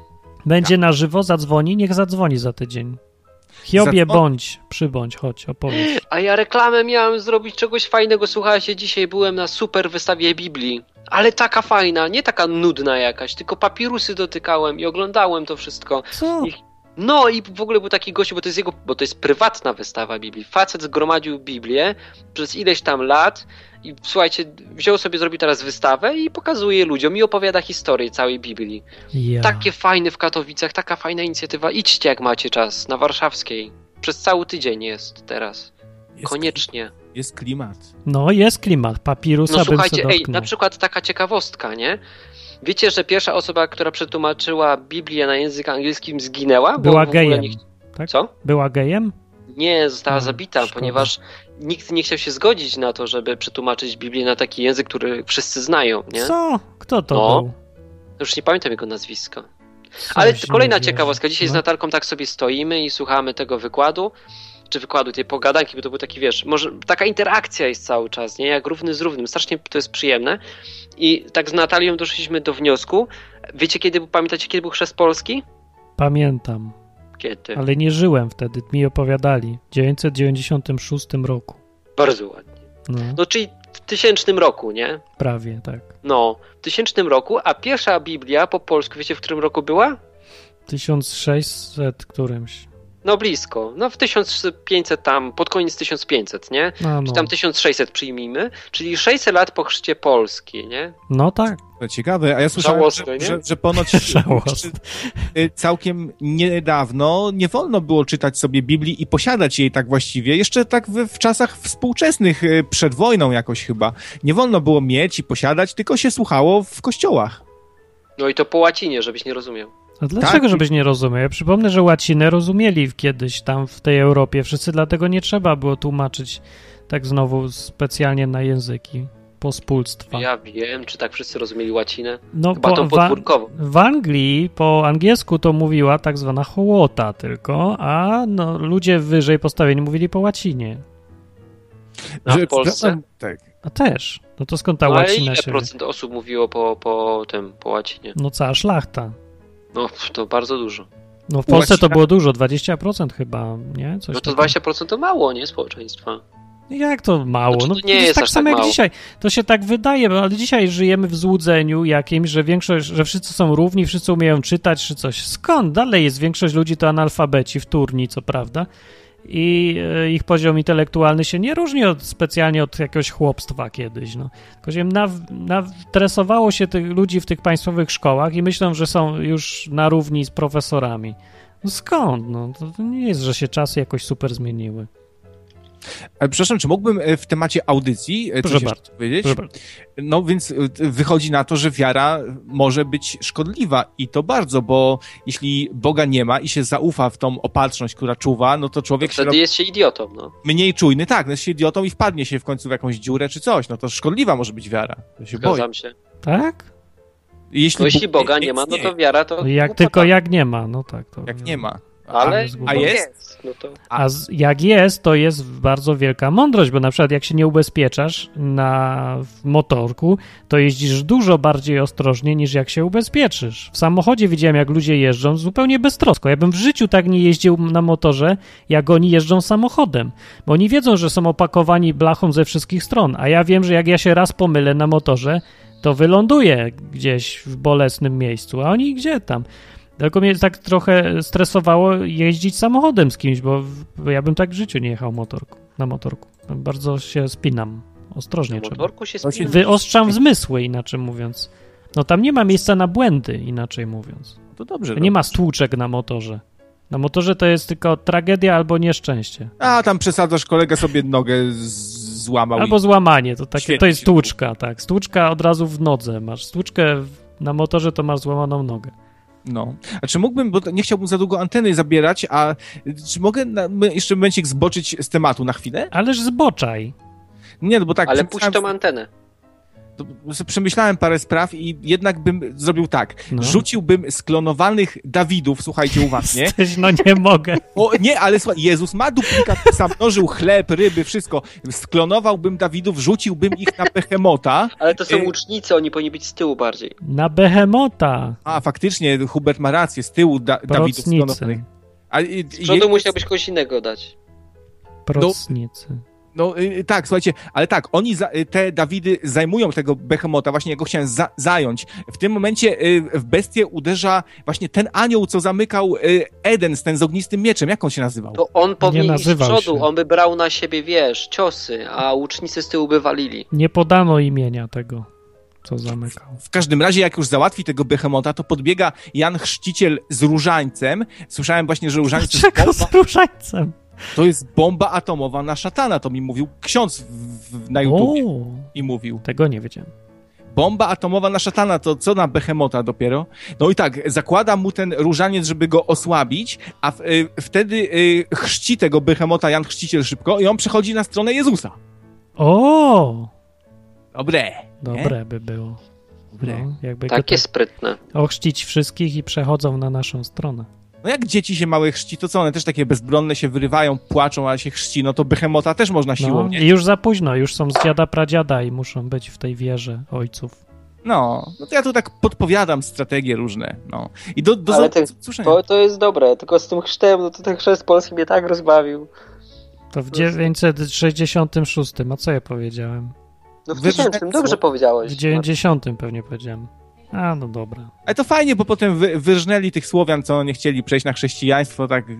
Będzie na żywo, zadzwoni, niech zadzwoni za tydzień. Hiobie,
Zadzwoni-
bądź, przybądź, chodź, opowiedz.
A ja reklamę miałem zrobić czegoś fajnego. Słuchajcie, dzisiaj byłem na super wystawie Biblii. Ale taka fajna, nie taka nudna jakaś, tylko papirusy dotykałem i oglądałem to wszystko.
Co?
No i w ogóle był taki gościu, bo to jest jego, bo to jest prywatna wystawa Biblii. Facet zgromadził Biblię przez ileś tam lat i słuchajcie, wziął sobie, zrobił teraz wystawę i pokazuje ludziom i opowiada historię całej Biblii.
Ja.
Takie fajne w Katowicach, taka fajna inicjatywa. Idźcie jak macie czas, na warszawskiej. Przez cały tydzień jest teraz.
Jest,
Koniecznie.
Jest klimat.
No, jest klimat. Papirusa
No
bym se
słuchajcie, ej,
dotknął.
na przykład taka ciekawostka, nie? Wiecie, że pierwsza osoba, która przetłumaczyła Biblię na język angielskim zginęła?
Była
w ogóle
gejem,
nie chci-
tak?
Co?
Była gejem?
Nie, została
A,
zabita,
szkoda.
ponieważ nikt nie chciał się zgodzić na to, żeby przetłumaczyć Biblię na taki język, który wszyscy znają, nie?
Co? Kto to
No.
był?
Już nie pamiętam jego nazwiska.
Coś
Ale
nie
kolejna
wierzę.
ciekawostka. Dzisiaj z
No.
Natalką tak sobie stoimy i słuchamy tego wykładu, czy wykładu tej pogadanki, bo to był taki, wiesz, może taka interakcja jest cały czas, nie? Jak równy z równym. Strasznie to jest przyjemne. I tak z Natalią doszliśmy do wniosku. Wiecie, kiedy, był- pamiętacie, kiedy był chrzest Polski?
Pamiętam,
Kiedy?
ale nie żyłem wtedy. Mi opowiadali. W 996 roku.
Bardzo ładnie.
No,
No, czyli w tysięcznym roku, nie?
prawie tak.
No, w tysięcznym roku, a pierwsza Biblia po polsku, wiecie, w którym roku była?
1600 którymś.
No blisko, no w 1500 tam, pod koniec 1500, nie?
No, no.
Czy tam 1600 przyjmijmy, czyli 600 lat po chrzcie Polski, nie?
no tak.
No ciekawe, a ja słyszałem,
Żałosne,
że,
nie?
że, że ponoć
Żałosne.
y, całkiem niedawno nie wolno było czytać sobie Biblii i posiadać jej tak właściwie. Jeszcze tak w, w czasach współczesnych, y, przed wojną jakoś chyba. Nie wolno było mieć i posiadać, tylko się słuchało w kościołach.
No i to po łacinie, żebyś nie rozumiał.
A dlaczego,
Tak.
żebyś nie rozumiał? Ja przypomnę, że łacinę rozumieli kiedyś tam w tej Europie wszyscy, dlatego nie trzeba było tłumaczyć tak znowu specjalnie na języki pospólstwa.
Ja wiem, czy tak wszyscy rozumieli łacinę.
no,
Chyba tą
wa-
podwórkową.
w Anglii po angielsku to mówiła tak zwana hołota tylko, a no, ludzie wyżej postawieni mówili po łacinie.
A w
Że-
Polsce?
Tak.
A też. No to skąd ta
No, ale
łacina
ile
się...
procent osób mówiło po, po tym, po łacinie?
No cała szlachta.
No pff, to bardzo dużo.
No w Polsce to
Łacina-
było dużo, 20% chyba, nie? Coś
No to
takiego.
20% to mało, nie? Społeczeństwa.
No Jak to mało?
Znaczy,
no,
to
to
nie
jest
jest
tak
aż
samo
tak
jak
mało.
dzisiaj. To się tak wydaje, bo- ale dzisiaj żyjemy w złudzeniu jakimś, że większość, że wszyscy są równi, wszyscy umieją czytać czy coś. Skąd? Dalej jest większość ludzi to analfabeci wtórni, co prawda. I e, ich poziom intelektualny się nie różni od, specjalnie od jakiegoś chłopstwa kiedyś. No. Tylko się naw- natresowało się tych ludzi w tych państwowych szkołach i myślą, że są już na równi z profesorami. No skąd? No, to, to nie jest, że się czasy jakoś super zmieniły.
Ale przepraszam, czy mógłbym e, w temacie audycji e, coś
Proszę
jeszcze
bardzo,
powiedzieć?
Proszę bardzo.
No więc y, y, wychodzi na to, że wiara może być szkodliwa i to bardzo, bo jeśli Boga nie ma i się zaufa w tą opatrzność, która czuwa, no to człowiek się
Wtedy
robi
jest się idiotą, no.
mniej czujny, tak, no jest się idiotą i wpadnie się w końcu w jakąś dziurę czy coś, no to szkodliwa może być wiara. Ja się boję.
Zgadzam się.
Tak?
Jeśli,
No jeśli
Bóg
Boga nie ma, no
istnieje,
to wiara to.
No Jak
głupota.
tylko jak nie ma, no tak. To
Jak nie ma.
Ale
jest
a
głupota.
jest?
jest. No to
A z, jak jest, to jest bardzo wielka mądrość, bo na przykład jak się nie ubezpieczasz na w motorku, to jeździsz dużo bardziej ostrożnie niż jak się ubezpieczysz. W samochodzie widziałem, jak ludzie jeżdżą zupełnie beztrosko. Ja bym w życiu tak nie jeździł na motorze, jak oni jeżdżą samochodem. Bo oni wiedzą, że są opakowani blachą ze wszystkich stron, a ja wiem, że jak ja się raz pomylę na motorze, to wyląduję gdzieś w bolesnym miejscu, a oni gdzie tam. Tylko mnie tak trochę stresowało jeździć samochodem z kimś, bo, w- bo ja bym tak w życiu nie jechał motorku, na motorku. Bardzo się spinam. Ostrożnie
na
trzeba.
motorku się
To się
spina.
Wyostrzam zmysły, inaczej mówiąc. No tam nie ma miejsca na błędy, inaczej mówiąc.
no To dobrze.
Nie ma stłuczek na motorze. Na motorze to jest tylko tragedia albo nieszczęście.
A tam przesadzasz, kolega sobie nogę z- złamał.
Albo
i...
złamanie, to, takie, to
Świetnie
jest
się
stłuczka, tak. Stłuczka od razu w nodze masz. Stłuczkę w- na motorze to masz złamaną nogę.
No. A czy mógłbym, bo to- nie chciałbym za długo anteny zabierać, a y, czy mogę na, my- jeszcze momencik zboczyć z tematu na chwilę?
Ależ zboczaj.
Nie, no bo tak...
Ale
przemyślałem
puść tą antenę.
To sobie Przemyślałem parę spraw i jednak bym zrobił tak.
No.
Rzuciłbym sklonowanych Dawidów, słuchajcie uważnie.
Jesteś, no nie mogę.
O, nie, ale słuchaj, Jezus ma duplikat, sam mnożył chleb, ryby, wszystko. Sklonowałbym Dawidów, rzuciłbym ich na behemota.
Ale to są
Y-
łucznicy, oni powinni być z tyłu bardziej.
Na behemota.
A, faktycznie, Hubert ma rację, z tyłu da Dawidów sklonowanych.
Procnicy.
A, i- i-
Z przodu musiałbyś kogoś innego dać.
Procnicy.
No y, tak, słuchajcie, ale tak, oni, za, y, te Dawidy zajmują tego Behemota, właśnie ja go chciałem za, zająć. W tym momencie y, w bestię uderza właśnie ten anioł, co zamykał y, Eden z ten z ognistym mieczem. Jak on się nazywał?
To on powinien iść z
nazywał
przodu,
się.
on by brał na siebie, wiesz, ciosy, a łucznicy z tyłu by walili.
Nie podano imienia tego, co zamykał.
W każdym razie, jak już załatwi tego Behemota, to podbiega Jan Chrzciciel z różańcem. Słyszałem właśnie, że różańce to
Czego
jest bomba,
z różańcem?
to jest bomba atomowa na szatana. To mi mówił ksiądz w, w, na
O,
YouTube i mówił.
tego nie wiedziałem.
Bomba atomowa na szatana, to co na behemota dopiero? No i tak, zakłada mu ten różaniec, żeby go osłabić, a w, y, wtedy y, chrzci tego behemota Jan Chrzciciel szybko i on przechodzi na stronę Jezusa.
O,
Dobre.
dobre by było.
Dobre.
No, jakby go
Takie sprytne.
tak ochrzcić wszystkich i przechodzą na naszą stronę.
No jak dzieci się małe chrzci, to co, one też takie bezbronne się wyrywają, płaczą, a się chrzci, no to behemota też można siłą,
No,
nie?
I już za późno, już są z dziada pradziada i muszą być w tej wierze ojców.
No, no to ja tu tak podpowiadam strategie różne, no. I do, do
Ale ten-
usłyszenia.
To, to jest dobre, tylko z tym chrztem, no to ten chrzest polski mnie tak rozbawił.
To w 966, a co ja powiedziałem?
No w
Wy-
tysięcznym, dobrze powiedziałeś. No.
W 90 pewnie powiedziałem. A, no dobra.
Ale to fajnie, bo potem wy, wyrżnęli tych Słowian, co nie chcieli przejść na chrześcijaństwo, tak i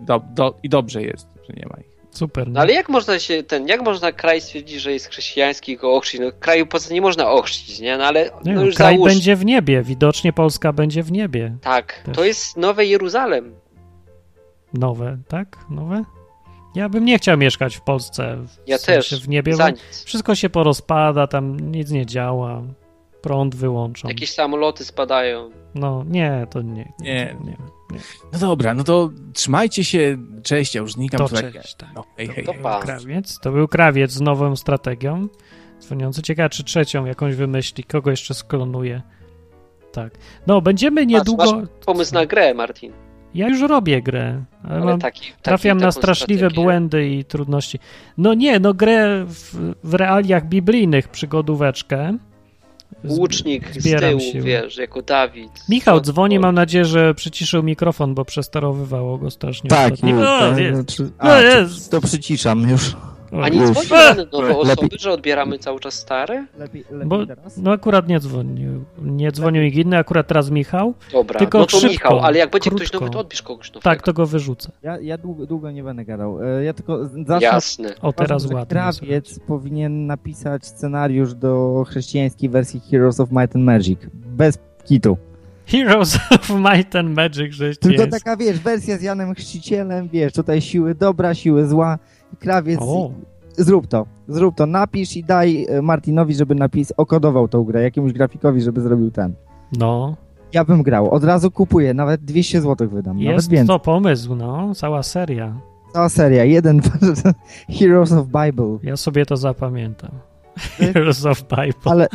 do, do, i dobrze jest, że nie ma ich.
Super.
No ale jak można się ten, jak można kraj stwierdzić, że jest chrześcijański i go ochrzcić? No kraju poza nie można ochrzcić, nie? No ale
Nie
no
wiem,
już
kraj
załóż.
będzie w niebie, widocznie Polska będzie w niebie.
Tak,
Też.
to jest Nowe Jeruzalem.
Nowe, tak? Nowe? Ja bym nie chciał mieszkać w Polsce. W
Ja
sensie
też.
W niebie, bo
Za nic.
wszystko się porozpada, tam nic nie działa, prąd wyłączą.
Jakieś samoloty spadają.
No nie, to nie.
Nie.
to nie.
No dobra, no to trzymajcie się, cześć, ja już znikam.
To
słuchajcie.
cześć, tak.
No, hej, hej.
To pa.
Krawiec, to był krawiec z nową strategią. Dzwoniący. Ciekawe, czy trzecią jakąś wymyśli, kogo jeszcze sklonuje. Tak. No, będziemy niedługo.
Masz, masz pomysł na grę, Martin.
Ja już robię grę, ale,
Ale
mam
taki, taki,
Trafiam na
taką
straszliwe
strategię.
błędy i trudności. No nie, no grę w, w realiach biblijnych przygodóweczkę. Z-
Łucznik z
zbieram
tyłu,
siły.
wiesz, jako Dawid.
Michał
Od-
dzwoni, mam nadzieję, że przyciszył mikrofon, bo przestarowywało go strasznie.
Tak,
ostatnio.
już,
O,
tak,
No, jest.
znaczy-
No
a, czy-
jest.
to przyciszam już.
A nie
Uff.
dzwoni
E!
na nowe
Lepiej-
osoby, że odbieramy cały czas stare?
Lepiej,
Bo, no akurat nie dzwonił. Nie dzwonił nikt inny, akurat teraz Michał.
Dobra,
Tylko
no to
szybko,
Michał, ale jak będzie ktoś
krótko.
nowy, to odbierz kogoś nowego.
Tak, to go wyrzucę.
Ja, ja długo, długo nie będę gadał. E, Ja tylko zawsze
Jasne.
O, teraz
tak
uważam, że
ładnie.
Krawiec powinien napisać scenariusz do chrześcijańskiej wersji Heroes of Might and Magic. Bez kitu.
Heroes of Might and Magic, że
Tylko
jest.
taka, wiesz, wersja z Janem Chrzcicielem, wiesz, tutaj siły dobra, siły zła. Krawiec,
O,
zrób to, zrób to, napisz i daj e, Martinowi, żeby napis okodował tą grę, jakiemuś grafikowi, żeby zrobił ten.
no.
Ja bym grał, od razu kupuję, nawet 200 zł wydam, nawet
Jest
więcej.
to pomysł, no. Cała seria.
Cała seria, jeden Heroes of Bible.
Ja sobie to zapamiętam.
Ty-
Heroes of Bible.
Ale,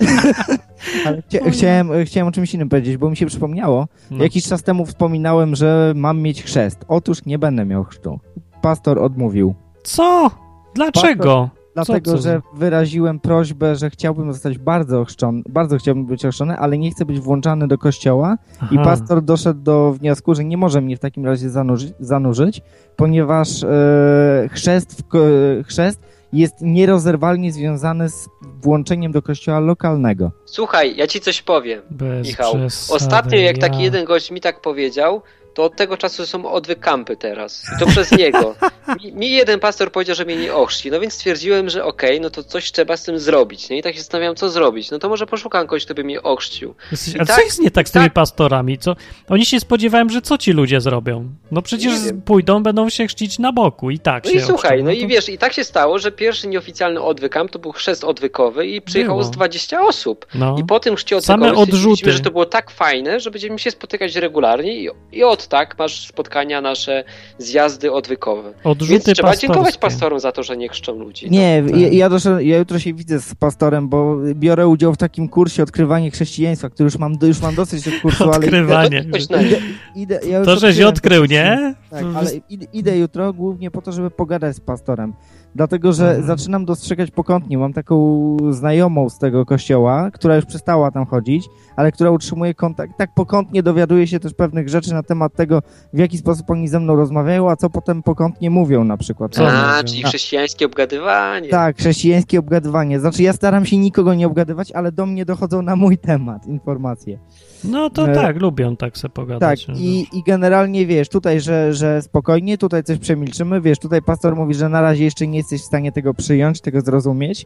ale chcia, chciałem, chciałem o czymś innym powiedzieć, bo mi się przypomniało.
No.
Jakiś czas temu wspominałem, że mam mieć chrzest. Otóż nie będę miał chrztu. Pastor odmówił.
Co? Dlaczego?
Dlatego,
co
że wyraziłem prośbę, że chciałbym zostać bardzo ochrzczony, bardzo chciałbym być ochrzczony, ale nie chcę być włączany do kościoła. I
Aha.
pastor doszedł do wniosku, że nie może mnie w takim razie zanurzyć, zanurzyć ponieważ e, chrzest, w, ko- e, chrzest jest nierozerwalnie związany z włączeniem do kościoła lokalnego.
Słuchaj, ja ci coś powiem.
Bez
Michał,
przesady,
Ostatnio, jak
ja...
taki jeden gość mi tak powiedział, to od tego czasu są odwykampy teraz. I to przez niego. Mi, mi jeden pastor powiedział, że mnie nie ochrzci, no więc stwierdziłem, że okej, no to coś trzeba z tym zrobić. Nie? I tak się zastanawiałem, co zrobić. No to może poszukam kogoś, kto by mnie ochrzcił.
Jesteś,
I
ale co
tak-
jest nie tak z
tak-
tymi pastorami? Co? Oni się spodziewałem, że co ci ludzie zrobią? No przecież
Nie wiem.
pójdą, będą się chrzcić na boku i tak
No
się
i słuchaj,
ochrzczą,
no
to-
i wiesz, i tak się stało, że pierwszy nieoficjalny odwykamp to był chrzest odwykowy i przyjechało z
Było.
20 osób.
No.
I po tym chrzcie
Same
odwykowym stwierdziliśmy,
odrzuty.
że to było tak fajne, że będziemy się spotykać regularnie i, i od tak masz spotkania nasze, zjazdy odwykowe. Więc
Odrzuty
trzeba dziękować
pastorskie.
pastorom za to, że nie krzczą ludzi. No.
Nie,
tak.
ja, ja, doszedłem, ja jutro się widzę z pastorem, bo biorę udział w takim kursie odkrywanie chrześcijaństwa, który już mam, już mam dosyć tego kursu, ale idę,
Odkrywanie.
No to coś na-
idę, idę, ja już
To, żeś
odkryłem
odkrył,
to
nie?
Tak, ale id- idę jutro głównie po to, żeby pogadać z pastorem. Dlatego, że
Mhm.
zaczynam dostrzegać pokątnie. Mam taką znajomą z tego kościoła, która już przestała tam chodzić, ale która utrzymuje kontakt. Tak pokątnie dowiaduje się też pewnych rzeczy na temat tego, w jaki sposób oni ze mną rozmawiają, a co potem pokątnie mówią na przykład.
Co znaczy, no.
A,
mówią?
czyli
A.
chrześcijańskie obgadywanie.
Tak, chrześcijańskie obgadywanie. Znaczy, ja staram się nikogo nie obgadywać, ale do mnie dochodzą na mój temat informacje.
No to
E,
tak, lubią tak se
Tak,
pogadać.
i, i generalnie wiesz, tutaj, że, że spokojnie, tutaj coś przemilczymy, wiesz, tutaj pastor mówi, że na razie jeszcze nie jesteś w stanie tego przyjąć, tego zrozumieć.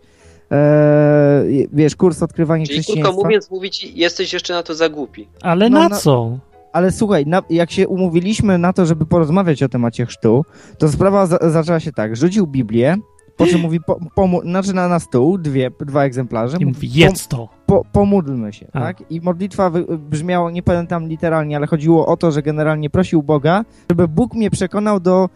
Eee, wiesz, kurs odkrywania
Czyli krótko
chrześcijaństwa.
mówiąc, mówić, jesteś jeszcze na to za głupi.
Ale
no,
na
no-
co?
Ale słuchaj, na, jak się umówiliśmy na to, żeby porozmawiać o temacie chrztu, to sprawa za, zaczęła się tak. Rzucił Biblię, po czym mówi, po, pomu- znaczy na, na stół, dwie, dwa egzemplarze.
I mówi, jedz to.
po, pomódlmy się,
A.
tak? I modlitwa wy, brzmiała, nie pamiętam literalnie, ale chodziło o to, że generalnie prosił Boga, żeby Bóg mnie przekonał do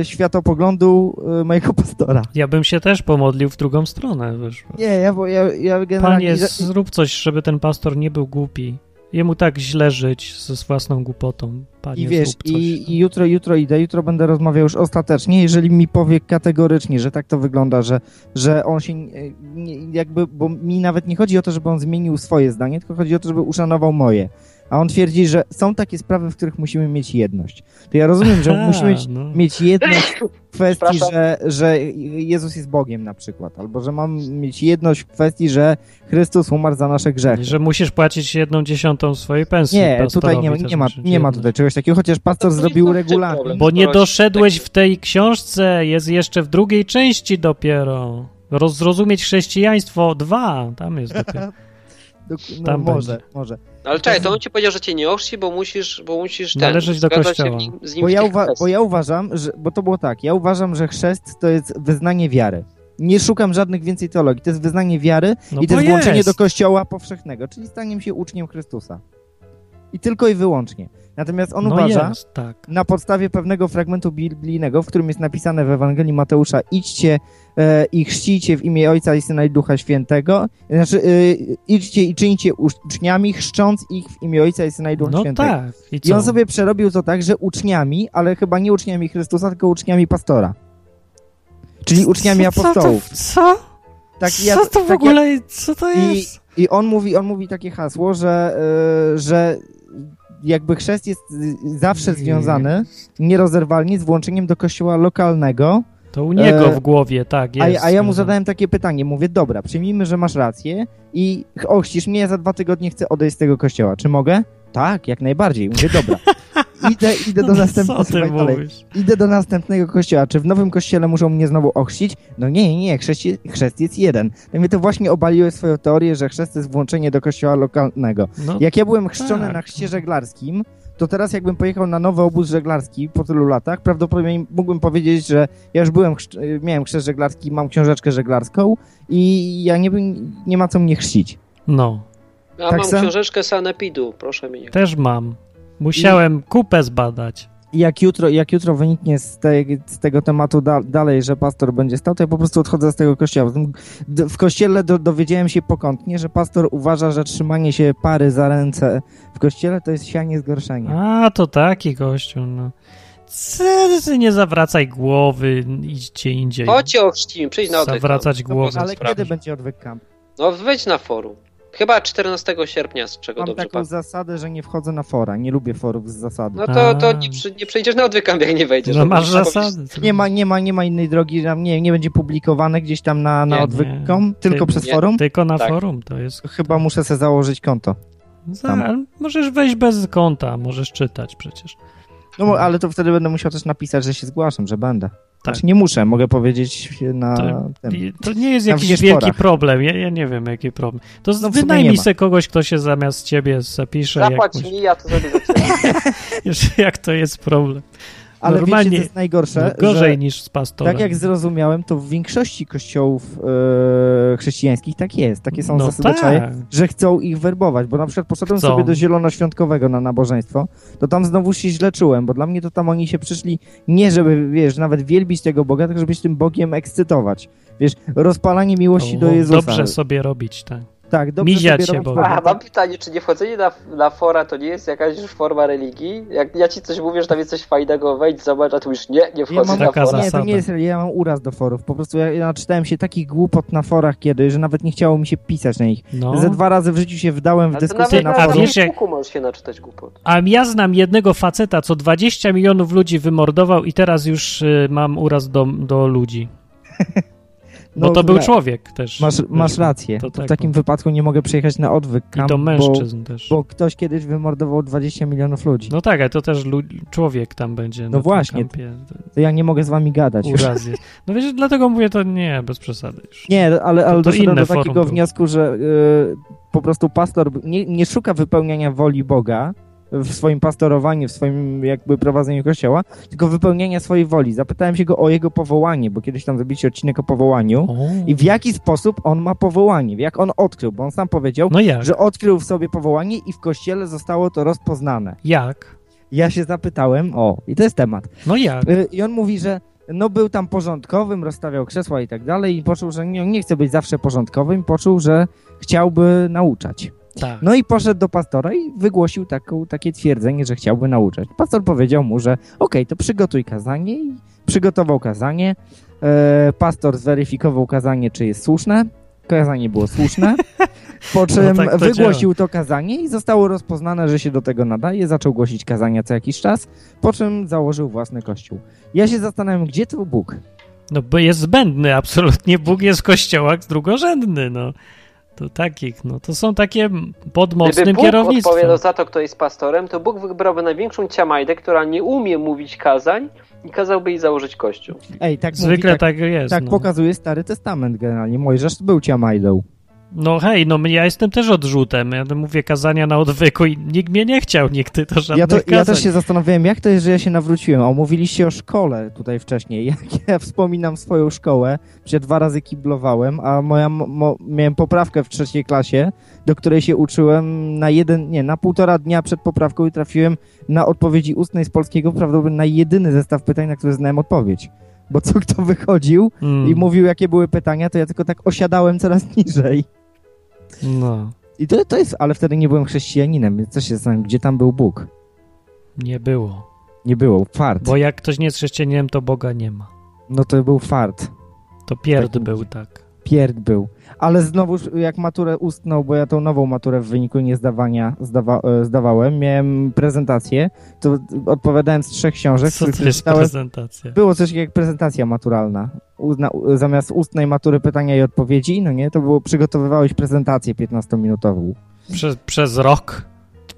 e, światopoglądu e, mojego pastora.
Ja bym się też pomodlił w drugą stronę. Wiesz.
Nie, no, ja, bo ja, ja generalnie...
Panie, zrób coś, żeby ten pastor nie był głupi. Jemu tak źle żyć ze z własną głupotą. Panie,
I wiesz,
zrób coś. no.
i, i jutro, jutro idę, jutro będę rozmawiał już ostatecznie, jeżeli mi powie kategorycznie, że tak to wygląda, że, że on się e, nie, jakby, bo mi nawet nie chodzi o to, żeby on zmienił swoje zdanie, tylko chodzi o to, żeby uszanował moje. A on twierdzi, że są takie sprawy, w których musimy mieć jedność. To ja rozumiem, że
A,
musimy mieć,
no.
mieć jedność w kwestii,
Przepraszam.
że, że Jezus jest Bogiem na przykład, albo że mam mieć jedność w kwestii, że Chrystus umarł za nasze grzechy.
Że musisz płacić jedną dziesiątą swojej pensji.
Nie,
pastorowi
tutaj nie, ma-
też
nie, ma,
musisz
nie ma
jednąć.
tutaj czegoś takiego, chociaż pastor
To nie
zrobił
jest
regulamin.
problem.
Bo nie
Skoro się
doszedłeś
tak-
w tej książce, jest jeszcze w drugiej części dopiero. Roz- Zrozumieć chrześcijaństwo 2, tam jest dopiero.
No,
Tam
może,
będzie.
może.
No Ale czekaj, to on ci powiedział, że cię nie ochrzci, bo musisz, bo musisz ten,
znaczy- Należeć do
zgadzać
kościoła.
Się w nim, z nim
Bo
w
ja,
tych
uwa-
kwestiach.
bo ja uważam, że, bo to było tak, ja uważam, że chrzest to jest wyznanie wiary. Nie szukam żadnych więcej teologii. To jest wyznanie wiary
No
i to
bo
jest włączenie
jest.
do kościoła powszechnego, czyli staniem się uczniem Chrystusa. I tylko i wyłącznie. Natomiast on
no
uważa,
jest, tak.
na podstawie pewnego fragmentu biblijnego, w którym jest napisane w Ewangelii Mateusza: idźcie e, i chrzcijcie w imię Ojca i Syna i Ducha Świętego. Znaczy, e, idźcie i czyńcie uczniami, chrzcząc ich w imię Ojca i Syna i Ducha
No
Świętego.
tak. I co?
I on sobie przerobił to tak, że uczniami, ale chyba nie uczniami Chrystusa, tylko uczniami pastora. Czyli uczniami
Co- co to-
apostołów.
Co?
Tak, ja-
Co to w
tak ja-
ogóle, co to
i,
jest?
I on mówi, on mówi takie hasło, że, y, że jakby chrzest jest y, zawsze związany nierozerwalnie z włączeniem do kościoła lokalnego
To u niego
E,
w głowie, tak,
A,
jest.
a ja mu
więc-
zadałem takie pytanie, mówię, dobra, przyjmijmy, że masz rację i ch- ochcisz mnie, za dwa tygodnie chcę odejść z tego kościoła, czy mogę? Tak, jak najbardziej. Mówię, dobra. Idę, idę do
No, Co
następnego,
ty
słuchaj dalej.
mówisz?
Idę do następnego kościoła. Czy w nowym kościele muszą mnie znowu ochrzcić? No nie, nie, nie, chrzest, chrzest jest jeden. No mnie to właśnie obaliłeś swoją teorię, że chrzest jest włączenie do kościoła lokalnego.
No,
Jak ja byłem chrzczony
tak.
na chrzcie żeglarskim, to teraz jakbym pojechał na nowy obóz żeglarski po tylu latach, prawdopodobnie mógłbym powiedzieć, że ja już byłem, chrz- y, miałem chrzest żeglarski, mam książeczkę żeglarską i ja nie, bym- nie ma co mnie chrzcić.
no,
Ja
Tak
mam
sam-
książeczkę Sanepidu, proszę mi.
też mam. Musiałem kupę zbadać.
I jak jutro, jak jutro wyniknie z, te, z tego tematu da, dalej, że pastor będzie stał, to ja po prostu odchodzę z tego kościoła. Poza tym d- W kościele do, dowiedziałem się pokątnie, że pastor uważa, że trzymanie się pary za ręce w kościele to jest sianie zgorszenia.
A, to taki gościu, no. Ty, ty nie zawracaj głowy, idź gdzie indziej.
Chodźcie ochrzcimy, przyjdź na oddech.
Zawracać
No,
głowy.
Ale
sprawdź.
kiedy będzie odwyk kamp?
No wejdź na forum. Chyba 14 sierpnia, z czego
Mam
dobrze
taką
pamiętam.
zasadę, że nie wchodzę na fora. Nie lubię forów z zasady.
No to, to
A.
nie, przy, nie przyjdziesz na odwykam, jak nie wejdziesz.
No
To
masz
musisz powiedzieć-
zasady.
Nie ma, nie ma, nie ma innej drogi, tam nie, nie będzie publikowane gdzieś tam na, na
Nie,
odwykom,
nie.
tylko
Ty-
przez
nie.
forum.
Tylko na
Tak.
forum to jest.
Chyba muszę sobie założyć konto.
Za,
Tam.
ale możesz wejść bez konta, możesz czytać przecież.
No mo- ale to wtedy będę musiał też napisać, że się zgłaszam, że będę.
Tak.
Znaczy nie muszę, mogę powiedzieć na
To-
tym.
I To nie jest
Tam
jakiś
widzisz
wielki
porach.
problem. Ja, ja nie wiem, jaki problem. To
No w sumie
wynajmij
nie ma.
se kogoś, kto się zamiast ciebie zapisze.
Zapłać
Jak,
mi, ja to zrobię za ciebie.
wiesz, jak to jest problem.
Ale
normalnie-
wiecie, co jest najgorsze?
No, gorzej
że
niż z pastorem.
tak jak zrozumiałem, to w większości kościołów e, chrześcijańskich tak jest. Takie są
no,
zasady czaje.
tak.
że chcą ich werbować, bo na przykład poszedłem
Chcą.
sobie do zielonoświątkowego na nabożeństwo, to tam znowu się źle czułem, bo dla mnie to tam oni się przyszli nie żeby, wiesz, nawet wielbić tego Boga, tylko żeby się tym Bogiem ekscytować. Wiesz, rozpalanie miłości do
O,
Jezusa.
Dobrze sobie robić, tak.
tak, dobrze
miziać
sobie
się
robić
Bogu.
A,
Boga.
mam pytanie, czy nie wchodzenie na, na fora to nie jest jakaś już forma religii? Jak ja ci coś mówię, że tam jest coś fajnego, wejdź, zobacz, a tu już nie, nie wchodzę
mam
na
taka
fora.
zasada.
Nie, to nie jest, ja mam uraz do forów. Po prostu ja, ja naczytałem się takich głupot na forach kiedy, że nawet nie chciało mi się pisać na nich.
No.
Ze dwa razy w życiu się wdałem w
Ale to
dyskusję
nawet
na
na
a
forum.
wiesz, jak-
Facebooku możesz się naczytać głupot.
A ja znam jednego faceta, co 20 milionów ludzi wymordował i teraz już y, mam uraz do, do ludzi. Bo
No,
to był
tak.
człowiek też.
Masz, masz
Zresztą.
rację.
To tak,
w takim wypadku nie mogę przyjechać na odwyk
I
kamp,
do
bo
mężczyzn też.
Bo ktoś kiedyś wymordował 20 milionów ludzi. No,
No tak, ale to też lu- człowiek tam będzie. na tym
właśnie.
kampie.
to ja nie mogę z wami gadać. Już.
Uraz jest. No wiesz, dlatego mówię to nie, bez przesady już.
Nie, ale, ale
To- to
doszedłem
inne
do
forum
takiego
było.
wniosku, że y, po prostu pastor b- nie, nie szuka wypełniania woli Boga w swoim pastorowaniu, w swoim jakby prowadzeniu kościoła, tylko wypełniania swojej woli. Zapytałem się go o jego powołanie, bo kiedyś tam zrobiliście odcinek o powołaniu
O,
i w jaki sposób on ma powołanie, jak on odkrył, bo on sam powiedział,
no jak?
że odkrył w sobie powołanie i w kościele zostało to rozpoznane.
Jak?
Ja się zapytałem, o, i to jest temat.
No jak?
Y, I on mówi, że no był tam porządkowym, rozstawiał krzesła i tak dalej i poczuł, że nie, nie chce być zawsze porządkowym, poczuł, że chciałby nauczać.
Tak.
No i poszedł do pastora i wygłosił taką, takie twierdzenie, że chciałby nauczać. Pastor powiedział mu, że okej, to przygotuj kazanie i przygotował kazanie. E, pastor zweryfikował kazanie, czy jest słuszne. Kazanie było słuszne. Po czym
tak to
wygłosił to kazanie i zostało rozpoznane, że się do tego nadaje. Zaczął głosić kazania co jakiś czas, po czym założył własny kościół. Ja się zastanawiam, gdzie to Bóg?
No bo jest zbędny, absolutnie. Bóg jest w kościołach drugorzędny, no. To takich, no. To są takie pod
Gdyby
mocnym
Bóg
kierownictwem.
odpowiadał za to, kto jest pastorem, to Bóg wybrałby największą ciamajdę, która nie umie mówić kazań i kazałby jej założyć kościół.
Ej, tak
Zwykle
mówi, tak,
tak, jest.
tak
no.
pokazuje Stary Testament generalnie. Mojżesz był ciamajdą.
no hej, no ja jestem też odrzutem. Ja mówię kazania na odwyku i nikt mnie nie chciał nigdy, to żadnych
Ja, to,
kazań.
ja też się zastanawiałem, jak to jest, że ja się nawróciłem. A Omówiliście o szkole tutaj wcześniej. Jak ja wspominam swoją szkołę, gdzie dwa razy kiblowałem, a moja, mo, mo- miałem poprawkę w trzeciej klasie, do której się uczyłem na jeden, nie, na półtora dnia przed poprawką i trafiłem na odpowiedzi ustnej z polskiego, prawdopodobnie na jedyny zestaw pytań, na które znałem odpowiedź. Bo co kto wychodził
Mm,
i mówił, jakie były pytania, to ja tylko tak osiadałem coraz niżej.
No,
I to, to jest, ale wtedy nie byłem chrześcijaninem, więc też się zastanawiam, gdzie tam był Bóg.
nie było.
Nie było, fart.
Bo jak ktoś nie jest chrześcijaninem, to Boga nie ma.
No to był fart.
To pierd
Takim-
był, tak.
pierd był. Ale znowuż jak maturę ustną, bo ja tą nową maturę w wyniku niezdawania zdawa, e, zdawałem, miałem prezentację, to odpowiadałem z trzech książek,
Co
których
to jest
przeczytałem.
prezentacja?
Było coś jak prezentacja maturalna. Uzna, u- zamiast ustnej matury pytania i odpowiedzi, no nie, to było przygotowywałeś prezentację 15-minutową.
Przez, przez rok?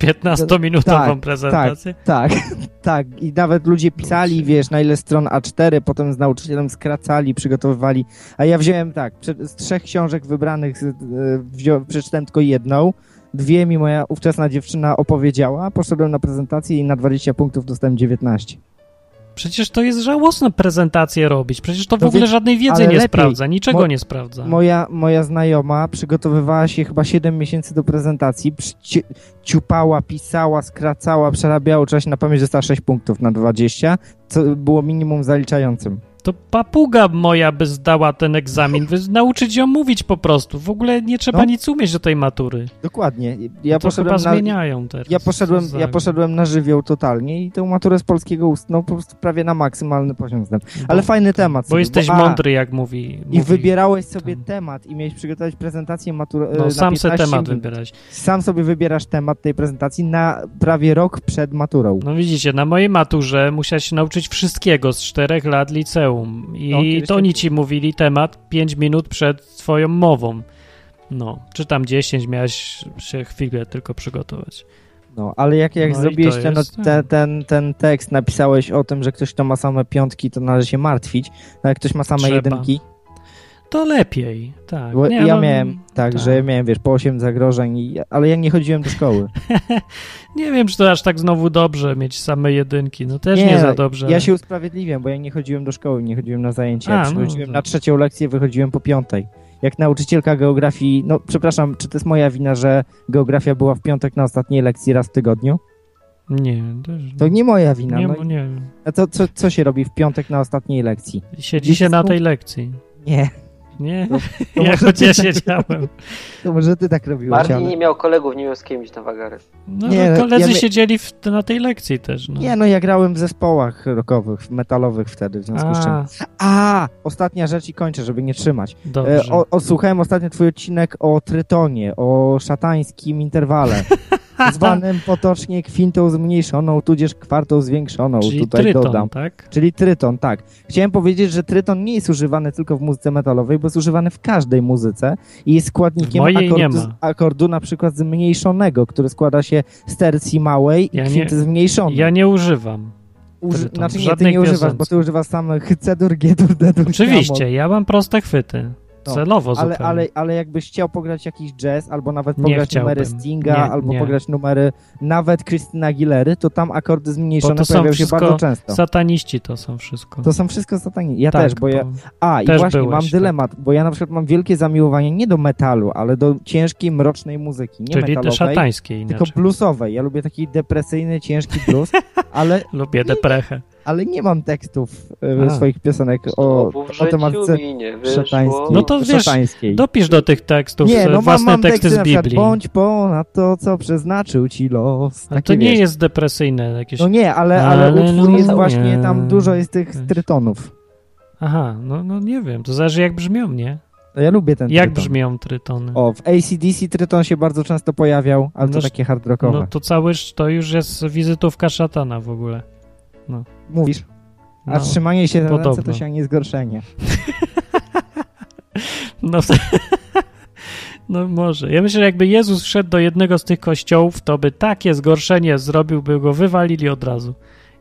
15-minutową
Tak,
prezentację?
Tak, tak. I nawet ludzie pisali, wiesz, na ile stron A4, potem z nauczycielem skracali, przygotowywali. A ja wziąłem tak, prze- z trzech książek wybranych z- e, wziąłem, przeczytałem tylko jedną. Dwie mi moja ówczesna dziewczyna opowiedziała, poszedłem na prezentację i na 20 punktów dostałem 19.
Przecież to jest żałosne prezentację robić. Przecież to w
No
ogóle
więc-
żadnej wiedzy
ale
nie
lepiej.
sprawdza, niczego
Mo-
nie sprawdza.
Moja, moja znajoma przygotowywała się chyba 7 miesięcy do prezentacji, przyci- ciupała, pisała, skracała, przerabiała cześć na pamięć, dostała 6 punktów na 20, co było minimum zaliczającym.
To papuga moja by zdała ten egzamin. Wy nauczyć ją mówić po prostu. W ogóle nie trzeba
No.
nic umieć do tej matury. No
Dokładnie. Ja
to chyba
poszedłem na,
zmieniają teraz.
ja poszedłem,
Co za-
ja poszedłem na żywioł totalnie i tę maturę z polskiego ustną po prostu prawie na maksymalny poziom znam. Ale
bo,
fajny temat.
bo
sobie,
jesteś
a,
mądry, jak mówi. mówi
I wybierałeś sobie
tam.
temat i miałeś przygotować prezentację maturę.
No,
na
sam se
15
temat
minut.
wybierać.
Sam sobie wybierasz temat tej prezentacji na prawie rok przed maturą.
No widzicie, na mojej maturze musiałeś się nauczyć wszystkiego z czterech lat liceum.
No,
I
kiedyś
to
tak
oni
było.
ci mówili temat 5 minut przed twoją mową. No, czy tam 10, miałeś się chwilę tylko przygotować.
No, ale jak, jak
No i
zrobiłeś
to
ten,
jest- tak.
ten, ten, ten tekst, napisałeś o tym, że ktoś kto ma same piątki, to należy się martwić, a jak ktoś ma same
Trzeba.
jedynki,
To lepiej, tak.
bo
Nie,
ja
no,
miałem, tak,
tak.
że ja miałem, wiesz, po 8 zagrożeń, i, ale ja nie chodziłem do szkoły.
Nie wiem, czy to aż tak znowu dobrze mieć same jedynki. No też nie, za dobrze.
Ja się usprawiedliwiam, bo ja nie chodziłem do szkoły, nie chodziłem na zajęcia.
A,
Ja
no,
przychodziłem
tak.
na trzecią lekcję, wychodziłem po piątej. Jak nauczycielka geografii, no przepraszam, czy to jest moja wina, że geografia była w piątek na ostatniej lekcji raz w tygodniu?
Nie, też...
To nie moja wina.
nie,
no,
bo nie wiem.
a to co, co się robi w piątek na ostatniej lekcji?
Siedzi
Dziś
się na
jest
tej lekcji.
Nie,
Nie?
To- to
ja
może
choć ja
ty tak-
siedziałem.
to może ty tak robiłeś,
Martin
ale...
nie miał kolegów, nie miał z kimś na wagary.
No,
Nie,
no, koledzy
ja my-
siedzieli w, na tej lekcji też. No.
Nie, no ja grałem w zespołach rockowych, metalowych wtedy, w związku z czym...
A,
A, ostatnia rzecz i kończę, żeby nie trzymać.
dobrze.
E, O, o, słuchałem ostatnio twój odcinek o trytonie, o szatańskim interwale, zwanym potocznie kwintą zmniejszoną, tudzież kwartą zwiększoną,
Czyli
no, tutaj
tryton,
dodam.
tak?
Czyli tryton, tak. Chciałem powiedzieć, że tryton nie jest używany tylko w muzyce metalowej, bo jest używany w każdej muzyce i jest składnikiem
W mojej nie
akordu,
ma.
akordu na przykład zmniejszonego, który składa się z tercji małej i
Ja nie-
kwinty zmniejszonej.
Ja nie używam.
Uży-
tryton,
znaczy nie, ty
żadnej
nie używasz,
piosence.
bo ty używasz samych C-dur, G-dur, D-dur,
Oczywiście, ja mam proste chwyty.
No,
Celowo
Ale,
zupełnie.
ale, ale jakbyś chciał pograć jakiś jazz, albo nawet
Nie
pograć
chciałbym.
numery Stinga,
Nie,
albo
nie.
pograć numery nawet Krystyna Aguilery, to tam akordy
Bo
zmniejszone
to są
pojawiają się
wszystko
bardzo często.
Sataniści to są wszystko.
no. To są wszystko satani. Ja
tak,
też, bo ja...
bo-
A, i
też
właśnie
byłeś,
mam
tak.
dylemat, bo ja na przykład mam wielkie zamiłowanie nie do metalu, ale do ciężkiej, mrocznej muzyki, nie
Czyli te znaczy.
metalowej,
szatańskie inaczej.
tylko bluesowej. Ja lubię taki depresyjny, ciężki blues, ale,
Lubię deprechę.
ale nie mam tekstów
A.
e, swoich piosenek o,
Obu w
o tematyce
życiu mi nie wyszło.
szatańskiej.
No to wiesz,
szatańskiej.
Dopisz do tych tekstów
Nie,
e,
no mam,
własne
mam
teksty z
na przykład,
Biblii.
Bądź ponad to, co przeznaczył ci los.
Ale
Takie
to nie
wiesz.
jest depresyjne jakieś.
No nie, ale, ale utwór
Alleluja.
jest właśnie, tam dużo jest tych
Weź.
trytonów.
Aha, no, no nie wiem, to zależy jak brzmią, nie?
No Ja lubię ten
Jak
tryton.
brzmią trytony?
O, w ACDC tryton się bardzo często pojawiał, ale
Noż-
to takie hard rockowe.
No to cały sz- to już jest wizytówka szatana w ogóle.
Mówisz, a
No,
trzymanie się na ręce
podobno.
to się nie zgorszenie.
no, no może. Ja myślę, że jakby Jezus wszedł do jednego z tych kościołów, to by takie zgorszenie zrobił, by go wywalili od razu.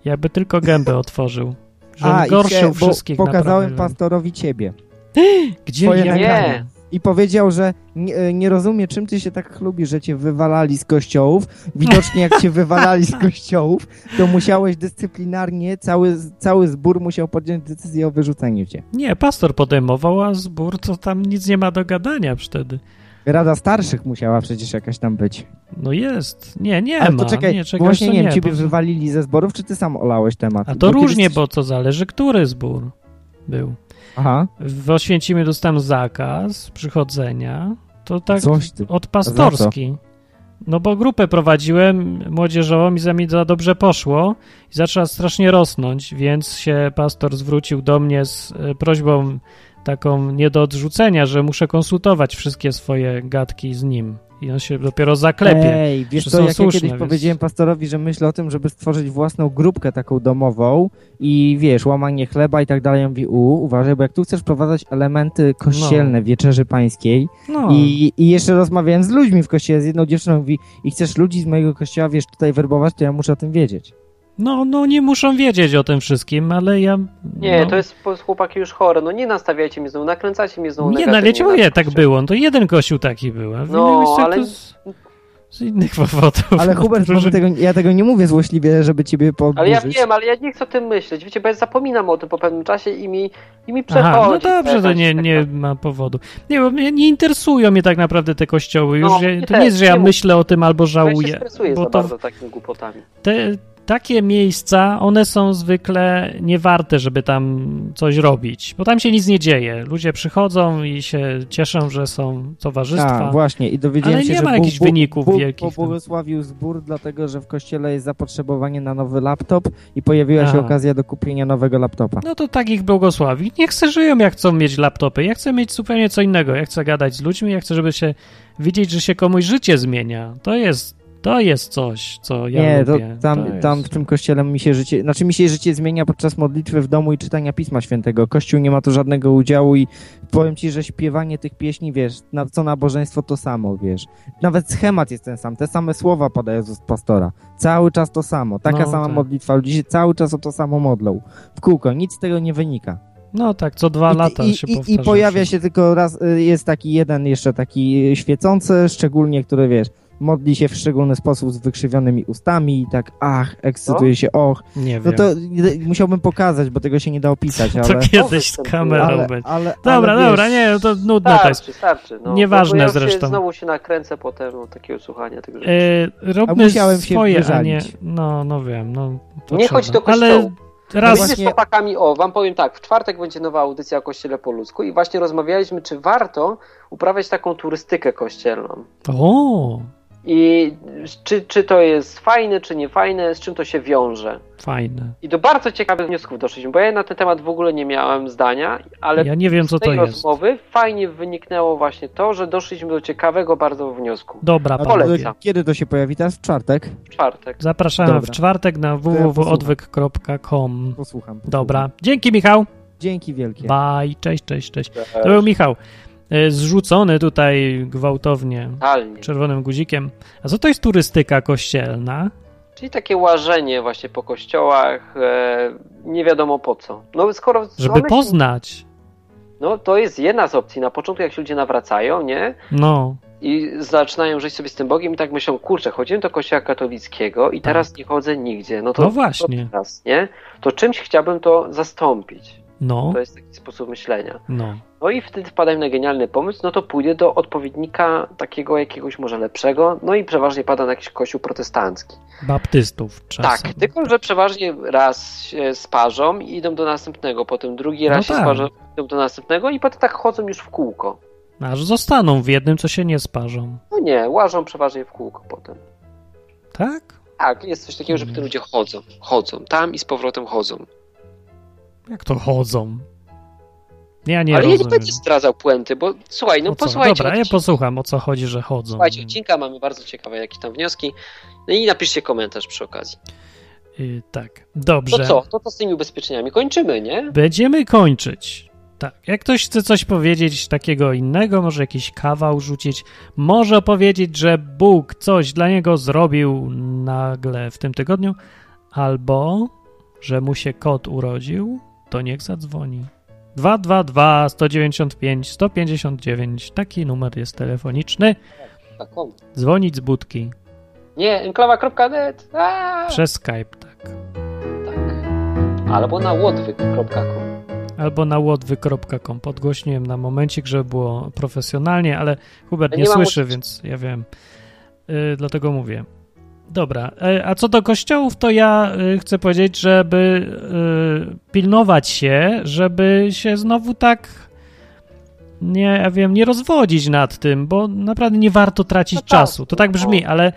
Jakby tylko gębę otworzył. Że on
A,
gorszył
i się,
wszystkich.
bo pokazałem
naprawdę.
pastorowi ciebie.
Gdzie
twoje
ja
nagranie.
byłem?
I powiedział, że nie, e, nie rozumie, czym ty się tak chlubi, że cię wywalali z kościołów. Widocznie jak cię wywalali z kościołów, to musiałeś dyscyplinarnie, cały, cały zbór musiał podjąć decyzję o wyrzuceniu cię.
Nie, pastor podejmował, a zbór to tam nic nie ma do gadania wtedy.
Rada starszych musiała przecież jakaś tam być.
No jest. Nie, nie
Ale
ma.
to czekaj,
nie, czegoś,
właśnie
to
nie wiem, ciebie
bo-
wywalili ze zborów, czy ty sam olałeś temat?
A to
kiedy
różnie,
jesteś-
bo to zależy, który zbór był.
Aha,
W Oświęcimie dostałem zakaz przychodzenia. To tak
coś ty.
od pastorski. No bo grupę prowadziłem młodzieżową i za mi za dobrze poszło i zaczęła strasznie rosnąć, więc się pastor zwrócił do mnie z e, prośbą taką nie do odrzucenia, że muszę konsultować wszystkie swoje gadki z nim. I on się dopiero zaklepie.
Ej, wiesz
że
co,
są
jak ja
słuszne,
kiedyś
więc-
powiedziałem pastorowi, że myślę o tym, żeby stworzyć własną grupkę taką domową i wiesz, łamanie chleba i tak dalej, on mówi, u, uważaj, bo jak tu chcesz wprowadzać elementy kościelne wieczerzy pańskiej
No.
i, i jeszcze rozmawiałem z ludźmi w kościele, z jedną dziewczyną, mówi, i chcesz ludzi z mojego kościoła, wiesz, tutaj werbować, to ja muszę o tym wiedzieć.
No, no nie muszą wiedzieć o tym wszystkim, ale ja.
Nie,
no,
to jest po- chłopaki już chore. No nie nastawiajcie mnie znowu, nakręcacie mnie znowu
Nie, no ale
negatywnie
ciągle
na
tak
życie.
było. No To jeden kościół taki był. A w
No,
innym miejscach
ale-
to z, z innych powodów.
Ale
No,
Hubert,
to,
może
że-
tego, ja tego nie mówię złośliwie, żeby ciebie
Ale
poburzyć.
ja wiem, ale ja nie chcę o tym myśleć. Wiecie, bo ja zapominam o tym po pewnym czasie i mi, i mi przechodzi. tak
Aha, no dobrze, to
jakaś
nie,
taka-
nie ma powodu. Nie, bo mnie nie interesują mnie tak naprawdę te kościoły. Już
No,
ja-
mnie
to
też,
nie jest, że ja
nie mów.
myślę o tym albo
Ja się
żałuję.
stresuję
Bo
za
to
bardzo takimi głupotami.
te, takie miejsca, one są zwykle niewarte, żeby tam coś robić, bo tam się nic nie dzieje. Ludzie przychodzą i się cieszą, że są towarzystwa.
Tak, właśnie. I dowiedziałem
Ale
się,
nie
że
ma
Bóg-
jakichś
Bóg-
wyników
Bóg
wielkich, no.
pobłogosławił zbór, dlatego że w kościele jest zapotrzebowanie na nowy laptop i pojawiła się
A.
okazja do kupienia nowego laptopa.
No to tak ich błogosławi. Niech se żyją, jak chcą mieć laptopy. Ja chcę mieć zupełnie co innego. Ja chcę gadać z ludźmi, ja chcę, żeby się widzieć, że się komuś życie zmienia. To jest, to jest coś, co ja
nie, to
lubię.
tam,
jest-
tam w tym kościele mi się życie, znaczy mi się życie zmienia podczas modlitwy w domu i czytania Pisma Świętego. Kościół nie ma tu żadnego udziału i powiem ci, że śpiewanie tych pieśni, wiesz, na, co nabożeństwo to samo, wiesz. Nawet schemat jest ten sam, te same słowa padają z ust pastora. Cały czas to samo, taka
No,
sama
tak.
modlitwa, ludzie się cały czas o to samo modlą. W kółko, nic z tego nie wynika.
No tak, co dwa
I-
lata
i,
się
i,
powtarza.
I pojawia się tylko raz, y, jest taki jeden jeszcze taki y, świecący, szczególnie, który wiesz, modli się w szczególny sposób z wykrzywionymi ustami i tak ach, ekscytuje się, och.
Nie
No
wiem.
to y, musiałbym pokazać, bo tego się nie da opisać, ale...
to kiedyś z
Ale-
kamerą
ale,
będzie.
ale,
Dobra,
ale, wiesz,
dobra, nie, no to nudne to jest.
Starczy, starczy. No,
Nieważne
bo ja już
zresztą.
Się, znowu się nakręcę potem od takiego słuchania tych rzeczy.
E,
A
robmy
musiałem się
swoje, a nie...
wyżalić.
No, no wiem, no... to
Nie
trzeba.
chodź do
Ale
kościoła. No
raz...
Właśnie... z
właśnie-
chłopakami, o, wam powiem tak, w czwartek będzie nowa audycja o Kościele po ludzku i właśnie rozmawialiśmy, czy warto uprawiać taką turystykę kościelną.
O,
I czy, czy to jest fajne, czy nie fajne, z czym to się wiąże.
fajne.
I do bardzo ciekawych wniosków doszliśmy, bo ja na ten temat w ogóle nie miałem zdania, ale
Ja nie wiem, co
z tej
to jest.
rozmowy fajnie wyniknęło właśnie to, że doszliśmy do ciekawego bardzo wniosku.
Dobra,
a to-
Polecam.
panowie.
Kiedy to się pojawi? Teraz w czwartek?
W czwartek.
Zapraszamy
Dobra.
w czwartek na
ja
www.odwyk.com.
Posłucham. posłucham.
Dobra. Dzięki, Michał.
Dzięki wielkie.
Bye. Cześć, cześć, cześć. To był Michał. e, Zrzucony tutaj gwałtownie
Totalnie.
czerwonym guzikiem. A co to jest turystyka kościelna?
Czyli takie łażenie właśnie po kościołach, e, nie wiadomo po co. No skoro
Żeby
one się-
poznać.
No to jest jedna z opcji. Na początku jak się ludzie nawracają, nie?
No.
I zaczynają żyć sobie z tym Bogiem i tak myślą, kurczę, chodziłem do kościoła katolickiego i teraz nie chodzę nigdzie. No to
Tak. No właśnie.
To teraz, nie? To czymś chciałbym to zastąpić.
No.
To jest taki sposób myślenia.
No.
No i wtedy wpadają na genialny pomysł, no to pójdę do odpowiednika takiego jakiegoś może lepszego, no i przeważnie pada na jakiś kościół protestancki.
Baptystów czasem.
Tak, tylko że przeważnie raz się sparzą i idą do następnego, potem drugi
No
raz
tak.
się sparzą, idą do następnego i potem tak chodzą już w kółko.
Aż zostaną w jednym, co się nie sparzą.
No nie, łażą przeważnie w kółko potem.
Tak?
Tak, jest coś takiego, że
Mhm.
potem ludzie chodzą, chodzą, tam i z powrotem chodzą.
Jak to chodzą? Ja nie
Ale ja nie
rozumiem.
będę zdradzał puenty, bo słuchaj, no
O co?
posłuchajcie.
Dobra, ja
odcinka.
posłucham, o co chodzi, że chodzą.
Słuchajcie odcinka, mamy bardzo ciekawe jakie tam wnioski. No i napiszcie komentarz przy okazji.
Y, tak, dobrze.
To co? no To co z tymi ubezpieczeniami? Kończymy, nie?
Będziemy kończyć. Tak, jak ktoś chce coś powiedzieć takiego innego, może jakiś kawał rzucić, może powiedzieć, że Bóg coś dla niego zrobił nagle w tym tygodniu, albo że mu się kot urodził, to niech zadzwoni. 222 195 159 taki numer jest telefoniczny.
Tak, on.
Dzwonić z budki
Nie, enklawa.net. Aaa,
przez Skype, tak.
tak. Albo na łodwyk.com.
Albo na łodwy.com. Podgłośniłem na momencik, żeby było profesjonalnie, ale Hubert
Ja
nie,
nie mam
słyszy,
uczuć.
więc ja wiem. Y, dlatego mówię. Dobra, e, a co do kościołów, to ja y, chcę powiedzieć, żeby y, pilnować się, żeby się znowu tak nie ja wiem, nie rozwodzić nad tym, bo naprawdę nie warto tracić
No tak,
czasu. To tak brzmi,
no.
ale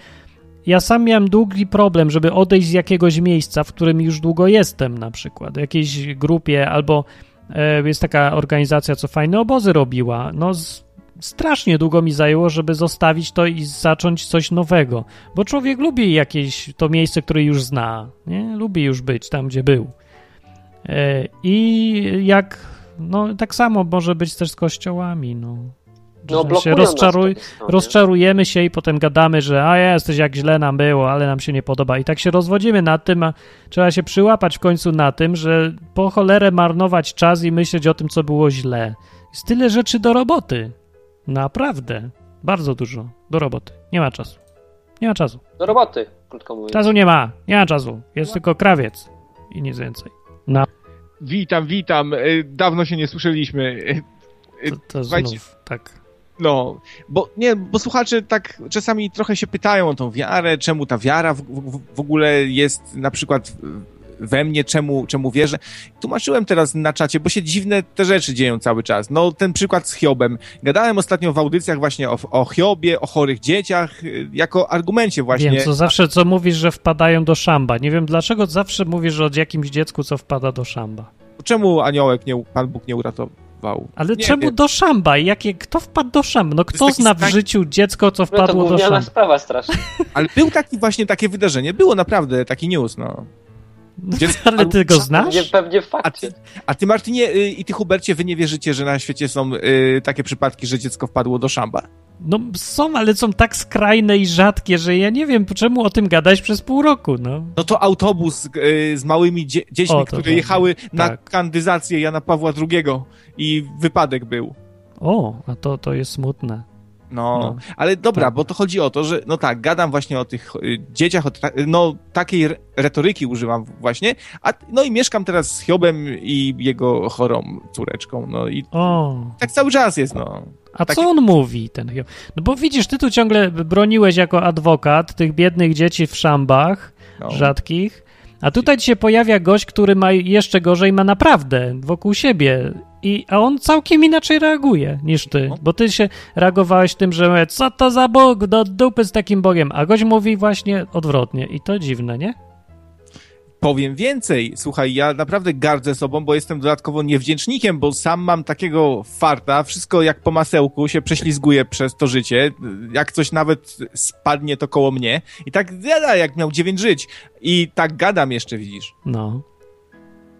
ja sam miałem długi problem, żeby odejść z jakiegoś miejsca, w którym już długo jestem, na przykład, w jakiejś grupie albo e, jest taka organizacja, co fajne obozy robiła. No, z, strasznie długo mi zajęło, żeby zostawić to i zacząć coś nowego, bo człowiek lubi jakieś to miejsce, które już zna, nie? lubi już być tam, gdzie był. E, I jak, no tak samo może być też z kościołami, no.
No,
Że się
blokują
rozczaruj,
nas w tej
No,
stronie.
rozczarujemy się i potem gadamy, że a jesteś jak źle nam było, ale nam się nie podoba. I tak się rozwodzimy nad tym, a trzeba się przyłapać w końcu na tym, że po cholerę marnować czas i myśleć o tym, co było źle. Jest tyle rzeczy do roboty. Naprawdę. Bardzo dużo. Do roboty. Nie ma czasu. Nie ma czasu.
Do roboty, krótko mówiąc.
Czasu nie ma. Nie ma czasu. Jest tylko krawiec. I nic więcej. No,
Witam, witam. Y, Dawno się nie słyszeliśmy. Y,
to, to
Słuchajcie.
znów tak.
No, bo nie, bo słuchacze tak czasami trochę się pytają o tą wiarę, czemu ta wiara w, w, w ogóle jest na przykład we mnie, czemu, czemu wierzę. Tłumaczyłem teraz na czacie, bo się dziwne te rzeczy dzieją cały czas. No, ten przykład z Hiobem. Gadałem ostatnio w audycjach właśnie o, o Hiobie, o chorych dzieciach, y, jako argumencie właśnie.
Wiem, co zawsze co mówisz, że wpadają do szamba. Nie wiem dlaczego zawsze mówisz że od jakimś dziecku, co wpada do szamba.
Czemu aniołek nie, Pan Bóg nie uratował?
Ale
Nie
czemu
wiem.
do szamba? Jakie, kto wpadł do szamba? No kto
taki
zna w
stan-
życiu dziecko, co
No to
wpadło do
gówniana
szamba?
sprawa straszna.
Ale był taki właśnie takie wydarzenie, było naprawdę taki news, no. Dziecko-
Ale ty go znasz?
Pewnie, pewnie w
A
fakcie.
ty, a ty Martinie y, i ty Hubercie, wy nie wierzycie, że na świecie są y, takie przypadki, że dziecko wpadło do szamba?
No są, ale są tak skrajne i rzadkie, że ja nie wiem, czemu o tym gadać przez pół roku, no.
No to autobus y, z małymi dzie dziećmi,
O, to
które
tak.
jechały na
Tak.
kandyzację Jana Pawła II i wypadek był.
O, a to, to jest smutne.
No,
No.
ale dobra,
Tak.
bo to chodzi o to, że no tak, gadam właśnie o tych y, dzieciach, o tra- no takiej re- retoryki używam właśnie, a no i mieszkam teraz z Hiobem i jego chorą córeczką, no i
O,
tak cały czas jest, no.
a
Taki-
co on mówi, ten Hiob? No bo widzisz, ty tu ciągle broniłeś jako adwokat tych biednych dzieci w szambach,
no.
rzadkich. A tutaj ci się pojawia gość, który ma jeszcze gorzej, ma naprawdę wokół siebie. I, a on całkiem inaczej reaguje niż ty,
No.
bo ty się reagowałeś tym, że co to za Bóg, do dupy z takim Bogiem, a gość mówi właśnie odwrotnie i to dziwne, nie?
Powiem więcej, słuchaj, ja naprawdę gardzę sobą, bo jestem dodatkowo niewdzięcznikiem, bo sam mam takiego farta, wszystko jak po masełku się prześlizguje przez to życie, jak coś nawet spadnie to koło mnie i tak gada, jak miał dziewięć żyć i tak gadam jeszcze, widzisz,
No,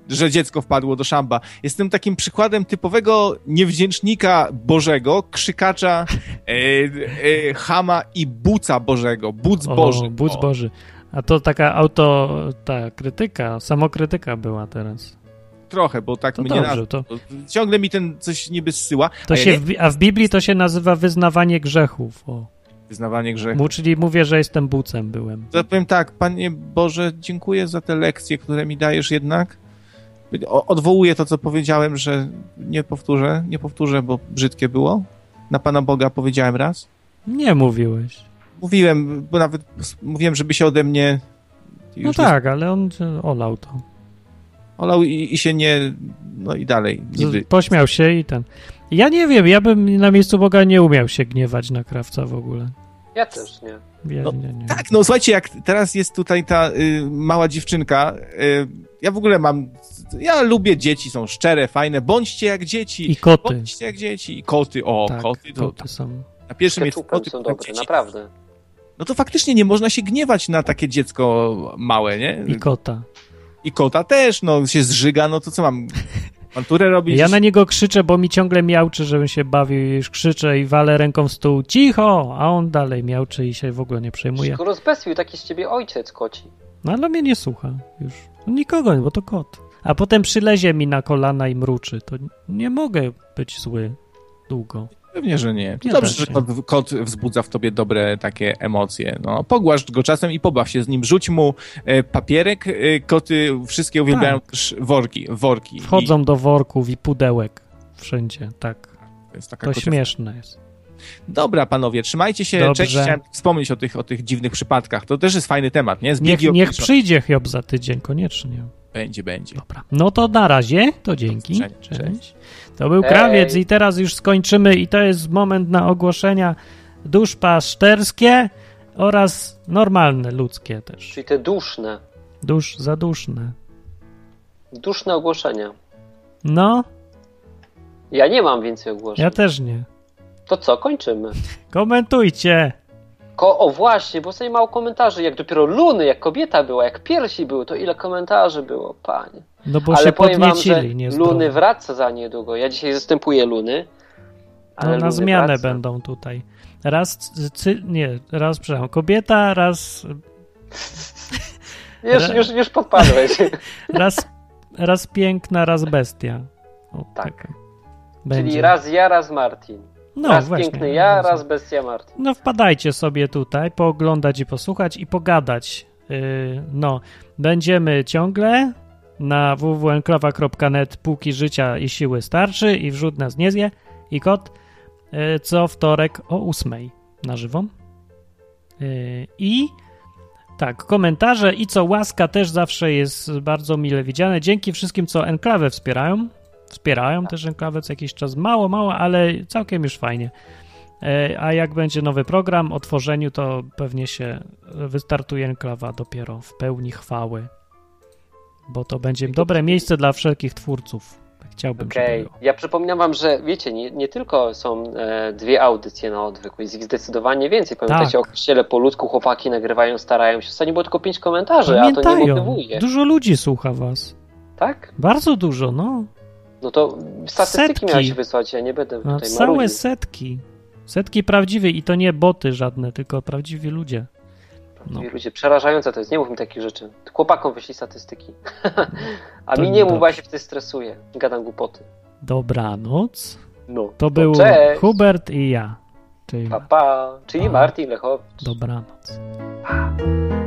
że dziecko wpadło do szamba. Jestem takim przykładem typowego niewdzięcznika Bożego, krzykacza, e, e, chama i buca Bożego, buc Boży.
o, budz
O.
Boży. A to taka auto, ta krytyka, samokrytyka była teraz.
Trochę, bo tak
To
mnie
dobrze,
nazwa.
to,
Ciągle mi ten coś niby zsyła,
to
a ja
się,
nie
w, Bi- a w Biblii to się nazywa wyznawanie grzechów, o.
wyznawanie grzechu.
Mu- Czyli mówię, że jestem bucem byłem.
To powiem tak, Panie Boże, dziękuję za te lekcje, które mi dajesz jednak. O, odwołuję to, co powiedziałem, że nie powtórzę, nie powtórzę, bo brzydkie było. Na Pana Boga powiedziałem raz.
Nie mówiłeś.
Mówiłem, bo nawet s- mówiłem, żeby się ode mnie
No
już nie
tak, ale on e, olał to.
olał i, i się nie, no i dalej. Niby.
Z- Pośmiał się i ten. Ja nie wiem, ja bym na miejscu Boga nie umiał się gniewać na krawca w ogóle.
Ja też nie.
Ja,
No,
nie, nie.
Tak, no słuchajcie, jak teraz jest tutaj ta y, mała dziewczynka, y, ja w ogóle mam, ja lubię dzieci, są szczere, fajne, bądźcie jak dzieci.
I koty.
Bądźcie jak dzieci. I koty, o,
tak,
koty, to,
koty są.
na pierwszym miejscu
Keczupem
koty.
są
potem
dobre,
dzieci.
naprawdę.
No to faktycznie nie można się gniewać na takie dziecko małe, nie?
I kota.
I kota też, no się zżyga, no to co mam, manturę robić?
Ja na niego krzyczę, bo mi ciągle miałczy, żebym się bawił i już krzyczę i walę ręką w stół. Cicho! A on dalej miałczy i się w ogóle nie przejmuje.
Szybko rozbestwił taki z ciebie ojciec koci.
No ale mnie nie słucha już. No Nikogo, bo to kot. A potem przylezie mi na kolana i mruczy. To nie mogę być zły długo.
Pewnie, że nie. To
Nie
dobrze,
da
że
się.
kot, kot wzbudza w tobie dobre takie emocje. No, pogłasz go czasem i pobaw się z nim. Rzuć mu e, papierek. E, koty wszystkie uwielbiają też worki. worki.
Tak. Wchodzą do worków i pudełek wszędzie, tak.
I to jest taka
To
kocia-
śmieszne jest.
Dobra, panowie, trzymajcie się.
Dobrze.
Cześć, chciałem wspomnieć o tych, o tych dziwnych przypadkach. To też jest fajny temat, nie?
Niech,
Zbigniew-
niech przyjdzie Hiob za tydzień, koniecznie.
Będzie, będzie.
Dobra. No to na razie, to dzięki.
Cześć, cześć.
Cześć. To był
Hej.
krawiec i teraz już skończymy i to jest moment na ogłoszenia duszpaszterskie oraz normalne, ludzkie też.
Czyli te duszne,
Dusz zaduszne.
duszne ogłoszenia.
No,
Ja nie mam więcej ogłoszeń.
Ja też nie.
To co, kończymy.
Komentujcie!
Ko o właśnie, bo sobie mało komentarzy. Jak dopiero luny, jak kobieta była, jak piersi były, to ile komentarzy było, panie.
No bo
Ale
się
powiem wam, że
podniecili, nie
luny wraca za niedługo. Ja dzisiaj zastępuję luny. ale
No, na
Luny
zmianę
wraca.
będą tutaj. Raz, cy, cy, nie, raz, przepraszam, kobieta, raz,
Już, już, już podpadłeś.
raz, raz piękna, raz bestia. O,
Tak.
taka.
Czyli raz ja, raz Martin.
no,
raz
właśnie,
piękny ja,
właśnie.
raz bestia Martin.
No wpadajcie sobie tutaj, pooglądać i posłuchać i pogadać. Yy, no, będziemy ciągle na www.enklawa.net póki życia i siły starczy i wrzut nas nie zje i kot yy, co wtorek o 8 na żywo. Yy, I tak, komentarze i co łaska też zawsze jest bardzo mile widziane. Dzięki wszystkim, co Enklawę wspierają. Wspierają też Enklawę co jakiś czas. Mało, mało, ale całkiem już fajnie. E, A jak będzie nowy program o tworzeniu, to pewnie się wystartuje enklawa dopiero w pełni chwały. Bo to będzie dobre miejsce dla wszelkich twórców. Tak Chciałbym, żeby
Okej.
było.
Ja przypominam wam, że wiecie, nie, nie tylko są e, dwie audycje na odwyku, jest ich zdecydowanie więcej. Pamiętajcie
Tak.
o kościele po ludzku, chłopaki nagrywają, starają się. Ostatnio było tylko pięć komentarzy, a to nie
Pamiętają.
motywuje.
Dużo ludzi słucha was.
Tak?
Bardzo dużo, no.
No to statystyki
Setki. No,
miałeś wysłać, ja nie będę
A
tutaj
całe
marudził.
setki. Setki prawdziwych i to nie boty żadne, tylko prawdziwi ludzie. No.
I Ludzie, przerażające to jest, nie mów mi takich rzeczy. Chłopakom wyślij statystyki. a
To
mi nie mów, bo
niedobrze.
ja się wtedy stresuję. Gadam głupoty.
Dobranoc.
No,
To był
cześć.
Hubert i ja. Czyli
Pa, pa. Czyli
Pa.
Martin Lechowicz.
dobranoc.
Pa.